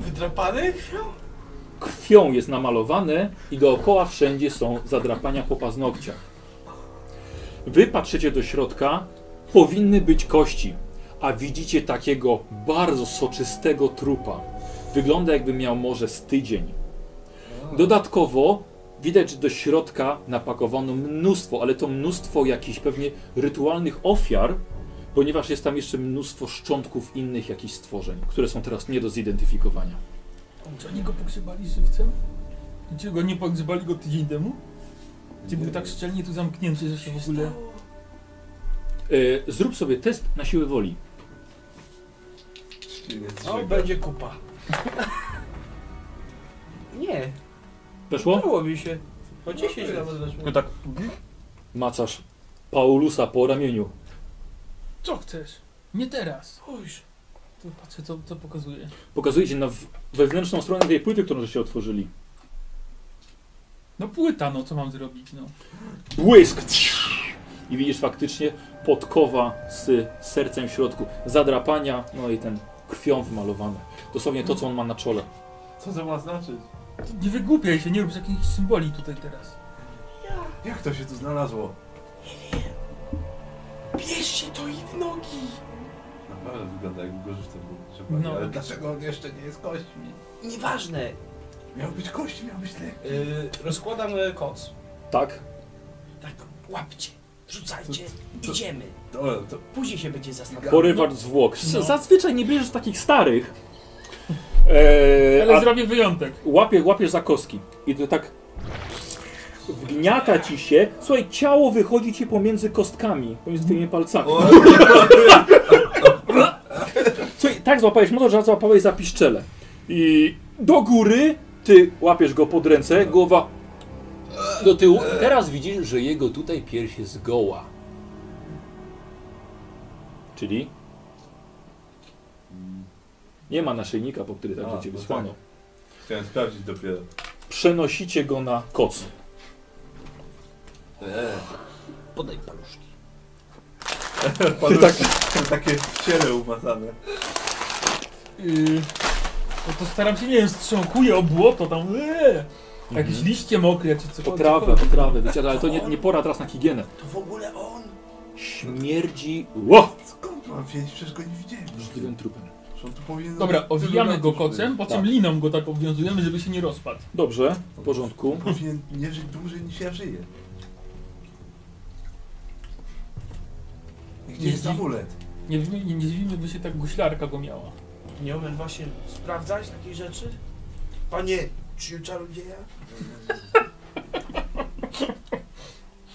S4: Wydrapany?
S1: Krwią jest namalowane i dookoła wszędzie są zadrapania po paznokciach. Wy patrzycie do środka, powinny być kości, a widzicie takiego bardzo soczystego trupa. Wygląda jakby miał może z tydzień. Dodatkowo widać, że do środka napakowano mnóstwo, ale to mnóstwo jakichś pewnie rytualnych ofiar, ponieważ jest tam jeszcze mnóstwo szczątków innych jakichś stworzeń, które są teraz nie do zidentyfikowania.
S3: Czy oni go pogrzebali żywcem? Czy go nie pogrzebali go tydzień temu? Czy był tak szczelnie tu zamknięty, że się w ogóle...
S1: E, zrób sobie test na siłę woli.
S2: czyli nie
S4: No,
S2: strzega.
S4: będzie kupa. Nie,
S1: Weszło?
S4: udało mi się. O 10 nawet weszło.
S5: Tylko tak.
S1: Macasz Paulusa po ramieniu.
S3: Co chcesz? Nie teraz.
S4: Spójrz.
S3: Tu patrzę, co, co pokazuje.
S1: Pokazuje ci na w- wewnętrzną stronę tej płyty, którą żeście otworzyli.
S3: No płyta, no co mam zrobić, no.
S1: Błysk! I widzisz faktycznie podkowa z sercem w środku. Zadrapania, no i ten krwią wymalowany. Dosłownie to, co on ma na czole.
S2: Co to ma znaczyć?
S3: To Nie wygłupiaj się, nie rób jakichś symboli tutaj teraz.
S2: Jak to się tu znalazło? Nie wiem. Bierz się to i w nogi! Naprawdę wygląda jak gorzystym był rzepak,
S3: No.
S2: ale dlaczego on jeszcze nie jest kośćmi?
S4: Nieważne.
S2: Miał być kości, miał być lek.
S4: Yy, rozkładam e, koc.
S1: Tak?
S4: Tak, łapcie, rzucajcie,
S2: to-
S4: idziemy.
S2: Dobra, to
S4: Później się będzie zastanawiał.
S1: Porywasz zwłok. Z-
S3: No.
S1: Tak, Zazwyczaj nie bierzesz takich starych. Eee,
S3: Ale
S1: a
S3: zrobię wyjątek.
S1: łapie, łapiesz za kostki. I to tak wgniata ci się. Słuchaj, ciało wychodzi ci pomiędzy kostkami, pomiędzy twoimi palcami.
S2: O,
S1: Słuchaj, tak złapałeś motor, że złapałeś za piszczele. I do góry ty łapiesz go pod ręce, głowa do tyłu. Teraz widzisz, że jego tutaj pierś jest goła. Czyli? Nie ma naszyjnika, po który
S2: A,
S1: tak cię
S2: no
S1: wysłano.
S2: tak. chciałem sprawdzić dopiero.
S1: Przenosicie go na koc.
S2: Eee,
S4: Podaj paluszki.
S2: panu, tak... takie ciele umazane.
S3: Yy, no to staram się, nie wiem, strząkuję o błoto tam, eee, jakieś liście mokre czy coś.
S1: Potrawę, potrawę, wiecie, ale to nie, nie pora teraz na higienę.
S4: To w ogóle on.
S1: Śmierdzi ło!
S2: Skąd mam wiedzieć? No, Przecież go nie widziałem.
S1: Brzydliwym trupem.
S2: Że on tu powinien-
S3: Dobra, owijamy go
S2: Wygląda to
S3: kocem, po czym
S1: Tak.
S3: liną go tak obwiązujemy, żeby się nie rozpadł.
S1: Dobrze, w porządku.
S2: źle. Powinien nie żyć dłużej niż ja żyję. I Gdzie jest
S3: Jeździ-
S2: amulet?
S3: Nie, nie, nie dziwimy, by się tak guślarka go miała.
S4: Nie umiem właśnie sprawdzać takich rzeczy? Panie, czy czarodzieja?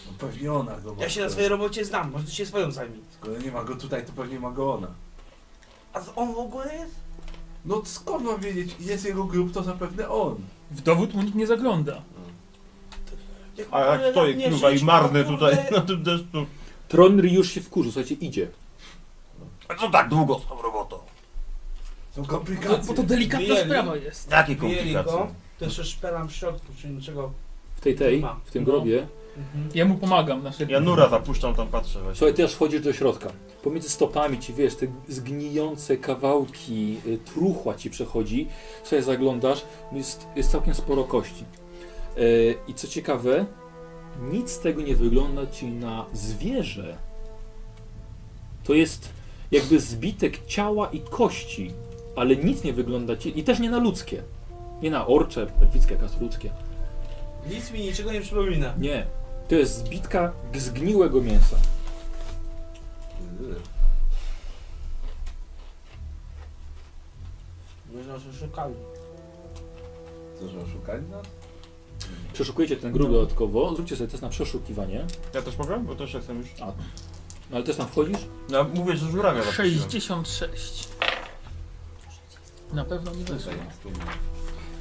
S2: No pewnie ona go ma.
S4: Ja się na swojej robocie znam, może ty się swoją zajmij.
S2: Skoro nie ma go tutaj, to pewnie ma go ona.
S4: A z- on w ogóle jest?
S2: No skąd mam wiedzieć? Jest jego grób, to zapewne on.
S3: W dowód mu nikt nie zagląda.
S4: Jak
S5: A
S4: ogóle
S5: jak to
S4: na mnie
S5: kurwa, i
S4: siedzi,
S5: marny
S4: to
S5: tutaj no
S4: kurde-
S5: na tym deszczu.
S1: Tronry już się wkurzył, słuchajcie, idzie.
S5: A co tak długo z tą robotą?
S2: Są
S3: To, bo
S2: komplikacje.
S3: to delikatna
S4: Wyjęli.
S3: sprawa jest.
S5: Jakie
S4: Wyjęli
S5: komplikacje?
S4: go, to jeszcze szpelam w środku, czyli niczego.
S1: W tej tej,
S4: Ma.
S1: w tym
S3: No.
S1: grobie.
S4: Mhm.
S3: Ja mu pomagam na szybko.
S5: Ja nura zapuszczam, tam patrzę właśnie.
S1: Słuchaj, ty aż wchodzisz do środka. Pomiędzy stopami ci, wiesz, te zgnijące kawałki y, truchła ci przechodzi. Słuchaj, zaglądasz, no jest, jest całkiem sporo kości. E, I co ciekawe, nic z tego nie wygląda ci na zwierzę. To jest jakby zbitek ciała i kości, ale nic nie wygląda ci, i też nie na ludzkie. Nie na orcze, elfickie, kasludzkie.
S4: Nic mi niczego nie przypomina.
S1: Nie. To jest zbitka zgniłego mięsa.
S2: Yy,
S4: Może nas oszukali.
S2: Co, że oszukali nas?
S1: Przeszukujecie ten grób dodatkowo, zróbcie sobie test na przeszukiwanie,
S5: Ja też mogę? Bo też jestem już.
S1: no ale też tam wchodzisz.
S5: No mówię, że żurawia zapuściłem.
S3: 66. Na pewno nie weszło.
S2: Tutaj jest tu.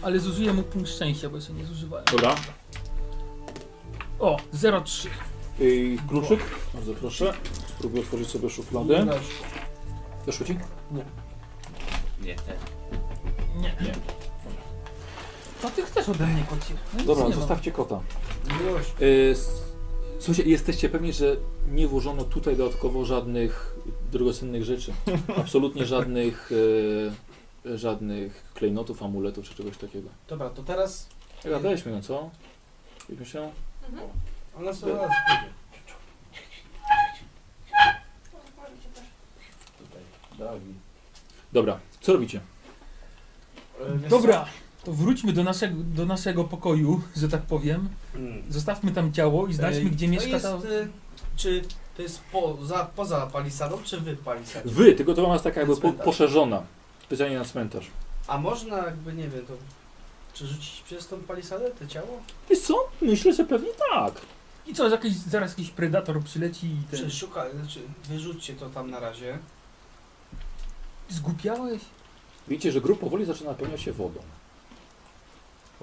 S3: Ale zużyję mu punkt szczęścia, bo jeszcze nie zużywałem.
S1: Dobra.
S3: O, 03.
S1: Yy, kluczyk, bardzo proszę. Spróbuję otworzyć sobie szufladę.
S4: Weź.
S1: Weszło ci?
S6: Nie, ten.
S3: Nie.
S1: Nie.
S3: To ty chcesz ode mnie kocie. No nic
S1: Dobra,
S3: nie ma.
S1: zostawcie kota.
S4: Miłość.
S1: Yy, s- słuchajcie, jesteście pewni, że nie włożono tutaj dodatkowo żadnych drogocennych rzeczy. Absolutnie żadnych, yy, żadnych klejnotów, amuletów czy czegoś takiego.
S4: Dobra, to teraz
S1: Dobra, weźmy no co? Weźmy się.
S4: ona sobie raz pójdzie.
S2: Dawid.
S1: Dobra, co robicie?
S4: E, wiesz
S3: Dobra, to wróćmy do naszego, do naszego pokoju, że tak powiem.
S4: co? Mm.
S3: Zostawmy tam ciało i znajdźmy,
S4: Ej,
S3: gdzie
S4: to
S3: mieszka
S4: jest,
S3: ta...
S4: e, Czy to jest poza, poza palisadą, czy wy palisadą?
S1: Wy, tylko to ona jest taka jakby po,
S4: Cmentarz.
S1: poszerzona. Specjalnie na cmentarz.
S4: A można jakby, nie wiem, to... Czy rzucić przez tą palisadę to ciało?
S1: Wiesz co? Myślę, że pewnie tak.
S3: I co, jakiś, zaraz jakiś predator przyleci i ten...
S4: Czy szuka, znaczy wyrzućcie to tam na razie.
S3: Zgłupiałeś?
S1: Widzicie, że grób powoli zaczyna napełniać się wodą.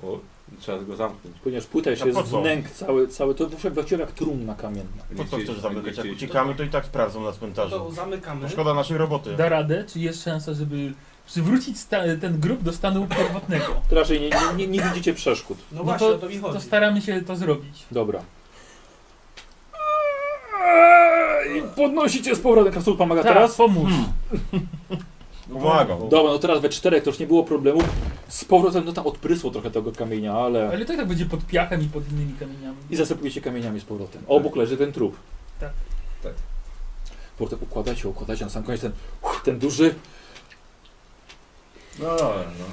S2: O, trzeba go zamknąć.
S1: Ponieważ płyta już
S5: A
S1: jest
S5: po co?
S1: wnęk cały, cały to właśnie właściwie jak trumna kamienna.
S5: Po co
S2: Nie
S5: chcesz
S2: chcieli- nie
S5: zamykać? Jak
S2: chcieli-
S5: uciekamy, to i tak sprawdzą na
S4: No To
S5: cmentarzu.
S4: zamykamy. Tak.
S5: To szkoda naszej roboty.
S3: Da radę? Czy jest szansa, żeby przywrócić sta- ten grób do stanu pierwotnego.
S1: To raczej nie, nie, nie, nie widzicie przeszkód.
S4: No
S3: No
S4: właśnie,
S3: to-
S4: o to mi
S3: To
S4: chodzi.
S3: staramy się to zrobić.
S1: Dobra. I podnosicie z powrotem. Kasul pomaga
S5: Tak.
S1: teraz? Hmm.
S3: Teraz Tak, pomóż.
S5: Pomagam.
S1: Dobra, no teraz we czterech to już nie było problemu. Z powrotem no tam odprysło trochę tego kamienia, ale...
S3: Ale to i tak będzie pod piachem i pod innymi kamieniami.
S1: I zasypujecie kamieniami z powrotem. Obok leży ten trup.
S3: Tak.
S2: Tak.
S1: Potem układacie, układacie, na sam koniec ten, ten duży...
S2: No dobra, no.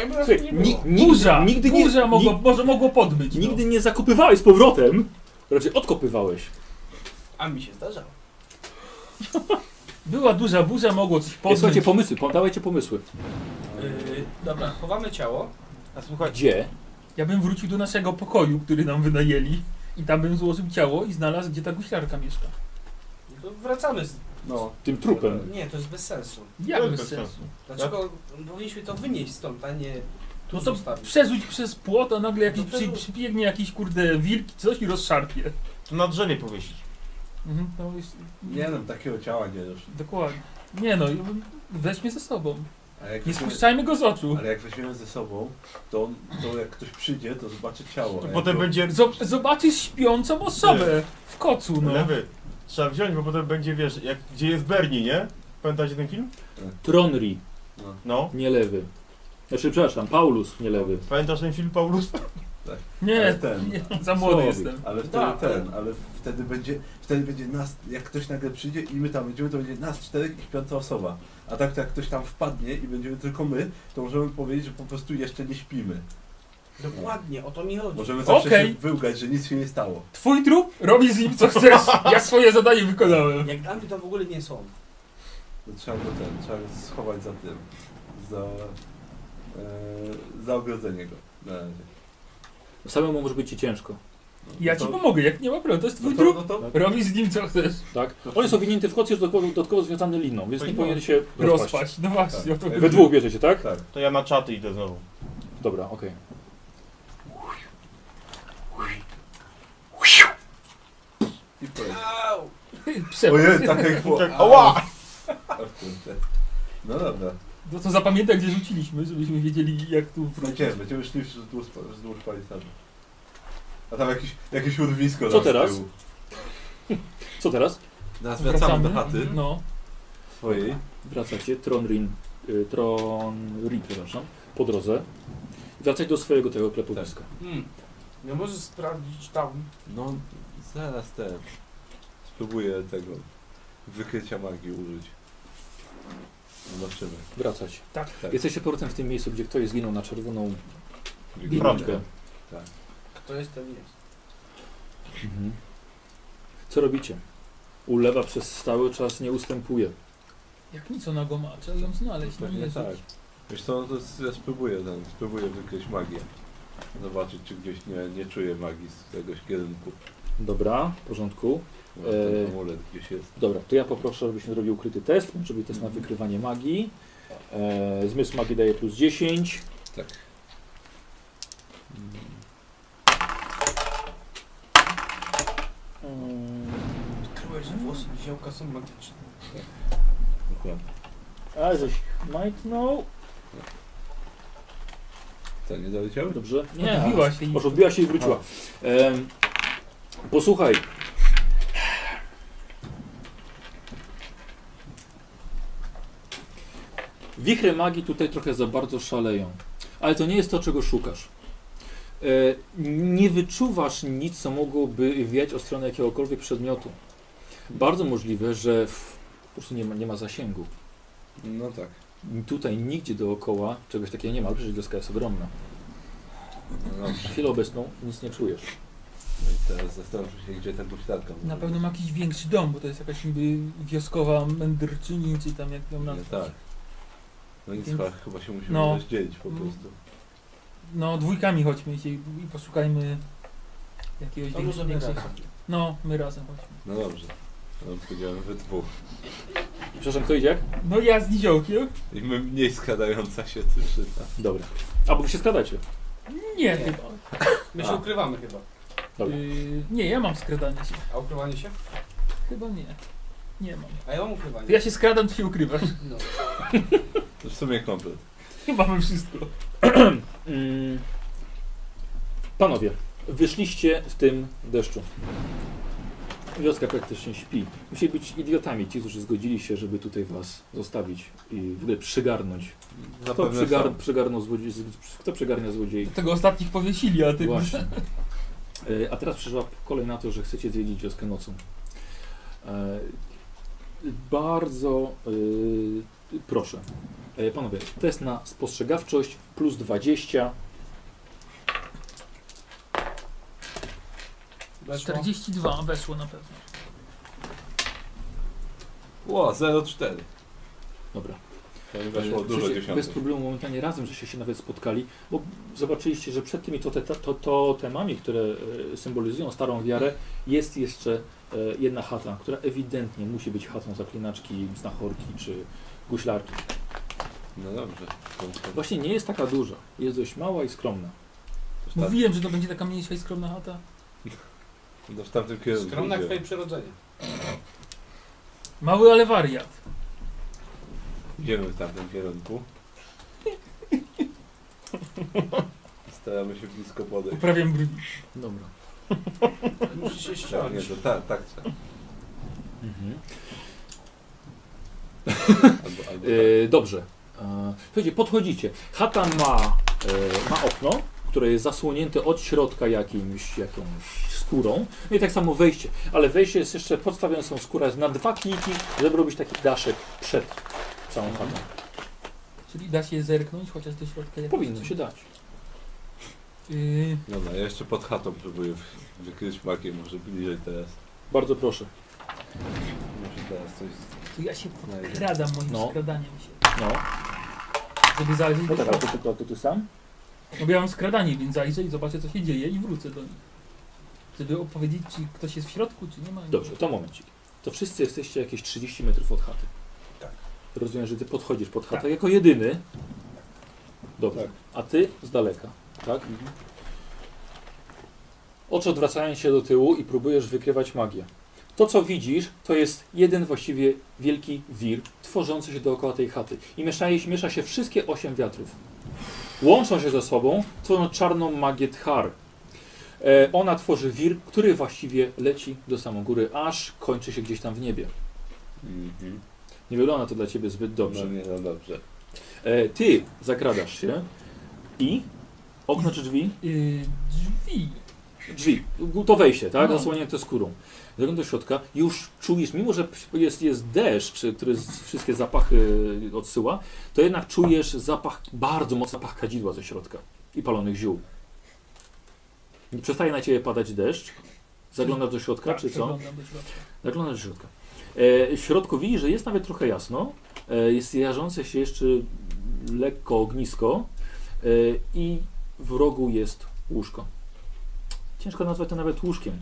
S6: Jakby nas tu
S1: Słuchaj,
S6: nie
S1: ni,
S6: było.
S1: nigdy,
S3: burza!
S1: nigdy nie,
S3: burza mogło,
S1: ni-
S3: może mogło podbyć. no.
S1: nigdy nie zakopywałeś z powrotem, raczej odkopywałeś.
S4: A mi się zdarzało.
S3: No. Była duża burza, mogło coś
S1: Ej,
S3: podbyć.
S1: słuchajcie, pomysły, po- dawajcie pomysły.
S4: Yy, dobra, chowamy ciało.
S5: A słuchaj,
S1: Gdzie?
S3: Ja bym wrócił do naszego pokoju, który nam wynajęli. I tam bym złożył ciało i znalazł, gdzie ta guślarka mieszka.
S4: No To wracamy z...
S5: no.
S1: Tym trupem.
S4: Nie, to jest bez sensu.
S3: Jak
S5: to jest
S3: bez
S5: bez
S3: sensu.
S4: Dlaczego powinniśmy to wynieść stąd, a nie tu
S3: No to
S4: zostawić?
S3: przerzuć przez płot, a nagle jakiś
S4: No to
S3: przy,
S4: już-
S3: przybiegnie jakiś kurde wilk, coś i rozszarpie.
S5: To na drzewie powiesić.
S3: Mhm, no jest,
S2: Nie no, takiego ciała nie już.
S3: Dokładnie. Nie no, ja bym- weźmie ze sobą.
S2: A jak
S3: Nie
S2: weźmiemy-
S3: spuszczajmy go z oczu.
S2: Ale jak weźmiemy ze sobą, to, on- to jak ktoś przyjdzie, to zobaczy ciało.
S5: To
S2: a jak
S5: potem
S2: go-
S5: będzie
S3: Zob- zobaczysz śpiącą osobę w kocu, no.
S5: lewy. Trzeba wziąć, bo potem będzie, wiesz, jak, gdzie jest Bernie, nie? Pamiętacie ten film?
S1: Tronri,
S5: No.
S1: nie lewy. Znaczy, przepraszam, Paulus, nie lewy.
S5: Pamiętasz ten film Paulus?
S3: Nie,
S2: ten.
S3: nie, za młody
S1: Słowik.
S3: jestem.
S2: Ale wtedy
S4: Da,
S2: ten, ale wtedy będzie, wtedy będzie nas, jak ktoś nagle przyjdzie i my tam będziemy, to będzie nas czterech i śpiąca osoba. A tak to jak ktoś tam wpadnie i będziemy tylko my, to możemy powiedzieć, że po prostu jeszcze nie śpimy.
S4: Dokładnie, o to mi chodzi.
S2: Możemy zawsze
S3: Okej.
S2: się wyłgać, że nic się nie stało.
S3: Twój trup? Robi z nim co chcesz. Ja swoje zadanie wykonałem.
S4: Jak dla mnie to w ogóle nie są.
S2: To trzeba go ten, trzeba go schować za tym, za, e, za ogrodzenie go. Na razie.
S1: Samemu może być ci ciężko,
S3: Ja
S2: No
S3: ci
S2: to-
S3: pomogę, jak nie ma problemu, to jest
S2: no
S3: twój
S2: to-
S3: trup.
S2: no to-
S3: Robi z nim co chcesz.
S1: tak? On jest owinięty w koc, jest dodatkowo, dodatkowo związany liną, więc nie powinien się rozpaść.
S3: Rozpaść, no właśnie.
S2: Tak.
S3: o to
S1: We dwóch bierzecie, tak?
S2: Tak.
S5: To ja na czaty idę znowu.
S1: Dobra, okej.
S2: I pojedź.
S4: Au!
S3: Przepraszam.
S2: Ojej, tak jak było.
S5: Oła!
S2: A, kurde. No dobra.
S3: No to zapamiętaj, gdzie rzuciliśmy, żebyśmy wiedzieli, jak
S1: No
S3: tu wrócić.
S2: Będziemy, będziemy szli wzdłuż, wzdłuż palisady. A tam jakieś, jakieś urwisko
S1: Co
S2: tam z
S1: teraz?
S2: tyłu.
S1: Co teraz?
S2: Teraz wracamy do chaty
S3: No.
S2: swojej.
S1: Wracacie, Tronrin, y, Tronrin, przepraszam, po drodze. Wracacie do swojego tego klepowiska.
S4: Hmm. No może sprawdzić tam.
S2: No, zaraz ten. Spróbuję tego wykrycia magii użyć. Zobaczymy.
S1: Wracacie.
S3: Tak.
S2: Tak.
S1: Jesteście powrotem w tym miejscu, gdzie ktoś zginął na czerwoną
S5: Prawda.
S1: linijkę.
S2: Tak.
S4: Kto jest ten jest.
S1: Mhm. Co robicie? Ulewa przez cały czas nie ustępuje.
S3: Jak nic ona go ma, trzeba ją znaleźć. No,
S2: Pewnie
S3: Jezu.
S2: tak. Wiesz co, no to s- ja spróbuję ten, spróbuję wykryć magię. Zobaczyć, czy gdzieś nie, nie czuję magii z jakiegoś kierunku.
S1: Dobra, w porządku.
S2: Może Ten
S1: Eee.
S2: amulet gdzieś jest.
S1: Dobra, to ja poproszę, żebyś zrobił ukryty test, czyli test na wykrywanie magii. E, zmysł magii daje plus 10.
S2: Tak.
S1: Mm,
S4: Odkryłeś, że włosy ziołka są magiczne.
S2: Dokładnie.
S1: A, no. żeś majtnął.
S2: Co, nie doleciały?
S1: Dobrze.
S2: No tak.
S3: Odbiła się i...
S1: Może odbiła się i wróciła. Em, posłuchaj. Wichry magii tutaj trochę za bardzo szaleją, ale to nie jest to, czego szukasz. E, nie wyczuwasz nic, co mogłoby wiać o stronę jakiegokolwiek przedmiotu. Bardzo możliwe, że w, po prostu nie ma, nie ma zasięgu.
S2: No tak.
S1: Tutaj nigdzie dookoła czegoś takiego nie ma, ale przecież wioska jest ogromna.
S2: No dobrze.
S1: W chwilę obecną nic nie czujesz.
S2: No i teraz zastanówmy się, gdzie ta guślarka. może
S3: Na
S2: być.
S3: pewno ma jakiś większy dom, bo to jest jakaś niby wioskowa mędrczyni, czy tam jak ją
S2: Nie,
S3: nazwać.
S2: tak. No nic,
S3: Więc-
S2: chyba, chyba się musimy
S3: No.
S2: rozdzielić po
S3: Mm.
S2: prostu.
S3: No, dwójkami chodźmy i, się- i poszukajmy jakiegoś
S4: To
S3: większego.
S4: może
S3: większej...
S4: razem.
S3: No, my razem
S2: No
S3: chodźmy.
S2: dobrze. No powiedziałem we dwóch.
S1: Przepraszam, kto idzie? jak?
S3: No ja z niziołkiem?
S2: I my mniej składająca się cytrzyna.
S1: Dobra. A, bo wy się skradacie.
S3: Nie,
S4: Nie.
S3: chyba.
S4: My się
S2: A.
S4: ukrywamy chyba.
S1: Dobra.
S3: Y, nie, ja mam skradanie się.
S4: A ukrywanie się?
S3: Chyba nie. Nie mam.
S4: A ja mam ukrywanie.
S3: To ja się skradam, ty się ukrywasz.
S4: No.
S2: To w sumie komplet.
S3: Mamy wszystko.
S1: Mm. Panowie, wyszliście w tym deszczu. Wioska praktycznie śpi. Musieli być idiotami ci, którzy zgodzili się, żeby tutaj was zostawić i w ogóle przygarnąć. Kto,
S2: Zapewne
S1: przygar,
S2: są.
S1: przygarnął złodziej, kto przygarnia złodziei?
S3: Tego ostatnich powiesili, a ty...
S1: Właśnie. E, A teraz przyszła kolej na to, że chcecie zwiedzić wioskę nocą. E, Bardzo e, proszę. E, Panowie, test na spostrzegawczość plus 20.
S3: 42 weszło na pewno.
S4: Tak.
S2: Ło, 0,4.
S1: Dobra.
S2: To mi weszło
S1: E,
S2: dużo
S1: przecież Bez
S2: dziesiątek.
S1: problemu momentalnie razem, żeście się nawet spotkali, bo zobaczyliście, że przed tymi totemami, to, to temami, które e, symbolizują starą wiarę, jest jeszcze e, jedna chata, która ewidentnie musi być chatą zaklinaczki, znachorki czy guślarki.
S2: No dobrze. To- to-
S1: Właśnie nie jest taka duża, jest dość mała i skromna.
S2: to w tam-
S3: Mówiłem, że to będzie taka mniejsza i skromna chata.
S2: To w tamtym kierunku.
S4: Skromna
S2: idzie.
S4: twoje przyrodzenie.
S3: Mały, ale wariat.
S2: Idziemy w tamtym kierunku. Staramy się blisko podejść.
S3: Uprawiam brud.
S1: Dobra.
S4: Musisz się
S2: Tak, nie,
S4: ściąć.
S2: to tak, tak trzeba.
S1: Mhm.
S2: Albo, albo tak.
S1: E, dobrze. E, słuchajcie, podchodzicie. Chata ma, e, ma okno, które jest zasłonięte od środka jakimś, jakąś skórą. No i tak samo wejście. Ale wejście jest jeszcze, podstawione są skóra jest na dwa kliki, żeby robić taki daszek przed całą chatą.
S3: Czyli da się zerknąć, chociaż do środka jak
S1: Powinno się dać.
S3: Yy,
S2: Dobra, tak. No, ja jeszcze pod chatą próbuję wy- wykryć makiem, może bliżej teraz.
S1: Bardzo proszę.
S2: Może teraz coś
S3: to ja się
S2: znajdę.
S3: podkradam moim
S1: No.
S3: skradaniem się.
S1: No.
S3: Żeby zajrzeć do
S1: No tak, ale to,
S3: środka.
S1: to, to, to ty sam?
S3: No bo ja mam skradanie, więc zajrzę i zobaczę co się dzieje i wrócę do nich. Żeby opowiedzieć, czy ktoś jest w środku, czy nie ma.
S1: Dobrze, to momencik. To wszyscy jesteście jakieś 30 metrów od chaty.
S4: Tak.
S1: Rozumiem, że ty podchodzisz pod chatę jako jedyny. Dobrze.
S2: Tak.
S1: A ty z daleka, tak? Oczy odwracają się do tyłu i próbujesz wykrywać magię. To, co widzisz, to jest jeden właściwie wielki wir tworzący się dookoła tej chaty. I miesza, miesza się wszystkie osiem wiatrów. Łączą się ze sobą, tworzą czarną magię Tchar. E, ona tworzy wir, który właściwie leci do samą góry, aż kończy się gdzieś tam w niebie.
S2: Mhm.
S1: Nie wygląda to dla ciebie zbyt dobrze.
S2: No nie, no dobrze.
S1: E, ty zakradasz się i okno czy drzwi?
S3: Yy, drzwi.
S1: Drzwi, to wejście, tak?
S3: No.
S1: Zasłonięte skórą. Zaglądasz do środka, już czujesz, mimo że jest, jest deszcz, który z- wszystkie zapachy odsyła, to jednak czujesz zapach, bardzo mocny zapach kadzidła ze środka i palonych ziół. Przestaje na ciebie padać deszcz. Zaglądasz do środka, czy co?
S3: Tak, Przeglądam do środka.
S1: Zaglądasz do środka. E, w środku widzisz, że jest nawet trochę jasno. E, jest jarzące się jeszcze lekko ognisko. E, I w rogu jest łóżko. Ciężko nazwać to nawet łóżkiem,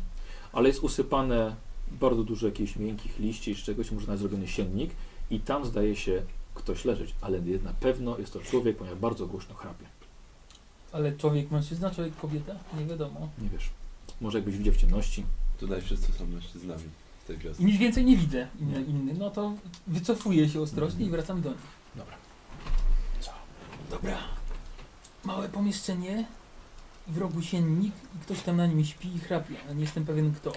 S1: ale jest usypane bardzo dużo jakichś miękkich liści czy czegoś, może nawet zrobiony siennik. I tam zdaje się ktoś leżeć, ale na pewno jest to człowiek, ponieważ bardzo głośno chrapie.
S3: Ale człowiek mężczyzna, człowiek kobieta? Nie wiadomo.
S1: Nie wiesz. Może jakbyś widział w ciemności.
S2: Tutaj wszyscy są mężczyznami w tej
S3: I
S2: wiosce.
S3: nic więcej nie widzę inny, inny. No to wycofuję się ostrożnie i wracam do nich.
S1: Mhm. Dobra.
S3: Dobra. Małe pomieszczenie, w rogu siennik i ktoś tam na nim śpi i chrapie, ale nie jestem pewien kto.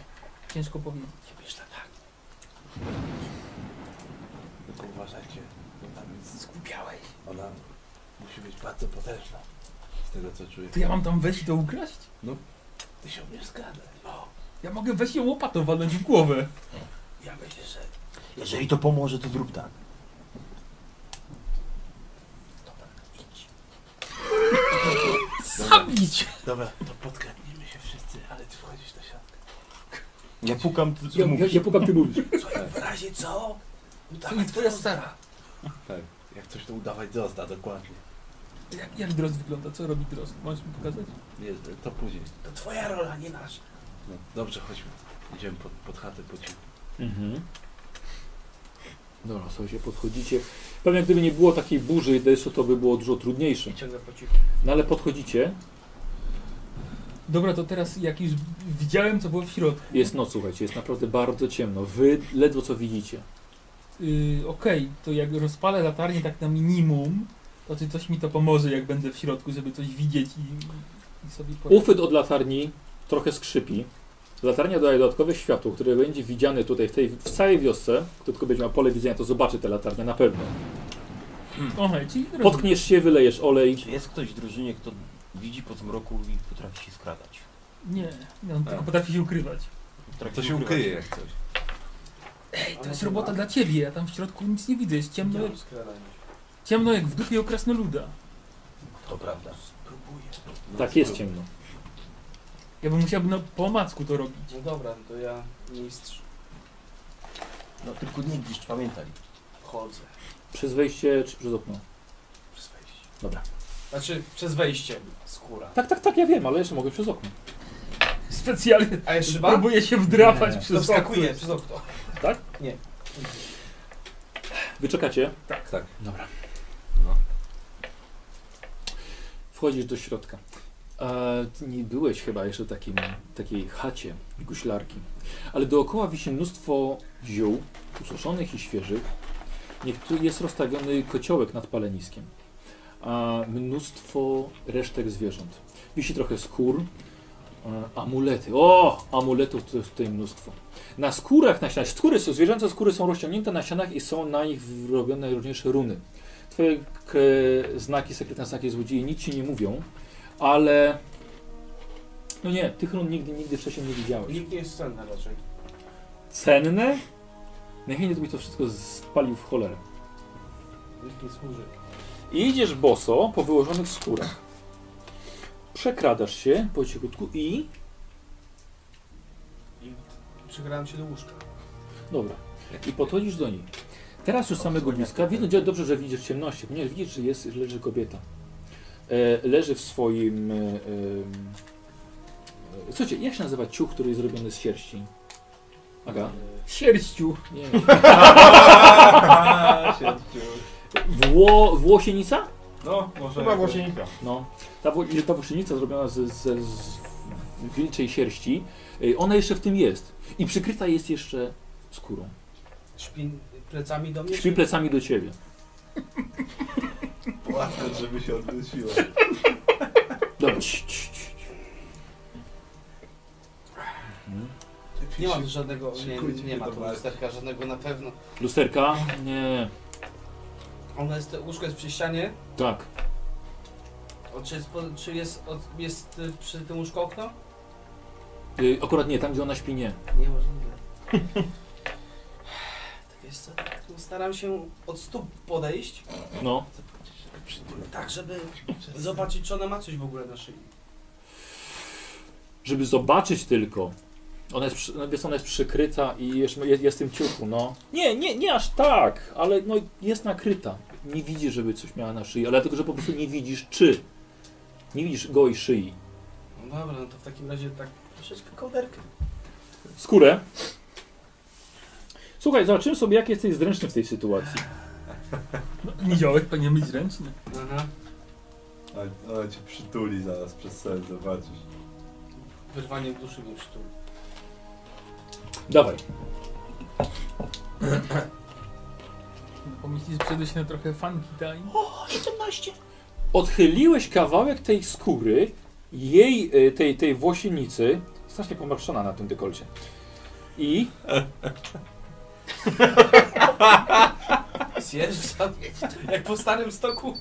S3: Ciężko powiedzieć.
S2: tak. Tylko uważajcie, bo tam jest...
S3: Zgłupiałeś.
S2: Ona musi być bardzo potężna. Z tego co czuję.
S3: To ja mam tam wejść i to ukraść?
S2: Ty się umiesz zgadać.
S3: Ja mogę wejść ją łopatą walnąć w głowę.
S6: Ja myślę, że jeżeli to pomoże, to zrób tak. Dobra, idź.
S3: Zabić!
S6: Dobra, to podkradniemy się wszyscy, ale ty wchodzisz do środka. Ja pukam, ty, ty
S1: Ja, ja, ja pukam, ty mówisz.
S6: Słuchaj, w razie co?
S3: tak,
S6: Tak.
S3: To jest twoja stara.
S2: Jak coś to udawać Drozda, dokładnie.
S3: Jak, jak Drost wygląda? Co robi Drost? Możesz mi pokazać?
S2: Nie, to później.
S6: To twoja rola, nie nasza.
S2: No, dobrze, chodźmy. Idziemy pod, pod chatę po cichu.
S1: Mhm. Dobra, słuchajcie, podchodzicie. Pewnie gdyby nie było takiej burzy i deszczu, to by było dużo trudniejsze.
S4: I ciągle po cichu.
S1: No ale podchodzicie,
S3: Dobra, to teraz jak już widziałem co było w środku.
S1: jest noc, słuchajcie, jest naprawdę bardzo ciemno. Wy ledwo co widzicie.
S3: y, okej, to jak rozpalę latarnię tak na minimum, to czy coś mi to pomoże, jak będę w środku, żeby coś widzieć i, i sobie poradzę.
S1: Uchwyt od latarni trochę skrzypi. Latarnia dodaje dodatkowe światło, które będzie widziane tutaj w, tej, w całej wiosce. Kto tylko będzie miał pole widzenia, to zobaczy tę latarnię na pewno.
S3: Okej, czyli rozumiem.
S1: Potkniesz się, wylejesz olej.
S6: Czy jest ktoś w drużynie, kto widzi po zmroku i potrafi się skradać?
S3: Nie, no,
S2: A.
S3: tylko potrafi się ukrywać.
S6: Potrafi
S2: To się
S6: ukrywać.
S2: ukryje jak coś.
S3: Ej, to jest
S6: Tak.
S3: robota dla ciebie, ja tam w środku nic nie widzę, jest ciemno,
S4: Chciałem skradać.
S3: ciemno jak w dupie u krasnoluda.
S6: To prawda.
S4: Spróbuję.
S2: No,
S1: Tak, jest ciemno.
S3: Ja bym musiał no, po omacku to robić.
S4: No dobra, no to ja mistrz
S6: No tylko nie gdzieś pamiętaj.
S4: chodzę
S1: Przez wejście czy przez okno?
S4: przez wejście.
S1: Dobra.
S4: Znaczy, przez wejście skóra.
S1: Tak, tak, tak, ja wiem, ale jeszcze mogę przez okno.
S3: Specjalnie
S4: A jest szyba?
S3: próbuję się wdrapać
S1: Nie,
S4: To
S3: przez
S4: wskakuje
S3: okno.
S4: przez okno.
S1: Wy czekacie?
S2: Tak, tak.
S1: Dobra.
S2: No.
S1: Wchodzisz do środka. E, ty nie byłeś chyba jeszcze w takim, takiej chacie guślarki, ale dookoła wisi mnóstwo ziół, usłoszonych i świeżych. Niektóry jest rozstawiony kociołek nad paleniskiem, a mnóstwo resztek zwierząt. Wisi trochę skór, e, amulety. O, amuletów tu jest tutaj mnóstwo. Na skórach, na ścianach, skóry są, zwierzęce skóry są rozciągnięte na ścianach i są na nich robione różniejsze runy. Twoje k- znaki, sekretne znaki złodziei nic ci nie mówią, ale... No nie, tych run nigdy, nigdy wcześniej nie widziałeś.
S4: Nikt nie jest cenny raczej.
S1: Cenne? Najchętniej to byś to wszystko spalił w cholerę.
S4: Nikt nie służy.
S1: I idziesz boso po wyłożonych skórach. Przekradasz się po cichutku i...
S4: Przykradam się do łóżka.
S1: Dobra. I podchodzisz do niej. Teraz już samego bliska. Widać że dobrze, że widzisz w ciemności, ponieważ widzisz, że jest, leży kobieta. E, leży w swoim... E, em, e, słuchajcie, jak się nazywa ciuch, który jest zrobiony z sierści? Aga?
S3: Sierściu.
S1: Nie. Wło, włosienica?
S2: No, może.
S5: Chyba głosienika.
S1: No. Ta, wo, ta włosienica zrobiona z, z, z wilczej sierści. E, ona jeszcze w tym jest. I przykryta jest jeszcze skórą.
S4: Śpi plecami do mnie?
S1: Śpi plecami do ciebie.
S2: Płakać, żeby się odwróciło.
S1: Dobra. Cii, cii, cii.
S4: Nie mam żadnego, nie,
S2: Szykujcie
S4: nie
S2: mnie
S4: ma
S2: do
S4: tu
S2: walki.
S4: lusterka żadnego na pewno.
S1: Lusterka? Nie.
S4: Ono jest, łóżko jest przy ścianie.
S1: Tak.
S4: O, czy jest, po, czy jest, od, jest y, przy tym łóżku okno?
S1: Y, Akurat nie, tam gdzie ona śpi nie.
S4: Nie, możliwe. tak wiesz co, no staram się od stóp podejść,
S1: No.
S4: tak żeby zobaczyć, czy ona ma coś w ogóle na szyi.
S1: Żeby zobaczyć tylko. Ona jest, przy- no, wiesz, ona jest przykryta i jest, jest, jest w tym ciuchu, no. Nie, nie, nie aż tak, ale no jest nakryta. Nie widzisz, żeby coś miała na szyi, ale dlatego, że po prostu nie widzisz czy. Nie widzisz gołej szyi.
S4: No dobra, no to w takim razie tak troszeczkę kołderkę.
S1: Skórę. Słuchaj, zobaczymy sobie, jak jesteś zręczny w tej sytuacji.
S3: No, Niziołek powinien być ręczny.
S4: Aha,
S2: A- Ona cię przytuli zaraz przez sen, zobaczysz.
S4: wyrwanie duszy mnie przytuli.
S1: Dawaj.
S3: No, Pomyślisz, że przejdę się na trochę funky time.
S1: Odchyliłeś kawałek tej skóry, jej, y, tej, tej włosienicy, strasznie pomarszczona na tym dekolcie. I
S4: Zjeżdżam, jak po starym stoku.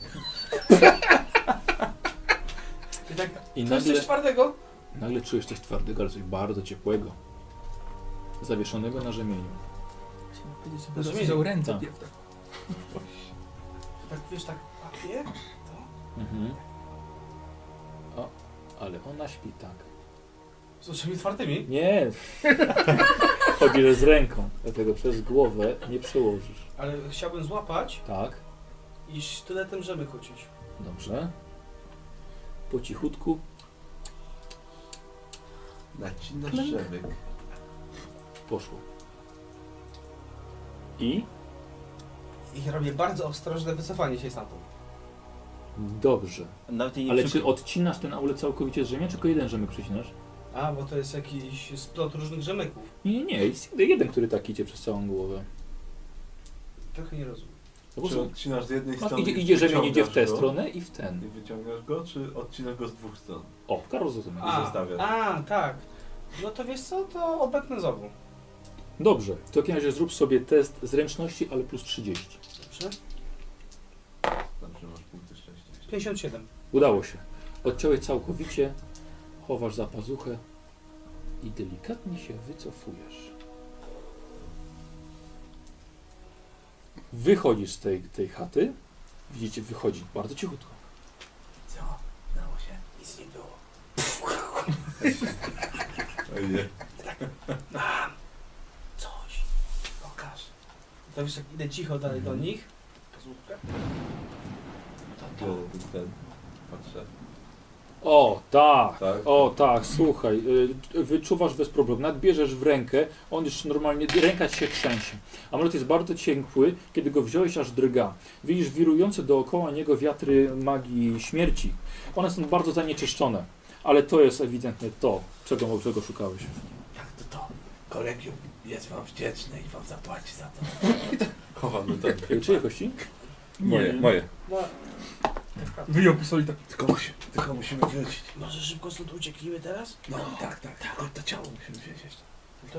S4: I tak,
S1: I
S4: to jest
S1: nagle,
S4: coś twardego?
S1: nagle czujesz coś twardego, ale coś bardzo ciepłego. Zawieszonego na rzemieniu.
S3: Chciałem powiedzieć, żeby
S4: Rozumiesz?
S3: rozwiązał ręce.
S1: Tak.
S3: pierw, tak.
S4: Tak wiesz, tak papier?
S1: Mhm. O, ale ona śpi tak.
S4: Z oczami otwartymi?
S1: Nie! Chodzisz z ręką, dlatego przez głowę nie przełożysz.
S4: Ale chciałbym złapać
S1: Tak,
S4: i sztyletem żeby chocić.
S1: dobrze. Po cichutku.
S2: Nacinasz
S1: Klęk.
S2: rzemek.
S1: Poszło. I?
S4: I robię bardzo ostrożne wycofanie się stamtąd.
S1: Dobrze.
S6: Nawet jej nie
S1: Ale
S6: przykryj.
S1: czy odcinasz ten amulet całkowicie z rzemia, czy tylko jeden rzemek przecinasz?
S4: A, bo to jest jakiś splot różnych rzemeków.
S1: Nie, nie, nie. Jest jeden, który tak idzie przez całą głowę.
S4: Trochę nie rozumiem.
S1: No
S2: Czy odcinasz z jednej
S1: Masz,
S2: strony
S1: No, idzie,
S2: i
S1: idzie rzemień idzie w tę
S2: wyciągasz go?
S1: stronę i w ten.
S2: I wyciągasz go, czy odcinasz go z dwóch stron?
S1: O, Karol rozumie.
S4: A,
S2: zostawiasz.
S4: a, tak. No to wiesz co, to obetnę znowu.
S1: Dobrze, w takim razie zrób sobie test zręczności, ale plus 30.
S4: Dobrze?
S2: Dobrze, masz punkty szczęścia.
S4: 57.
S1: Udało się. Odciąłeś całkowicie, chowasz za pazuchę i delikatnie się wycofujesz. Wychodzisz z tej, tej chaty. Widzicie, wychodzi bardzo cichutko.
S4: Co? Dało się? Nic nie było.
S2: Ej, nie.
S4: Coś. Pokaż. To wiesz, jak idę cicho dalej do nich. Kazłówka. Mhm. To to.
S2: Biorę ten, ten. Patrzę.
S1: O, tak.
S2: Tak?
S1: O tak, słuchaj, y, wyczuwasz bez problemu, nadbierzesz w rękę, on już normalnie, ręka ci się trzęsie. Amulet jest bardzo cienły, kiedy go wziąłeś aż drga. Widzisz wirujące dookoła niego wiatry magii śmierci. One są bardzo zanieczyszczone, ale to jest ewidentnie to, czego, czego szukałeś.
S4: Jak to to? Kolegium jest wam wdzięczne i wam zapłaci za to.
S2: Chowam do ten.
S1: Y, Czyje kości?
S2: Moje,
S3: Nie.
S2: moje.
S4: No,
S3: Wyjął pistolet tak.
S2: Tylko, musi, tylko musimy wrócić.
S4: może szybko stąd ucieknijmy teraz?
S2: No, tak, tak, tak. To, to ciało musimy wziąć.
S4: No to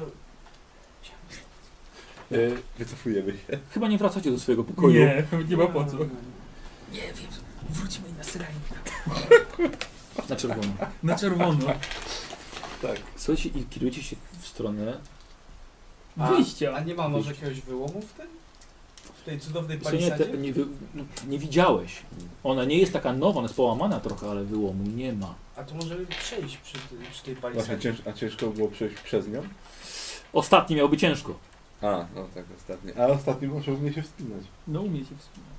S1: Y,
S2: E, Wycofujemy się.
S1: chyba nie wracacie do swojego pokoju.
S3: Nie, nie ma po co.
S4: Nie wiem, wrócimy na syrenie.
S1: Na czerwono.
S3: Na czerwono.
S2: Tak.
S1: Słuchajcie i kierujecie się w stronę
S4: A, a
S3: Wyjścia.
S4: nie ma może jakiegoś wyłomu w tym? W tej cudownej
S1: Co nie,
S4: palisadzie?
S1: te, nie, wy- no, nie widziałeś. Ona nie jest taka nowa, ona jest połamana trochę, ale wyłomu nie ma.
S4: A to możemy przejść przy, ty- przy
S2: Właśnie,
S4: tej palisadzie.
S2: cięż, a ciężko było przejść przez nią?
S1: Ostatni miałby ciężko.
S2: A, no tak, ostatni. A ostatni muszę mnie się wspinać.
S3: No umie się wspinać.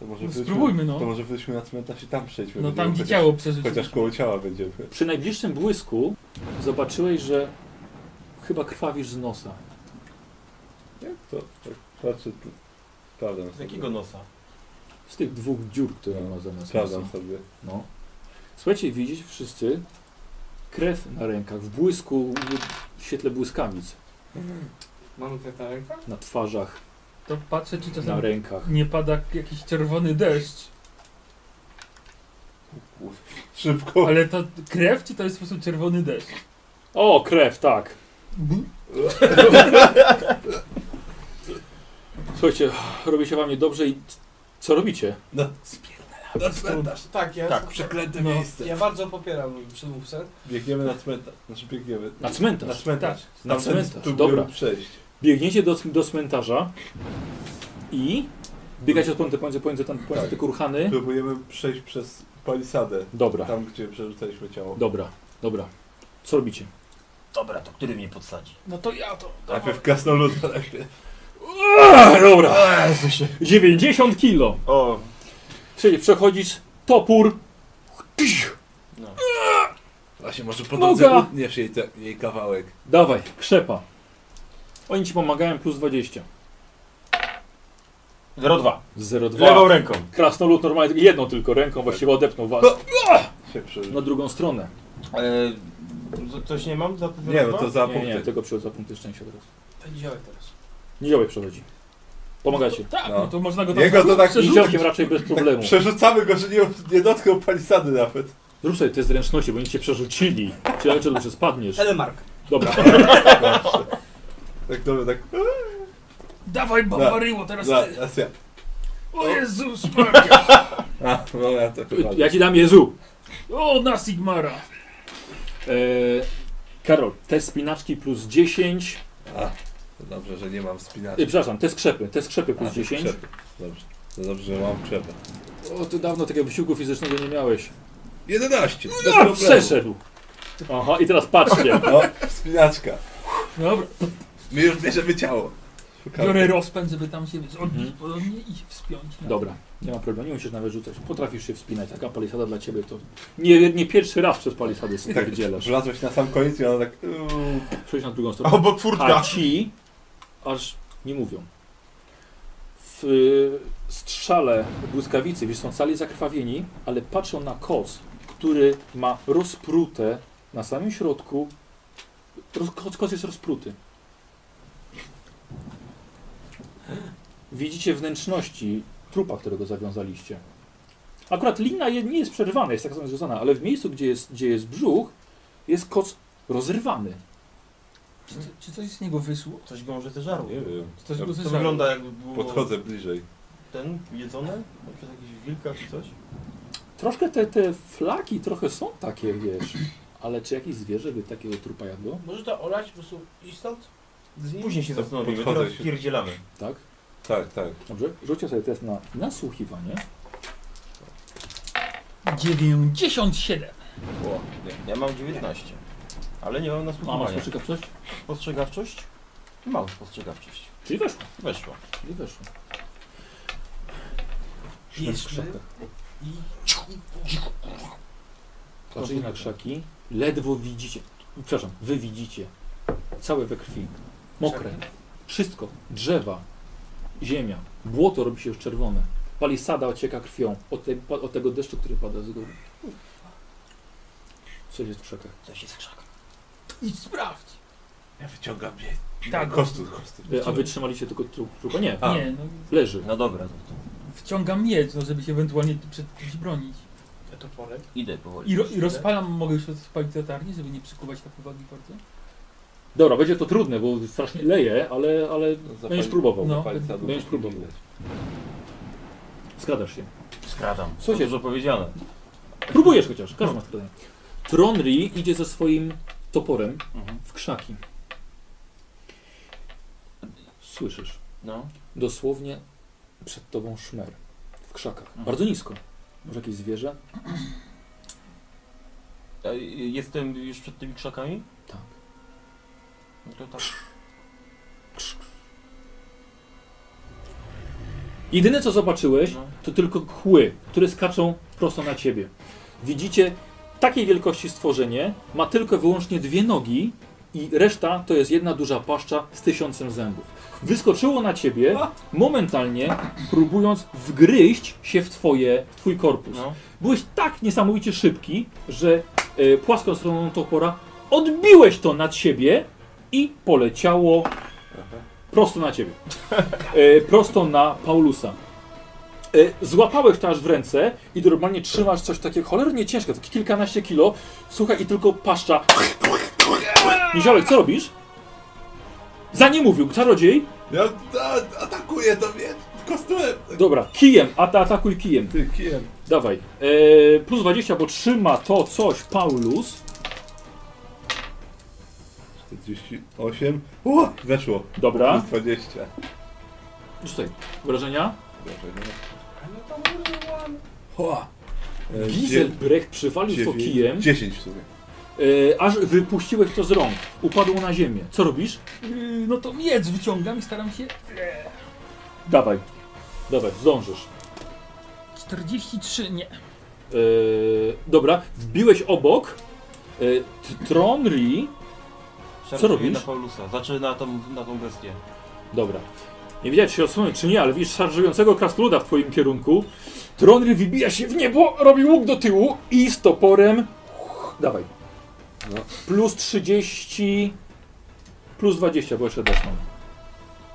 S2: To może
S3: No
S2: wróćmy-
S3: spróbujmy, no.
S2: To może wróćmy na cmentarz i tam przejdźmy.
S3: No
S2: Będziemy
S3: tam gdzie
S2: chociaż-
S3: ciało przeżyć.
S2: Chociaż koło ciała będziemy.
S1: Przy najbliższym błysku zobaczyłeś, że chyba krwawisz z nosa.
S2: Jak to? Tak, patrzę tu. Sprawdzam
S5: Z
S2: sobie.
S5: jakiego nosa?
S1: Z tych dwóch dziur, które ma zamiast nosa.
S2: Sprawdzam sobie.
S1: No. Słuchajcie, widzicie wszyscy krew na rękach, w błysku, w świetle błyskawic,
S4: Mamy tak? krew na
S3: Tak.
S4: rękach?
S1: na twarzach,
S3: To patrzę, czy
S1: na
S3: czasem
S1: rękach.
S3: nie pada jakiś czerwony deszcz.
S2: Szybko.
S3: Ale to krew, czy to jest po prostu czerwony deszcz?
S1: O, krew, tak.
S3: Mhm.
S1: Słuchajcie, robi się wam niedobrze i c- co robicie?
S4: Na cmentarz. Tak, ja,
S5: Tak,
S4: przeklęte
S2: miejsce.
S4: Ja bardzo popieram mój przedmówcę.
S2: Biegniemy na cmentarz. Znaczy biegniemy.
S1: Na cmentarz.
S2: Na cmentarz.
S1: Na
S2: Stamtąd
S1: cmentarz,
S2: próbujemy
S1: dobra.
S2: przejść.
S1: Biegniecie do, do cmentarza i biegacie od pomiędzy, pomiędzy, pomiędzy, tam- pomiędzy
S2: Tak.
S1: te kurhany.
S2: Próbujemy przejść przez palisadę.
S1: Dobra,
S2: Tam, gdzie przerzucaliśmy ciało.
S1: dobra, dobra. Co robicie?
S5: Dobra, to który mnie podsadzi?
S3: No to ja to.
S2: Najpierw krasnoluda, najpierw.
S1: Dobra, 90 kilo.
S5: O,
S1: Czyli przechodzisz topór,
S5: no.
S2: Właśnie, może po
S1: Noga!
S2: drodze utniesz jej, te, jej kawałek.
S1: dawaj, krzepa. Oni ci pomagają plus 20.
S5: 0,2.
S1: 0,2.
S5: Lewą ręką.
S1: Krasnolud normalnie jedną tylko ręką właściwie odepnął was
S2: Się przerzuci.
S1: na drugą stronę.
S5: E, co- coś nie mam? Za
S2: Nie, no to za
S1: Nie, nie,
S2: punkty.
S1: tego przychodzi za punkty szczęścia teraz.
S4: Ten działek teraz.
S1: Niziołek przechodzi. Pomagacie.
S3: Tak,
S2: No.
S3: no to można go tam
S2: Jego to tak
S3: przerzucić.
S1: Niziołkiem raczej bez problemu.
S2: Przerzucamy go, że nie, nie dotknął palisady nawet.
S1: Zrób sobie te zręczności, bo oni cię przerzucili. Czy ja dobrze spadniesz?
S4: Telemark.
S1: Dobra.
S2: Tak dobra, tak.
S3: Dawaj babaryło, teraz
S2: Za,
S3: ty.
S2: teraz ja.
S3: O Jezus Maria.
S2: A, no ja to chyba.
S1: Ja ci dam Jezu.
S3: O, na Sigmara.
S1: E, Karol, test spinaczki plus 10.
S2: A, to dobrze, że nie mam
S1: E,
S2: wspinaczy.
S1: przepraszam, test skrzepy. Test skrzepy plus
S2: A,
S1: 10.
S2: krzepy. Dobrze. To dobrze, że mam krzepę.
S1: O, ty dawno takiego wysiłku fizycznego nie miałeś.
S2: 11! bez
S1: A,
S2: problemu.
S1: No, przeszedł. Aha, i teraz patrzcie.
S2: No, wspinaczka.
S3: Dobra,
S2: My już bierzemy ciało. Szukamy.
S3: biorę rozpęd, żeby tam się odbić
S1: Mhm.
S3: podobnie i się wspiąć. na-
S1: Dobra, nie ma problemu, nie musisz nawet rzucać. Potrafisz się wspinać. Taka palisada dla ciebie to... Nie, nie pierwszy raz przez palisadę się
S2: Tak,
S1: wydzielasz.
S2: Wlazłeś na sam koniec i ona tak. uuu,
S1: Przejdź na drugą stronę.
S5: Obok furtka.
S1: A ci aż nie mówią. W y, strzale błyskawicy, wiesz, są cali zakrwawieni, ale patrzą na kos, który ma rozprute na samym środku. Roz, kos, kos jest rozpruty. widzicie wnętrzności trupa, którego zawiązaliście. Akurat lina je- nie jest przerwana, jest tak samo związana, ale w miejscu, gdzie jest, gdzie jest brzuch, jest koc rozerwany.
S3: Czy, co- czy coś z niego wyszło?
S5: Coś go może te żarło.
S2: Nie wiem.
S3: Czy coś
S2: Ja
S3: go
S5: To
S3: zeżarło?
S5: wygląda jakby było
S2: Podchodzę bliżej.
S5: ten jedzone No, przez jakiegoś wilka czy coś.
S1: Troszkę te, te flaki trochę są takie, wiesz, ale czy jakieś zwierzę by takiego trupa jadło?
S4: Może to olać, po prostu iść stąd? Z nim?
S5: Później się
S2: To
S5: zastanowimy,
S2: podchodzę
S5: teraz
S2: się.
S5: pierdzielamy.
S1: Tak?
S2: Tak, tak.
S1: Dobrze, rzućcie sobie test na nasłuchiwanie.
S3: 97.
S2: O, nie.
S5: Ja mam 19, ale nie mam
S1: A masz
S5: nasłuchiwania.
S1: postrzegawczość?
S5: Spostrzegawczość? Mam spostrzegawczość.
S1: Czyli weszło.
S5: Weszło.
S1: Czyli weszło.
S4: Bierzmy i...
S1: Patrzycie na krzaki, ledwo widzicie, przepraszam, wy widzicie, całe we krwi, mokre, wszystko, drzewa, ziemia, błoto robi się już czerwone, palisada ocieka krwią od, te, od tego deszczu, który pada z góry. Coś jest w krzakach. E,
S5: Coś jest krzak.
S3: Idź sprawdź.
S2: Ja wyciągam jej.
S3: Tak.
S2: Kostur, kostur.
S1: E, A wy trzymaliście tylko tru- trupa? Nie,
S2: A.
S3: Nie, no,
S1: leży.
S5: No dobra, to,
S3: wciągam miecz, no, żeby się ewentualnie przed czymś bronić.
S4: Ja to polek.
S5: idę powoli.
S3: I, ro, I rozpalam, mogę już odpalić latarnię, żeby nie przykuwać tak uwagi bardzo?
S1: Dobra, będzie to trudne, bo strasznie leje, ale, ale będziesz próbował.
S3: No.
S1: będziesz próbował. Skradasz się.
S5: Skradam. Co
S1: Słuchajcie.
S5: dużo powiedziane.
S1: Próbujesz chociaż, każdy ma skradanie. Tronri idzie ze swoim toporem
S5: Mhm.
S1: w krzaki. Słyszysz
S5: No.
S1: dosłownie przed tobą szmer w krzakach.
S5: Mhm.
S1: Bardzo nisko. Może jakieś zwierzę?
S5: A y- jestem już przed tymi krzakami?
S1: Tak.
S5: No to tak.
S1: Jedyne co zobaczyłeś
S5: No.
S1: to tylko kły, które skaczą prosto na ciebie. Widzicie takiej wielkości stworzenie, ma tylko i wyłącznie dwie nogi i reszta to jest jedna duża paszcza z tysiącem zębów. Wyskoczyło na ciebie, momentalnie próbując wgryźć się w, twoje, w twój korpus.
S5: No.
S1: Byłeś tak niesamowicie szybki, że e, płaską stroną topora odbiłeś to nad siebie i poleciało prosto na ciebie. E, prosto na Paulusa. E, złapałeś to aż w ręce i normalnie trzymasz coś takiego cholernie ciężkie, takie kilkanaście kilo. Słuchaj, i tylko paszcza. Niziołek, co robisz? Za nie mówił, czarodziej.
S2: Ja a, atakuję to mnie kosturem.
S1: Dobra, kijem, ata atakuj kijem.
S2: Ty kijem.
S1: Dawaj. E, plus 20, bo trzyma to coś Paulus.
S2: 48. O, weszło.
S1: Dobra.
S2: Plus 20.
S1: Rzucaj. Wrażenia?
S2: Dobrze, nie?
S4: A no to użyłam.
S2: Ho. E, dzie-
S1: Giselbrecht przywalił to
S2: dziewięć-
S1: kijem,
S2: 10 w sumie.
S1: e, aż wypuściłeś to z rąk. Upadło na ziemię. Co robisz?
S3: Yy, no to miecz wyciągam i staram się...
S1: Dawaj. Dawaj, zdążysz.
S3: 43, nie. No
S1: E, dobra, wbiłeś obok. E, t- Tronri.
S5: Szarpuje
S1: robisz?
S5: na Paulusa. Zaczyna tą, na tą bestię.
S1: Dobra. Nie wiedziałem, czy się odsunąć, czy nie, ale widzisz szarżującego krasnoluda w twoim kierunku. Tronry wybija się w niebo, robi łuk do tyłu i z toporem... Uch, Dawaj. Plus 30... Plus 20, bo jeszcze deszcz mam.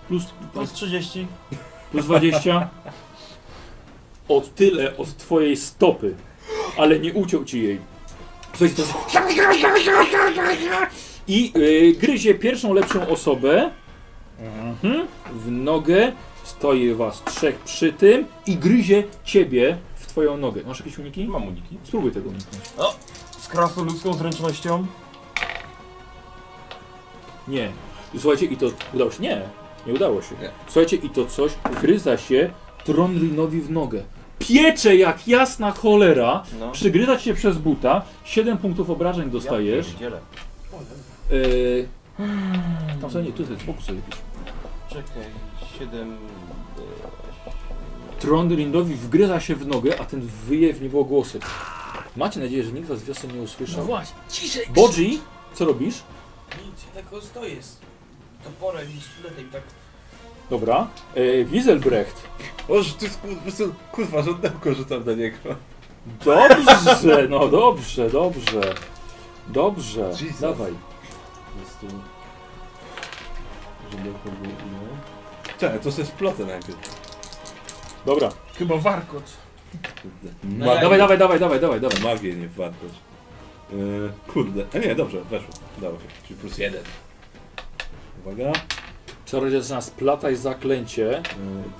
S1: Plus,
S5: Plus 30.
S1: plus 20. O tyle od twojej stopy, ale nie uciął ci jej. Ktoś to... I y, gryzie pierwszą lepszą osobę mhm. w nogę. Stoi was trzech przy tym i gryzie ciebie w twoją nogę. Masz jakieś uniki?
S5: Mam uniki.
S1: Spróbuj tego uniknąć.
S5: Z krasnoludzką zręcznością.
S1: Nie. Słuchajcie, i to udało się. Nie, nie udało się.
S2: Nie.
S1: Słuchajcie, i to coś gryza się Tronrinowi w nogę. Piecze jak jasna cholera.
S5: No.
S1: Przygryza ci się przez buta. 7 punktów obrażeń dostajesz.
S5: Ja pierdzielę.
S1: Yy... Tam sobie nie, tu jest fokus sobie pisz.
S5: Czekaj, e, 7...
S1: Tronrinowi wgryza się w nogę, a ten wyje w niebo głosy. Macie nadzieję, że nikt was w wiosce nie
S3: No
S1: usłyszał.
S3: właśnie, ciszej!
S1: Bodzi, co robisz?
S4: Nic, ja tak stoję z toporem i sztyletem i tak...
S1: Dobra. Yy, Giselbrecht.
S2: Oż ty skur- kurwa, żądełko rzucam na niego.
S1: Dobrze, no dobrze, dobrze. Dobrze,
S2: Jesus.
S1: dawaj.
S2: Jest tu... Żądełko było ile? Czekaj, Tak, to sobie splotę najpierw.
S1: Dobra.
S3: Chyba warkocz.
S2: Kurde.
S4: No
S2: Magię-
S4: ja-
S1: Dawaj, dawaj, dawaj, dawaj, dawaj, dawaj.
S2: Magię nie wartość. Yy, kurde. A nie, dobrze, weszło. Dawaj. Czyli plus jeden. Uwaga.
S1: Czarodziej zaczyna splatać zaklęcie.
S2: Yy,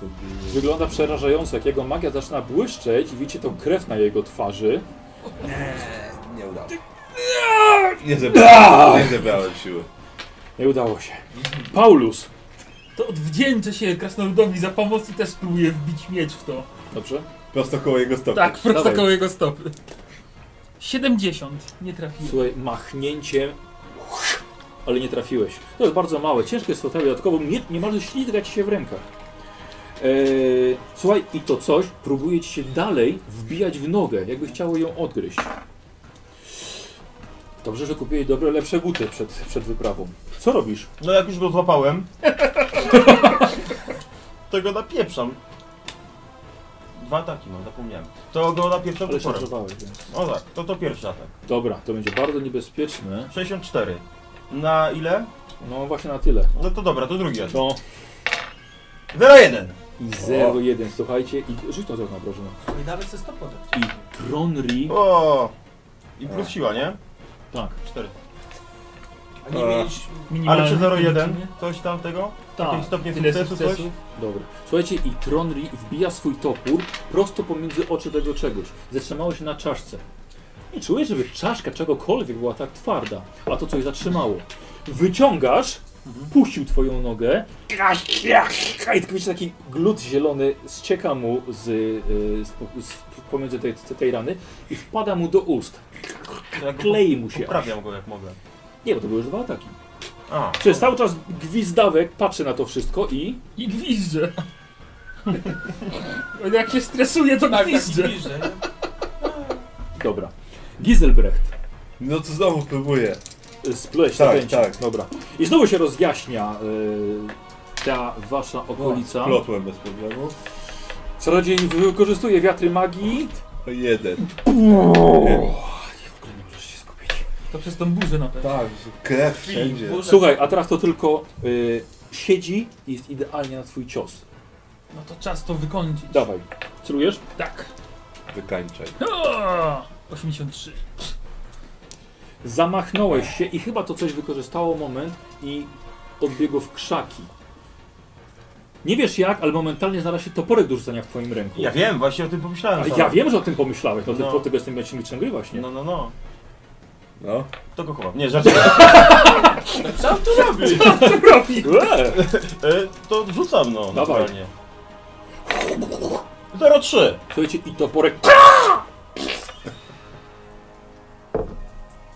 S2: to było...
S1: Wygląda przerażająco, jak jego magia zaczyna błyszczeć i widzicie tą krew na jego twarzy.
S2: Nie udało. Nie zebrałem, nie zebrałem siły.
S1: Nie udało się. Paulus!
S3: To odwdzięczę się krasnoludowi za pomoc i też spróbuję wbić miecz w to.
S1: Dobrze?
S2: Prosto koło jego stopy.
S3: Tak, prosto
S1: Dawaj.
S3: koło jego stopy. 70, nie trafiłem.
S1: Słuchaj, machnięciem. Ale nie trafiłeś. To jest bardzo małe, ciężkie jest to dodatkowo nie, niemalże ślizga ci się w rękach. Eee, słuchaj, i to coś próbuje ci się dalej wbijać w nogę, jakby chciało ją odgryźć. Dobrze, że kupiłeś dobre, lepsze buty przed, przed wyprawą. Co robisz?
S5: No jak już go złapałem, to go napieprzam. Dwa ataki mam, zapomniałem. To go napieprzam
S1: Ale
S5: toporem.
S1: szarżowałeś. więc.
S5: O tak, to to pierwszy atak.
S1: Dobra, to będzie bardzo niebezpieczne.
S5: 64. Na ile?
S1: No właśnie na tyle.
S5: No to dobra, to drugi atak.
S1: To
S5: 0-1.
S1: i 0,1, słuchajcie, i rzuć to trochę na proszę.
S4: I nawet ze stopą.
S1: I Tronri.
S5: O! I plus siła, nie?
S1: Tak.
S5: 4.
S4: A nie mieliś...
S5: Ale
S3: Minimalny
S5: przy
S3: nie?
S5: 0,1 coś tam tego?
S1: Tak.
S5: Jakieś stopnie
S3: Tyle
S5: sukcesu, coś?
S3: sukcesu.
S1: Dobra. Słuchajcie, i Tronri wbija swój topór prosto pomiędzy oczy tego czegoś. Zatrzymało się na czaszce. Nie czujesz, żeby czaszka czegokolwiek była tak twarda, a to coś zatrzymało. Wyciągasz, puścił twoją nogę i tylko widzisz taki glut zielony ścieka mu z, y, z, z pomiędzy tej, tej rany i wpada mu do ust.
S5: No To jak
S1: Klei mu się.
S5: Poprawiam go jak mogę.
S1: Nie, bo to były już dwa ataki.
S5: A,
S1: Przez cały czas gwizdawek patrzy na to wszystko i...
S3: I gwizdże. On jak się stresuje, to
S4: Tak, tak,
S3: gwizdże.
S4: bliżej.
S1: Dobra. Giselbrecht. y,
S2: No to znowu próbuję.
S1: Spleść
S2: Tak,
S1: zaklęcie.
S2: tak.
S1: Dobra. I znowu się rozjaśnia y, ta wasza okolica.
S2: Plotłem bez problemu.
S1: Czarodziej wykorzystuje wiatry magii.
S2: To jeden. E,
S1: W ogóle nie możesz się skupić.
S3: To przez tą burzę na pewno.
S2: Tak, krew wszędzie.
S1: Słuchaj, a teraz to tylko y, siedzi i jest idealnie na twój cios.
S3: No to czas to wykończyć.
S1: Dawaj. Celujesz?
S3: Tak.
S2: Wykańczaj.
S3: O, 83.
S1: Zamachnąłeś się i chyba to coś wykorzystało moment i odbiegło w krzaki. Nie wiesz jak, ale momentalnie znalazł się toporek do rzucenia w twoim ręku.
S5: ja wiem, właśnie o tym pomyślałem.
S1: Ale
S5: sam.
S1: ja wiem, że o tym pomyślałeś, no,
S5: No.
S1: no. dlatego jestem mieczem i właśnie.
S5: No, no, no.
S2: No.
S5: To go chowam. Nie, żartuję.
S4: Co on tu robi?
S1: Eee.
S5: E, to rzucam, no,
S1: Dawaj.
S5: naturalnie. 0,3.
S1: Słuchajcie, i toporek.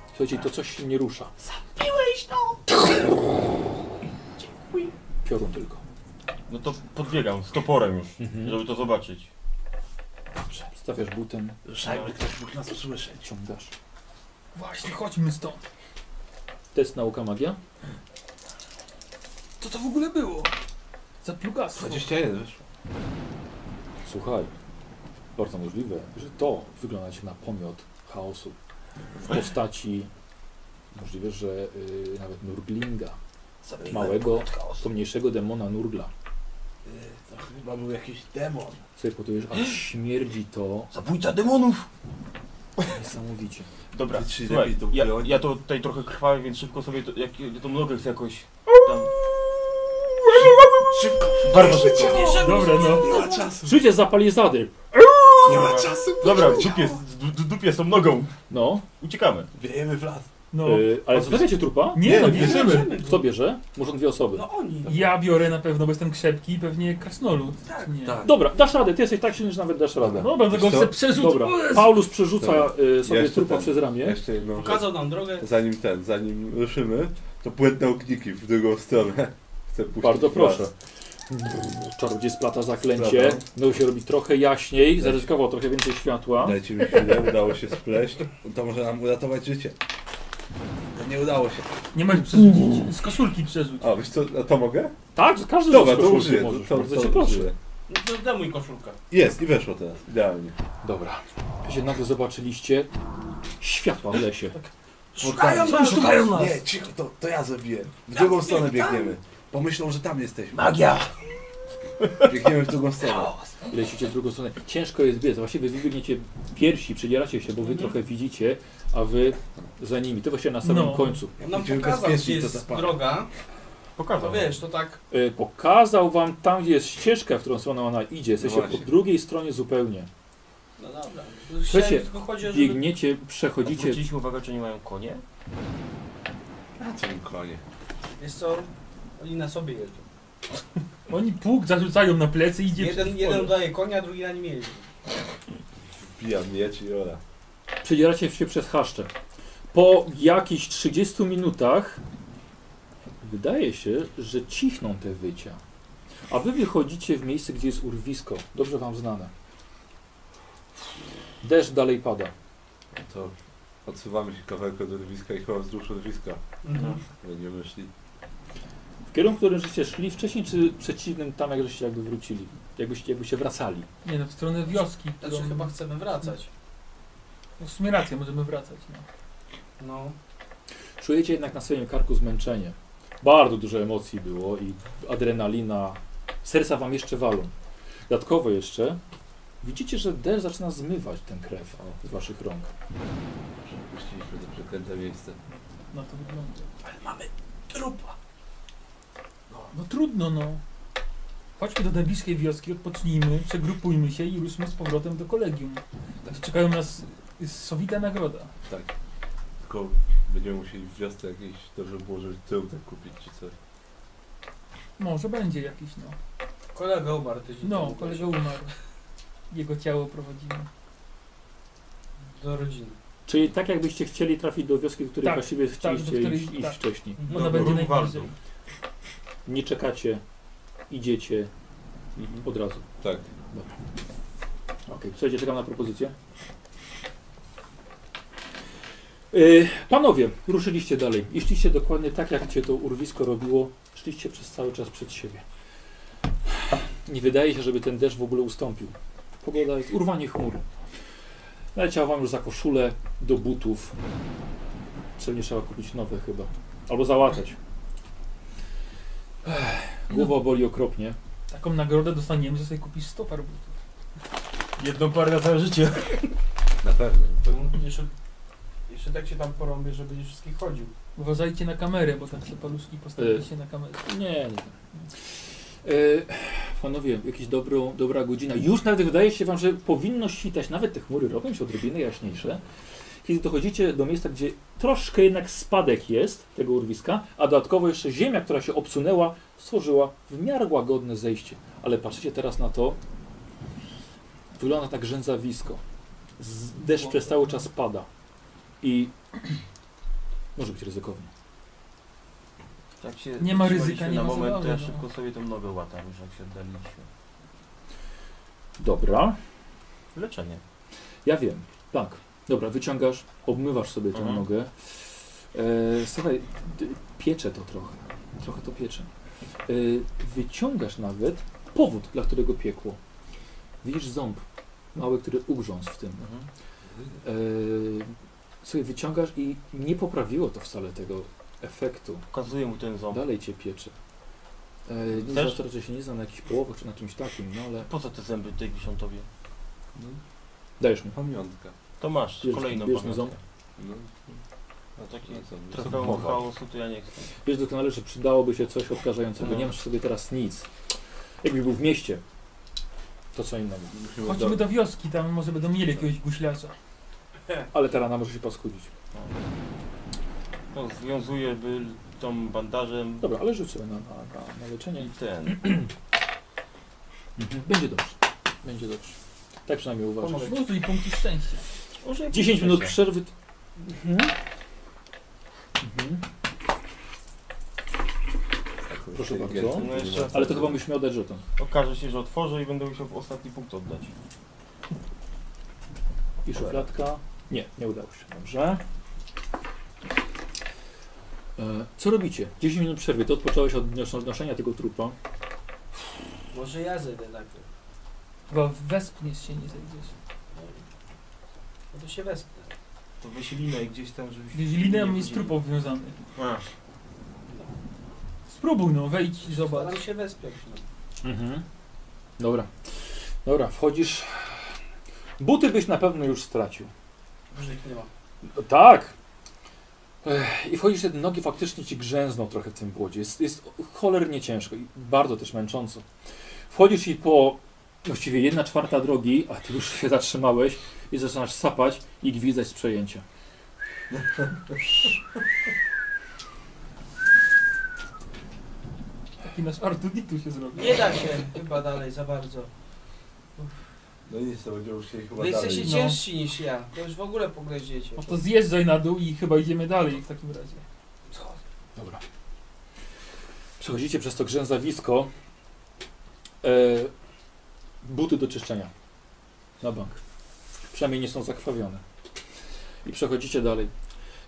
S1: Słuchajcie, to coś się nie rusza. Zabiłeś to! Piorun tylko.
S5: No to podbiegam z toporem już, żeby to zobaczyć.
S1: Stawiasz butem,
S4: Ruszajmy, ktoś mógł nas usłyszeć.
S1: ciągasz.
S3: Właśnie, chodźmy stąd.
S1: Test nauka magia.
S3: Co to w ogóle było? Za plugastwo.
S2: 21 wyszło.
S1: Słuchaj, bardzo możliwe, że to wygląda jak na pomiot chaosu. W postaci możliwe, że y, nawet Nurglinga.
S4: Zabiłem
S1: Małego,
S4: podchaosu.
S1: pomniejszego demona Nurgla.
S4: Y, To chyba był jakiś demon.
S1: Sobie potujesz, a śmierdzi to
S4: Zabójca demonów!
S1: niesamowicie.
S5: Dobra,
S2: Wytrzyj
S5: słuchaj,
S2: lepiej tą
S5: ja,
S2: broń.
S5: ja to tutaj trochę krwawię, więc szybko sobie to, jak, tą nogę chcę jakoś tam...
S2: Szybko.
S5: Bardzo szybko.
S3: Dobra, no.
S2: Nie ma czasu.
S1: Życie za palizady.
S2: Nie ma czasu.
S5: Dobra, w dupie, z- w dupie z tą nogą.
S1: No,
S5: Uciekamy.
S2: Wiejemy w las.
S3: no.
S1: y, ale zostawiacie trupa?
S3: Nie,
S2: nie,
S3: no,
S2: bierzemy.
S3: bierzemy.
S1: Kto bierze? Może dwie osoby.
S4: No oni.
S3: Ja biorę na pewno, bo jestem krzepki i pewnie krasnolud.
S4: Tak,
S3: nie.
S2: tak.
S1: Dobra, dasz radę, ty jesteś tak silny, że nawet dasz radę.
S3: No, będę go
S2: Wiesz co?
S3: chcę przerzucić.
S1: Dobra, Paulus przerzuca
S2: Dobra.
S1: y, sobie
S2: Jeszcze
S1: trupa
S2: ten.
S1: przez ramię.
S2: Jeszcze jedną rzecz.
S4: Pokazał nam drogę.
S2: Zanim ten, zanim ruszymy, to błędne ogniki w drugą stronę. Chcę puścić
S1: Bardzo
S2: w
S1: proszę.
S2: las.
S1: Czarodziej splata zaklęcie.
S2: Dobra.
S1: No się robi trochę jaśniej, zaryzykował trochę więcej światła.
S2: Dajcie mi chwilę, udało się spleść. To może nam uratować życie. No nie udało się.
S3: Nie możesz przerzucić. Z koszulki przerzuć.
S2: A, wiesz co, a to mogę?
S1: Tak, każdy z
S2: Dobra,
S1: nas
S2: to
S1: koszulki
S2: użyję.
S1: możesz,
S2: To,
S1: bardzo
S2: to,
S1: cię
S2: to
S1: proszę.
S2: użyję.
S4: No to daj mój koszulka.
S2: Jest i weszło teraz, idealnie.
S1: Dobra. Wy się nagle zobaczyliście światła w lesie.
S2: Szukają
S3: nas, szukają nas.
S2: Nie, cicho, to, to ja zabiję. W drugą stronę biegniemy. Pomyślą, że tam jesteśmy.
S4: Magia!
S2: Biegniemy w drugą stronę.
S1: Lecicie w drugą stronę. Ciężko jest biec. Właściwie wy biegniecie piersi, przedzieracie się, bo wy
S3: Mhm.
S1: trochę widzicie, a wy za nimi. Ty właśnie na samym
S3: No.
S1: końcu.
S4: On nam
S2: Będziemy
S4: pokazał, gdzie
S2: bezpieczni, to
S4: jest
S2: zapach.
S4: droga. To
S5: Pokazał.
S4: wiesz, to tak...
S1: E, pokazał wam tam, gdzie jest ścieżka, w którą stronę ona idzie. Jesteście po
S2: właśnie.
S1: drugiej stronie zupełnie.
S4: No dobra.
S1: Słuchajcie,
S4: Chciałem, tylko chodzi o, żeby...
S1: Biegniecie, przechodzicie.
S5: Zwróciliśmy uwagę, czy nie mają konie?
S2: Na tym konie.
S4: Wiesz co, oni na sobie jeżdżą.
S3: Oni pług zarzucają na plecy i idzie
S4: Jeden,
S3: przez
S4: jeden
S3: pole.
S4: daje konia, drugi na nim jeździ.
S2: Wbijam miecz i ora.
S1: Przedzieracie się przez haszcze. Po jakichś 30 minutach wydaje się, że cichną te wycia. A wy wychodzicie w miejsce, gdzie jest urwisko. Dobrze wam znane. Deszcz dalej pada.
S2: No to odsuwamy się kawałek od urwiska i chyba wzdłuż urwiska
S4: Mhm.
S2: będziemy szli.
S1: W kierunku, w którym żeście szli wcześniej, czy przeciwnym tam, jak żeście jakby wrócili? Jakbyście, jakby się wracali.
S3: Nie no, w stronę wioski.
S4: Znaczy
S3: którą-
S4: chyba chcemy wracać.
S3: No, w sumie rację, możemy wracać. No.
S4: No.
S1: Czujecie jednak na swoim karku zmęczenie. Bardzo dużo emocji było i adrenalina. Serca wam jeszcze walą. Dodatkowo jeszcze widzicie, że deszcz zaczyna zmywać ten krew z waszych rąk.
S2: Że Opuściliśmy to przeklęte miejsce.
S3: Na to wygląda.
S4: Trupa.
S3: No trudno, no. Chodźmy do najbliższej wioski, odpocznijmy, przegrupujmy się i ruszmy z powrotem do kolegium.
S2: Tak.
S3: Czekają nas y, sowita nagroda.
S2: Tylko będziemy musieli w wiosce jakiejś dobrze było, żeby tył tak kupić czy coś.
S3: Może będzie jakiś, no.
S4: Kolega umarł tydzień
S3: No,
S4: temu,
S3: kolega umarł. Jego ciało prowadzimy.
S4: Do rodziny.
S1: Czyli tak jakbyście chcieli trafić do wioski, do której
S3: Tak,
S1: właściwie chcieliście
S3: do której-
S1: iść, iść
S3: tak.
S1: wcześniej.
S3: Ona
S5: No,
S3: będzie
S5: ruch
S3: najbliżej.
S5: walką.
S1: Nie czekacie, idziecie od razu.
S2: Tak.
S1: Okej, słuchajcie, czekam na propozycję. Yy, Panowie, ruszyliście dalej. Jeśliście dokładnie tak, jak cię to urwisko robiło. Szliście przez cały czas przed siebie. Nie wydaje się, żeby ten deszcz w ogóle ustąpił. Pogoda jest urwanie chmur. Leciał wam już za koszulę, do butów. Celnie trzeba kupić nowe chyba. Albo załatać. Ech, Głowa boli okropnie.
S3: Taką nagrodę dostaniemy, że sobie kupisz 100 par butów.
S5: Jedną parę na całe życie.
S2: Na pewno. na pewno.
S4: No, jeszcze, jeszcze tak się tam porąbię, że będziesz wszystkich chodził.
S3: Uważajcie na kamerę, bo tam się paluszki
S1: Y.
S3: postawili się na kamerę.
S1: Nie, nie. E, panowie, jakaś dobro, dobra godzina. Już nawet wydaje się wam, że powinno świtać. Nawet te chmury robią się odrobinę jaśniejsze. Kiedy dochodzicie do miejsca, gdzie troszkę jednak spadek jest tego urwiska, a dodatkowo jeszcze ziemia, która się obsunęła, stworzyła w miarę łagodne zejście. Ale patrzycie teraz na to, wygląda tak rzęzawisko. Z- Deszcz przez cały czas pada i może być ryzykownie.
S5: Tak
S6: Jak się
S3: Nie ma
S6: zatrzymaliśmy
S3: ryzyka, nie
S6: na
S3: ma
S6: moment, to ja
S3: zabawy, no.
S6: szybko sobie tą nogę łatam, już jak się oddaliliśmy.
S1: Dobra.
S6: Leczenie.
S1: Ja wiem, tak. Dobra, wyciągasz, obmywasz sobie tę
S6: Mhm.
S1: nogę. E, słuchaj, d- piecze to trochę. Trochę to piecze. E, wyciągasz nawet powód, dla którego piekło. Widzisz ząb mały, który ugrzązł w tym.
S6: Mhm.
S1: E, słuchaj, wyciągasz i nie poprawiło to wcale tego efektu.
S5: Pokazuję mu ten ząb.
S1: Dalej cię piecze. E, nie
S5: Też?
S1: za to, że się nie znam na jakichś połowach czy na czymś takim, no ale
S5: Po co te zęby tej wiszą tobie?
S2: No,
S1: dajesz mu.
S2: pamiątka.
S5: To masz,
S1: Bierz-
S5: kolejną
S1: bierz mi
S5: pamiątkę.
S1: ząb.
S2: No,
S5: No taki
S2: no co,
S5: trofeum chaosu no to ja nie chcę.
S1: Wiesz doskonale, że przydałoby się coś odkażającego.
S5: No.
S1: Nie masz sobie teraz nic. Jakbyś był w mieście, to co innego.
S2: Musimy
S3: Chodźmy
S2: do-
S3: do wioski, tam może będą mieli jakiegoś guślarza.
S1: Ale ta rana może się paskudzić.
S5: No, związuję by tą bandażem
S1: Dobra, ale rzuć sobie na, na, na, na leczenie.
S5: i ten.
S1: Będzie dobrze. Będzie dobrze. Tak przynajmniej uważasz.
S3: Użyj punktu szczęścia.
S5: Użyję
S1: 10
S5: punktu
S1: minut
S5: szczęścia.
S1: przerwy. t- Mhm. Mhm.
S2: Taką
S1: Proszę bardzo.
S2: inteligentną
S5: No jeszcze-
S1: Ale to chyba musimy oddać żeton.
S5: Okaże się, że otworzę i będę musiał ostatni punkt oddać.
S1: I szufladka. Nie, nie udało się. Dobrze. E, Co robicie? 10 minut przerwy. To odpocząłeś od nios- noszenia tego trupa.
S4: Może ja zejdę najpierw.
S3: Chyba wespniesz się, nie zejdziesz.
S4: No to się wespnę.
S5: To wysilinę gdzieś tam, żebyś...
S3: Linem jest trup obwiązany.
S5: A,
S3: Spróbuj no, wejdź i zobacz.
S4: Staram się wespnąć. No.
S1: Mhm. Dobra. Dobra, wchodzisz. Buty byś na pewno już stracił.
S4: Dobrze, ich nie ma.
S1: No Tak. Ech, I wchodzisz, te nogi faktycznie ci grzęzną trochę w tym błodzie. Jest, jest cholernie ciężko i bardzo też męcząco. Wchodzisz i po właściwie jedna czwarta drogi, a ty już się zatrzymałeś i zaczynasz sapać i gwizdać z przejęcia.
S3: Taki nasz Artuditu się zrobił.
S4: Nie da się chyba dalej za bardzo.
S2: No i nic, to będziemy musieli chyba
S4: Wy jesteście
S2: dalej.
S3: No.
S4: ciężsi niż ja. To już w ogóle pogryziecie.
S3: No to zjeżdżaj na dół i chyba idziemy dalej w takim razie.
S1: Dobra. Przechodzicie przez to grzęzawisko. E, buty do czyszczenia. Na bank. Przynajmniej nie są zakrwawione. I przechodzicie dalej.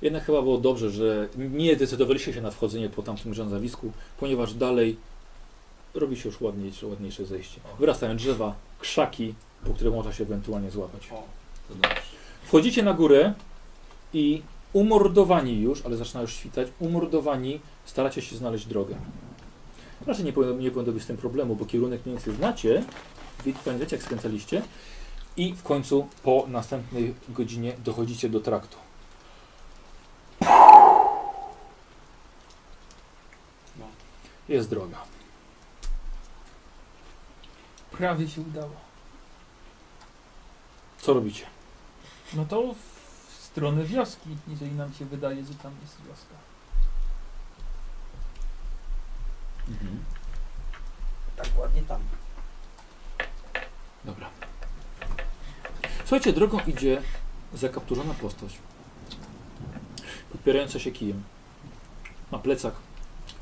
S1: Jednak chyba było dobrze, że nie decydowaliście się na wchodzenie po tamtym grzęzawisku, ponieważ dalej robi się już ładniejsze, ładniejsze zejście. Wyrastają drzewa, krzaki, po których można się ewentualnie złapać.
S2: To znaczy- dobrze.
S1: Wchodzicie na górę i umordowani już, ale zaczyna już świtać, umordowani staracie się znaleźć drogę. Raczej nie powinno, nie powinno być z tym problemu, bo kierunek mniej więcej znacie, wi- pamiętacie jak skręcaliście i w końcu po następnej godzinie dochodzicie do traktu.
S4: No.
S1: Jest droga.
S3: Prawie się udało.
S1: Co robicie?
S3: No to w stronę wioski, jeżeli nam się wydaje, że tam jest wioska.
S4: Tak ładnie tam.
S1: Dobra. Słuchajcie, drogą idzie zakapturzona postać. Podpierająca się kijem. Ma plecak.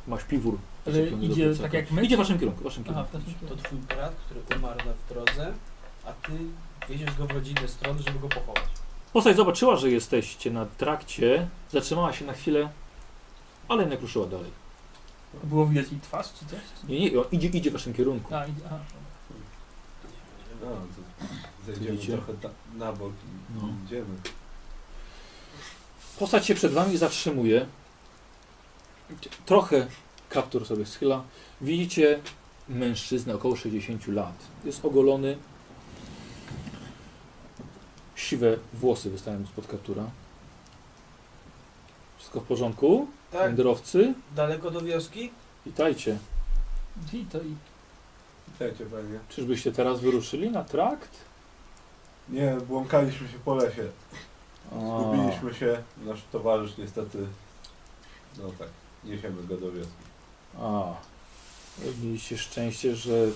S1: Ma śpiwór.
S3: Ale
S1: przyczepiony do
S3: idzie
S1: plecaka.
S3: tak jak my?
S1: Idzie w waszym kierunku. w Waszym
S3: Aha,
S1: kierunku.
S3: w takim
S4: To
S3: kierunku.
S4: twój brat, który umarł w drodze, a ty wiedziesz go w rodzinę stron, żeby go pochować.
S1: Postać zobaczyła, że jesteście na trakcie. Zatrzymała się na chwilę, ale jednak ruszyła dalej.
S3: Było widać jej twarz czy coś? Czy...
S1: Nie, nie, on idzie, idzie w waszym kierunku.
S3: A, idzie, aha.
S2: No, to zejdziemy
S1: Widzicie?
S2: trochę ta, na bok i
S1: No.
S2: idziemy.
S1: Postać się przed wami zatrzymuje. Trochę kaptur sobie schyla. Widzicie mężczyznę około 60 lat. Jest ogolony. Siwe włosy wystają mu spod kaptura. Wszystko w porządku?
S4: Tak,
S1: Wędrowcy?
S4: daleko do wioski?
S1: Witajcie.
S3: Witaj.
S2: Witajcie panie.
S1: Czyżbyście teraz wyruszyli na trakt?
S2: Nie, błąkaliśmy się po lesie.
S1: A,
S2: Zgubiliśmy się. Nasz towarzysz niestety... No tak, niesiemy go do wioski.
S1: A. Mieliście szczęście, że,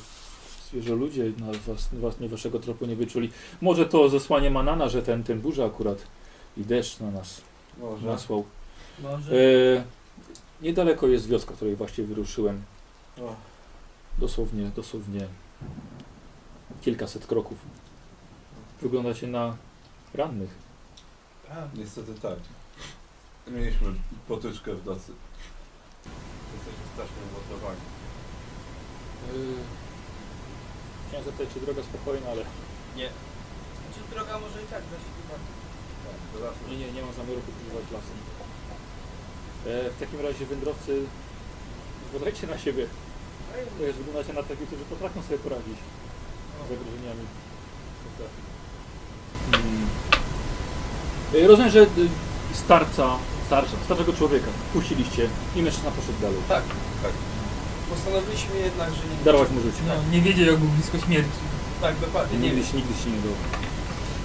S1: że ludzie na was, was, nie waszego tropu nie wyczuli. Może to zesłanie Manana, że ten, ten burza akurat i deszcz na nas
S2: Może.
S1: nasłał.
S4: Może.
S1: E, niedaleko jest wioska, w której właśnie wyruszyłem.
S2: O.
S1: Dosłownie, dosłownie kilkaset kroków. Wyglądacie na rannych.
S4: A,
S2: Niestety tak. Mieliśmy potyczkę w nocy. Jesteśmy strasznie umotowani.
S1: Chciałem zapytać, czy droga spokojna, ale
S4: Znaczy droga może i tak da się chyba.
S1: No nie, nie, nie mam zamiaru podróżować lasem. E, w takim razie wędrowcy, uważajcie na siebie. Też wyglądacie na takich, którzy potrafią sobie poradzić z zagrożeniami. Mm. E, Rozumiem, że y, starca, starsza, starszego człowieka puściliście i mężczyzna poszedł dalej.
S4: Tak. Postanowiliśmy jednak, że nie.
S1: Darować mu życie.
S3: No, nie wiedział jak był blisko śmierci.
S4: Tak, dokładnie.
S1: Nigdy,
S4: Nie wiem.
S1: się- nigdy się nie udało.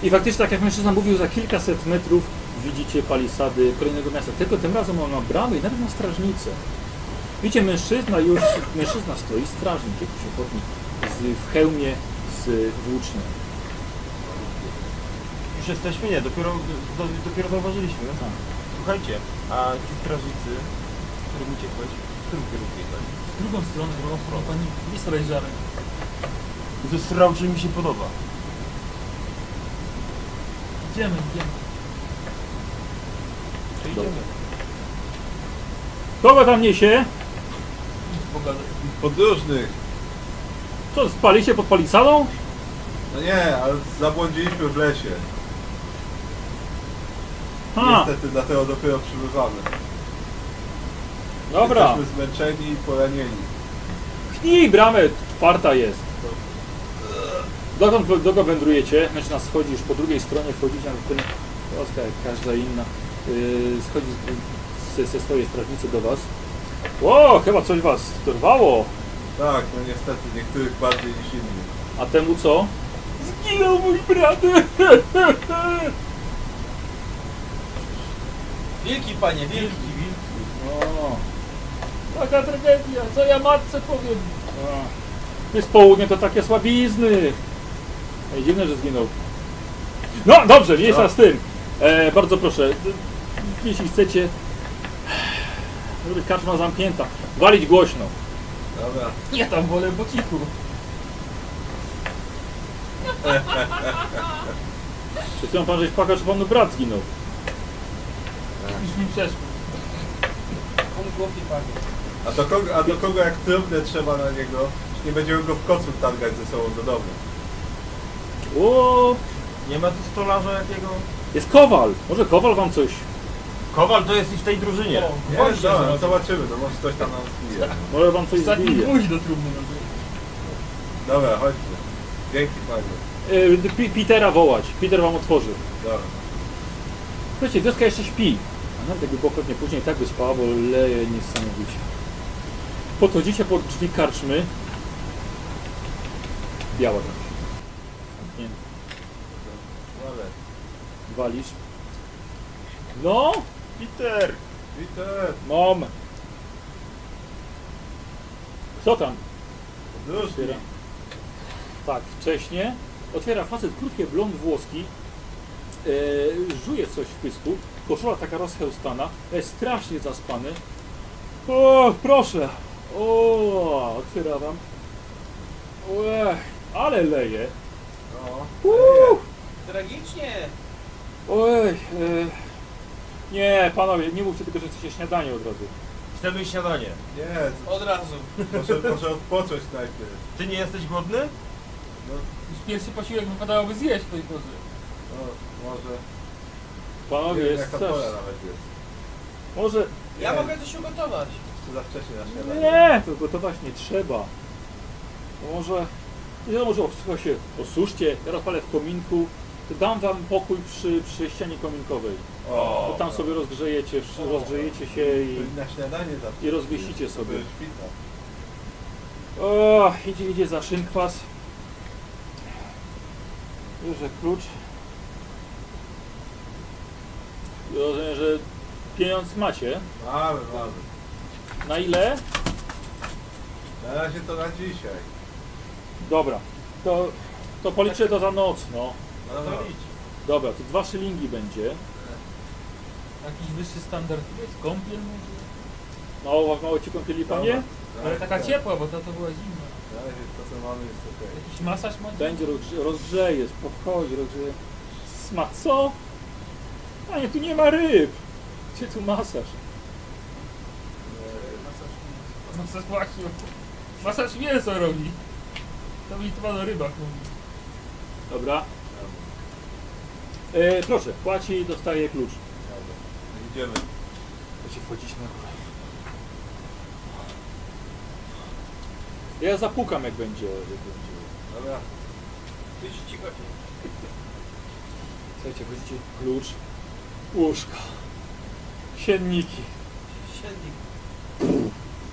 S1: I faktycznie, tak jak mężczyzna mówił, za kilkaset metrów widzicie palisady kolejnego miasta. Tylko tym razem on ma bramę i nawet ma strażnicę. Widzicie, mężczyzna już, mężczyzna stoi, strażnik, jakiś ochotnik, z, w hełmie z włócznią.
S5: Już jesteśmy? Nie, dopiero, do, dopiero zauważyliśmy.
S1: Tak.
S5: Słuchajcie, a ci strażnicy, którym uciekłeś, w którym kierunku jechali?
S3: W drugą stronę, bo o pani Lisrej Żarek.
S5: Ze strał, mi się podoba.
S3: Idziemy, idziemy.
S5: To
S1: Dobra.
S5: idziemy.
S1: Kogo tam niesie?
S3: Pogadaj.
S2: Podróżnych!
S1: Co, spali się pod palisadą?
S2: No nie, ale zabłądziliśmy w lesie.
S1: Ha,
S2: Niestety dlatego dopiero przybywamy.
S1: dobra.
S2: Jesteśmy zmęczeni i poranieni.
S1: Pchnij bramę, czwarta jest.
S2: Dobrze.
S1: Dokąd, dokąd wędrujecie? Mężczyzna schodzi już po drugiej stronie, wchodzicie na ten Polska jak każda inna. Yy, schodzi z- ze, ze swojej strażnicy do was. O, chyba coś was dorwało.
S2: Tak, no niestety, niektórych bardziej niż innych.
S1: A temu co? Zginął mój brat!
S4: Wielki panie, wielki, wielki.
S1: O, taka tragedia, co ja matce powiem? A, jest południe, to takie słabizny. Ej, dziwne, że zginął. No dobrze, mniejsza z tym. E, bardzo proszę, d- jeśli chcecie... Dobry, Karczma zamknięta. Walić głośno.
S2: Dobra.
S3: Ja tam wolę po cichu.
S1: Przed chwilą pan żeś płakał, że panu brat zginął.
S3: Już mi przeszło.
S4: On głupi panie.
S2: A do kogo, a do kogo jak trumnę trzeba na niego? Już nie będziemy go w kocu targać ze sobą do domu.
S1: O,
S5: Nie ma tu stolarza jakiego?
S1: jest kowal. Może kowal wam coś...
S5: Kowal to jest i w tej drużynie.
S2: Nie,
S4: Wojciech
S2: dobra,
S4: zrobił.
S2: zobaczymy, no może ktoś tam nam zbije. no.
S1: Może wam coś
S3: Ostatni
S1: zbije.
S3: gwóźdź do trumny. no.
S2: Dobra, chodźmy. Dzięki panie.
S1: E, P- Petera wołać. Peter wam otworzy.
S2: Dobra.
S1: Słuchajcie, wioska jeszcze śpi. A nawet jakby było pewnie później, tak by spała, bo leje niesamowicie. Podchodzicie pod drzwi karczmy. Biała tam. Nie,
S2: Ale.
S1: walisz. No,
S5: Peter!
S2: Witek,
S1: mam. Co tam?
S2: duszki.
S1: Otwiera. Tak, wcześnie. Otwiera facet krótkie blond włoski. E, żuje coś w pysku. Koszula taka rozchełstana. E, strasznie zaspany. O, proszę. O, otwiera wam. Ue, ale leje.
S2: No.
S1: Uuu.
S4: Tragicznie.
S1: Oj. E, nie, panowie, nie mówcie tylko, że chcecie śniadanie od razu.
S5: Chcemy śniadanie.
S2: Nie,
S4: Od razu.
S2: może, może odpocząć najpierw.
S5: Ty nie jesteś głodny?
S2: No,
S3: Już pierwszy posiłek wypadałoby zjeść, tej Boże.
S2: no może.
S1: Panowie,
S2: Nie wiem,
S1: jest
S2: jaka
S1: też.
S2: pora nawet jest.
S1: Może...
S4: Ja
S2: Nie.
S4: mogę coś ugotować.
S2: Jeszcze za wcześnie na
S1: No
S2: śniadanie.
S1: Nie, to gotować nie trzeba. Może. Nie no, może słuchaj się, osuszcie, ja rozpalę w kominku, to dam wam pokój przy, przy ścianie kominkowej.
S2: O,
S1: To tam
S2: no.
S1: sobie rozgrzejecie, wsz- rozgrzejecie się i.
S2: Na śniadanie zawsze.
S1: i rozwiesicie sobie.
S2: Byłeś fitna.
S1: O, idzie, idzie za szynkwas. Bierze klucz. I Rozumiem, że pieniądz macie.
S2: Mamy, mamy.
S1: Na ile?
S2: Na razie to na dzisiaj.
S1: Dobra. To, to policzę to za noc, no.
S2: No, no.
S1: Dobra, to dwa szylingi będzie.
S3: Jakiś wyższy standard jest, kąpiel może.
S1: Mało, No, mało ci kąpieli panie?
S2: Na
S3: Ale
S2: razie
S3: taka
S2: tak.
S3: ciepła, bo ta to była zimna.
S2: Na razie to co mamy jest okej.
S3: Jakiś masaż ma?
S1: Będzie rozgrze- rozgrzeje, spokojnie, rozgrzeje. Sma co? Panie, tu nie ma ryb. Gdzie tu masaż?
S3: Masaż No właśnie. Masaż mięso robi. To mi to na rybach mówi.
S1: Dobra. E, proszę, płaci i dostaje klucz.
S2: Dobra. Idziemy.
S1: Będzie wchodzić na górę. Ja zapukam jak będzie. Jak będzie.
S2: Dobra.
S4: Być cicho.
S1: Słuchajcie, widzicie klucz, łóżko, sienniki,
S4: Siedli.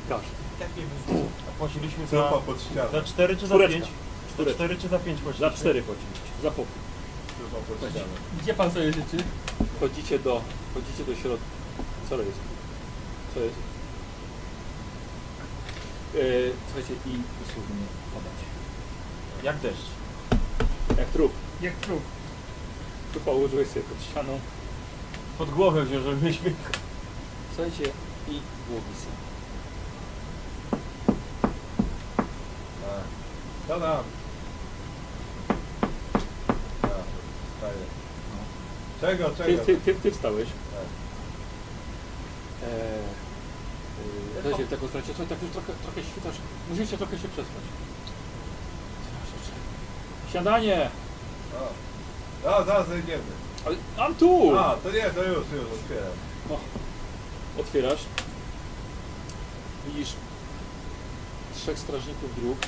S1: każdy.
S4: Tak mnie wyrzucił.
S5: A płaciliśmy za,
S2: Trupa pod ścianą.
S5: No
S1: Znaczy-
S5: za 4 czy za
S1: Czwóreczka.
S5: 5? Za
S1: Czwóreczka.
S5: 4 czy za 5
S1: Za cztery płaci. Za pokój.
S2: Trupa pod ścianą.
S3: Gdzie pan sobie życzy?
S1: Wchodzicie do, wchodzicie do środka. Co jest? Co jest? Yy, słuchajcie, i dosłownie padacie.
S5: Jak deszcz?
S1: Jak trup.
S3: Jak trup.
S1: Tu położyłeś sobie pod ścianą.
S5: Pod głowę wziął, żebyśmy...
S1: Słuchajcie, i głowica.
S2: Tak. Co tam? Tak, wstaję. Czego,
S1: Ty,
S2: czego?
S1: ty, ty, ty wstałeś.
S2: Tak.
S1: Eee, yy, słuchajcie, tak otwarcie. Słuchaj, tak już trochę, trochę świtasz. Musicie trochę się przespać. Siadanie!
S2: O. No, zaraz zejdziemy.
S1: Ale mam tu!
S2: A, to nie, to już, już, otwieram.
S1: Otwierasz. Widzisz trzech strażników dróg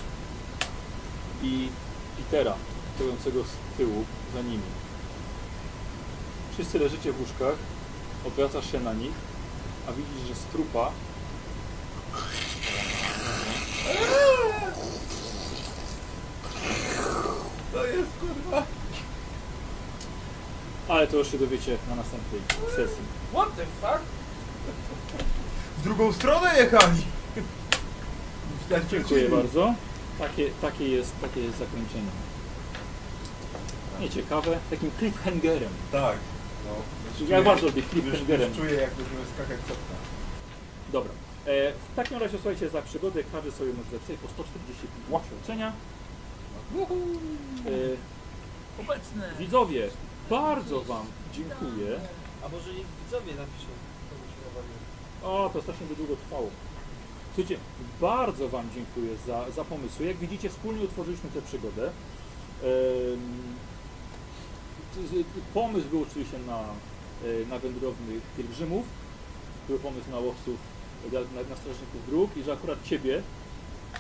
S1: i Petera. stojącego z tyłu za nimi. Wszyscy leżycie w łóżkach, odwracasz się na nich, a widzisz, że z trupa
S2: To jest kurwa.
S1: Ale to już się dowiecie na następnej sesji.
S4: What the fuck?
S2: W drugą stronę jechali! Widać, że
S1: Dziękuję
S2: chcieli.
S1: bardzo. Takie, takie, jest, takie jest zakończenie. Nieciekawe, takim cliffhangerem.
S2: Tak. No, już
S1: Ja
S2: czuję-
S1: bardzo lubię
S2: już,
S1: cliffhangerem.
S2: już czuję, jak będziemy skakać cofna.
S1: Dobra. E, w takim razie słuchajcie, za przygodę każdy sobie może zapisać po 140 punktów doświadczenia.
S3: Obecne.
S1: E, widzowie, bardzo Wam dziękuję.
S4: A może niech widzowie napiszą, co by się obawiają.
S1: O, to strasznie by długo trwało. Słuchajcie, bardzo Wam dziękuję za, za pomysły. Jak widzicie, wspólnie utworzyliśmy tę przygodę. Em, t- z- pomysł był oczywiście na, e, na wędrownych pielgrzymów, był pomysł na łowców, e, na, na strażników dróg i że akurat Ciebie,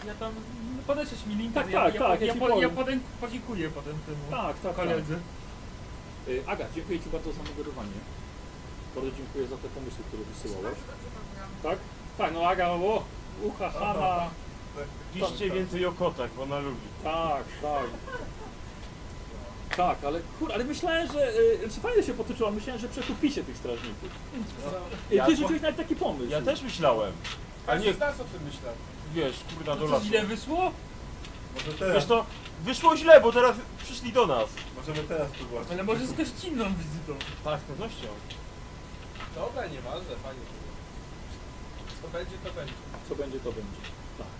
S3: Ja tam, no podajcie mi link.
S1: Tak,
S3: ja,
S1: tak,
S3: ja,
S1: tak, ja
S3: ja, ja,
S1: ci
S3: po-
S1: powiem.
S3: ja potem podziękuję potem temu
S1: tak, tak, tak.
S3: koledze.
S1: E, Aga, dziękuję Ci bardzo za moderowanie. Bardzo dziękuję za te pomysły, które wysyłałeś. Tak? Tak, no Aga, o, ucha, Hanna.
S5: Piszcie więcej o kotach, bo ona lubi.
S1: Tak, tak. Tak, ale kur, ale myślałem, że y, znaczy fajnie się potoczyło, myślałem, że przekupicie tych strażników. Y,
S5: Ja-
S1: Ty rzuciłeś nawet taki pomysł.
S5: Ja też myślałem. A nie,
S2: nas o tym myślał.
S5: wiesz, kurna, do
S3: To co,
S5: lasu.
S3: źle wyszło?
S2: Może
S5: Wiesz
S2: teraz,
S5: to, wyszło źle, bo teraz przyszli do nas.
S2: możemy teraz próbować.
S3: Ale może z gościnną wizytą.
S5: Tak, z pewnością.
S4: Dobra, nieważne, fajnie. Co będzie, to będzie.
S1: Co będzie, to będzie.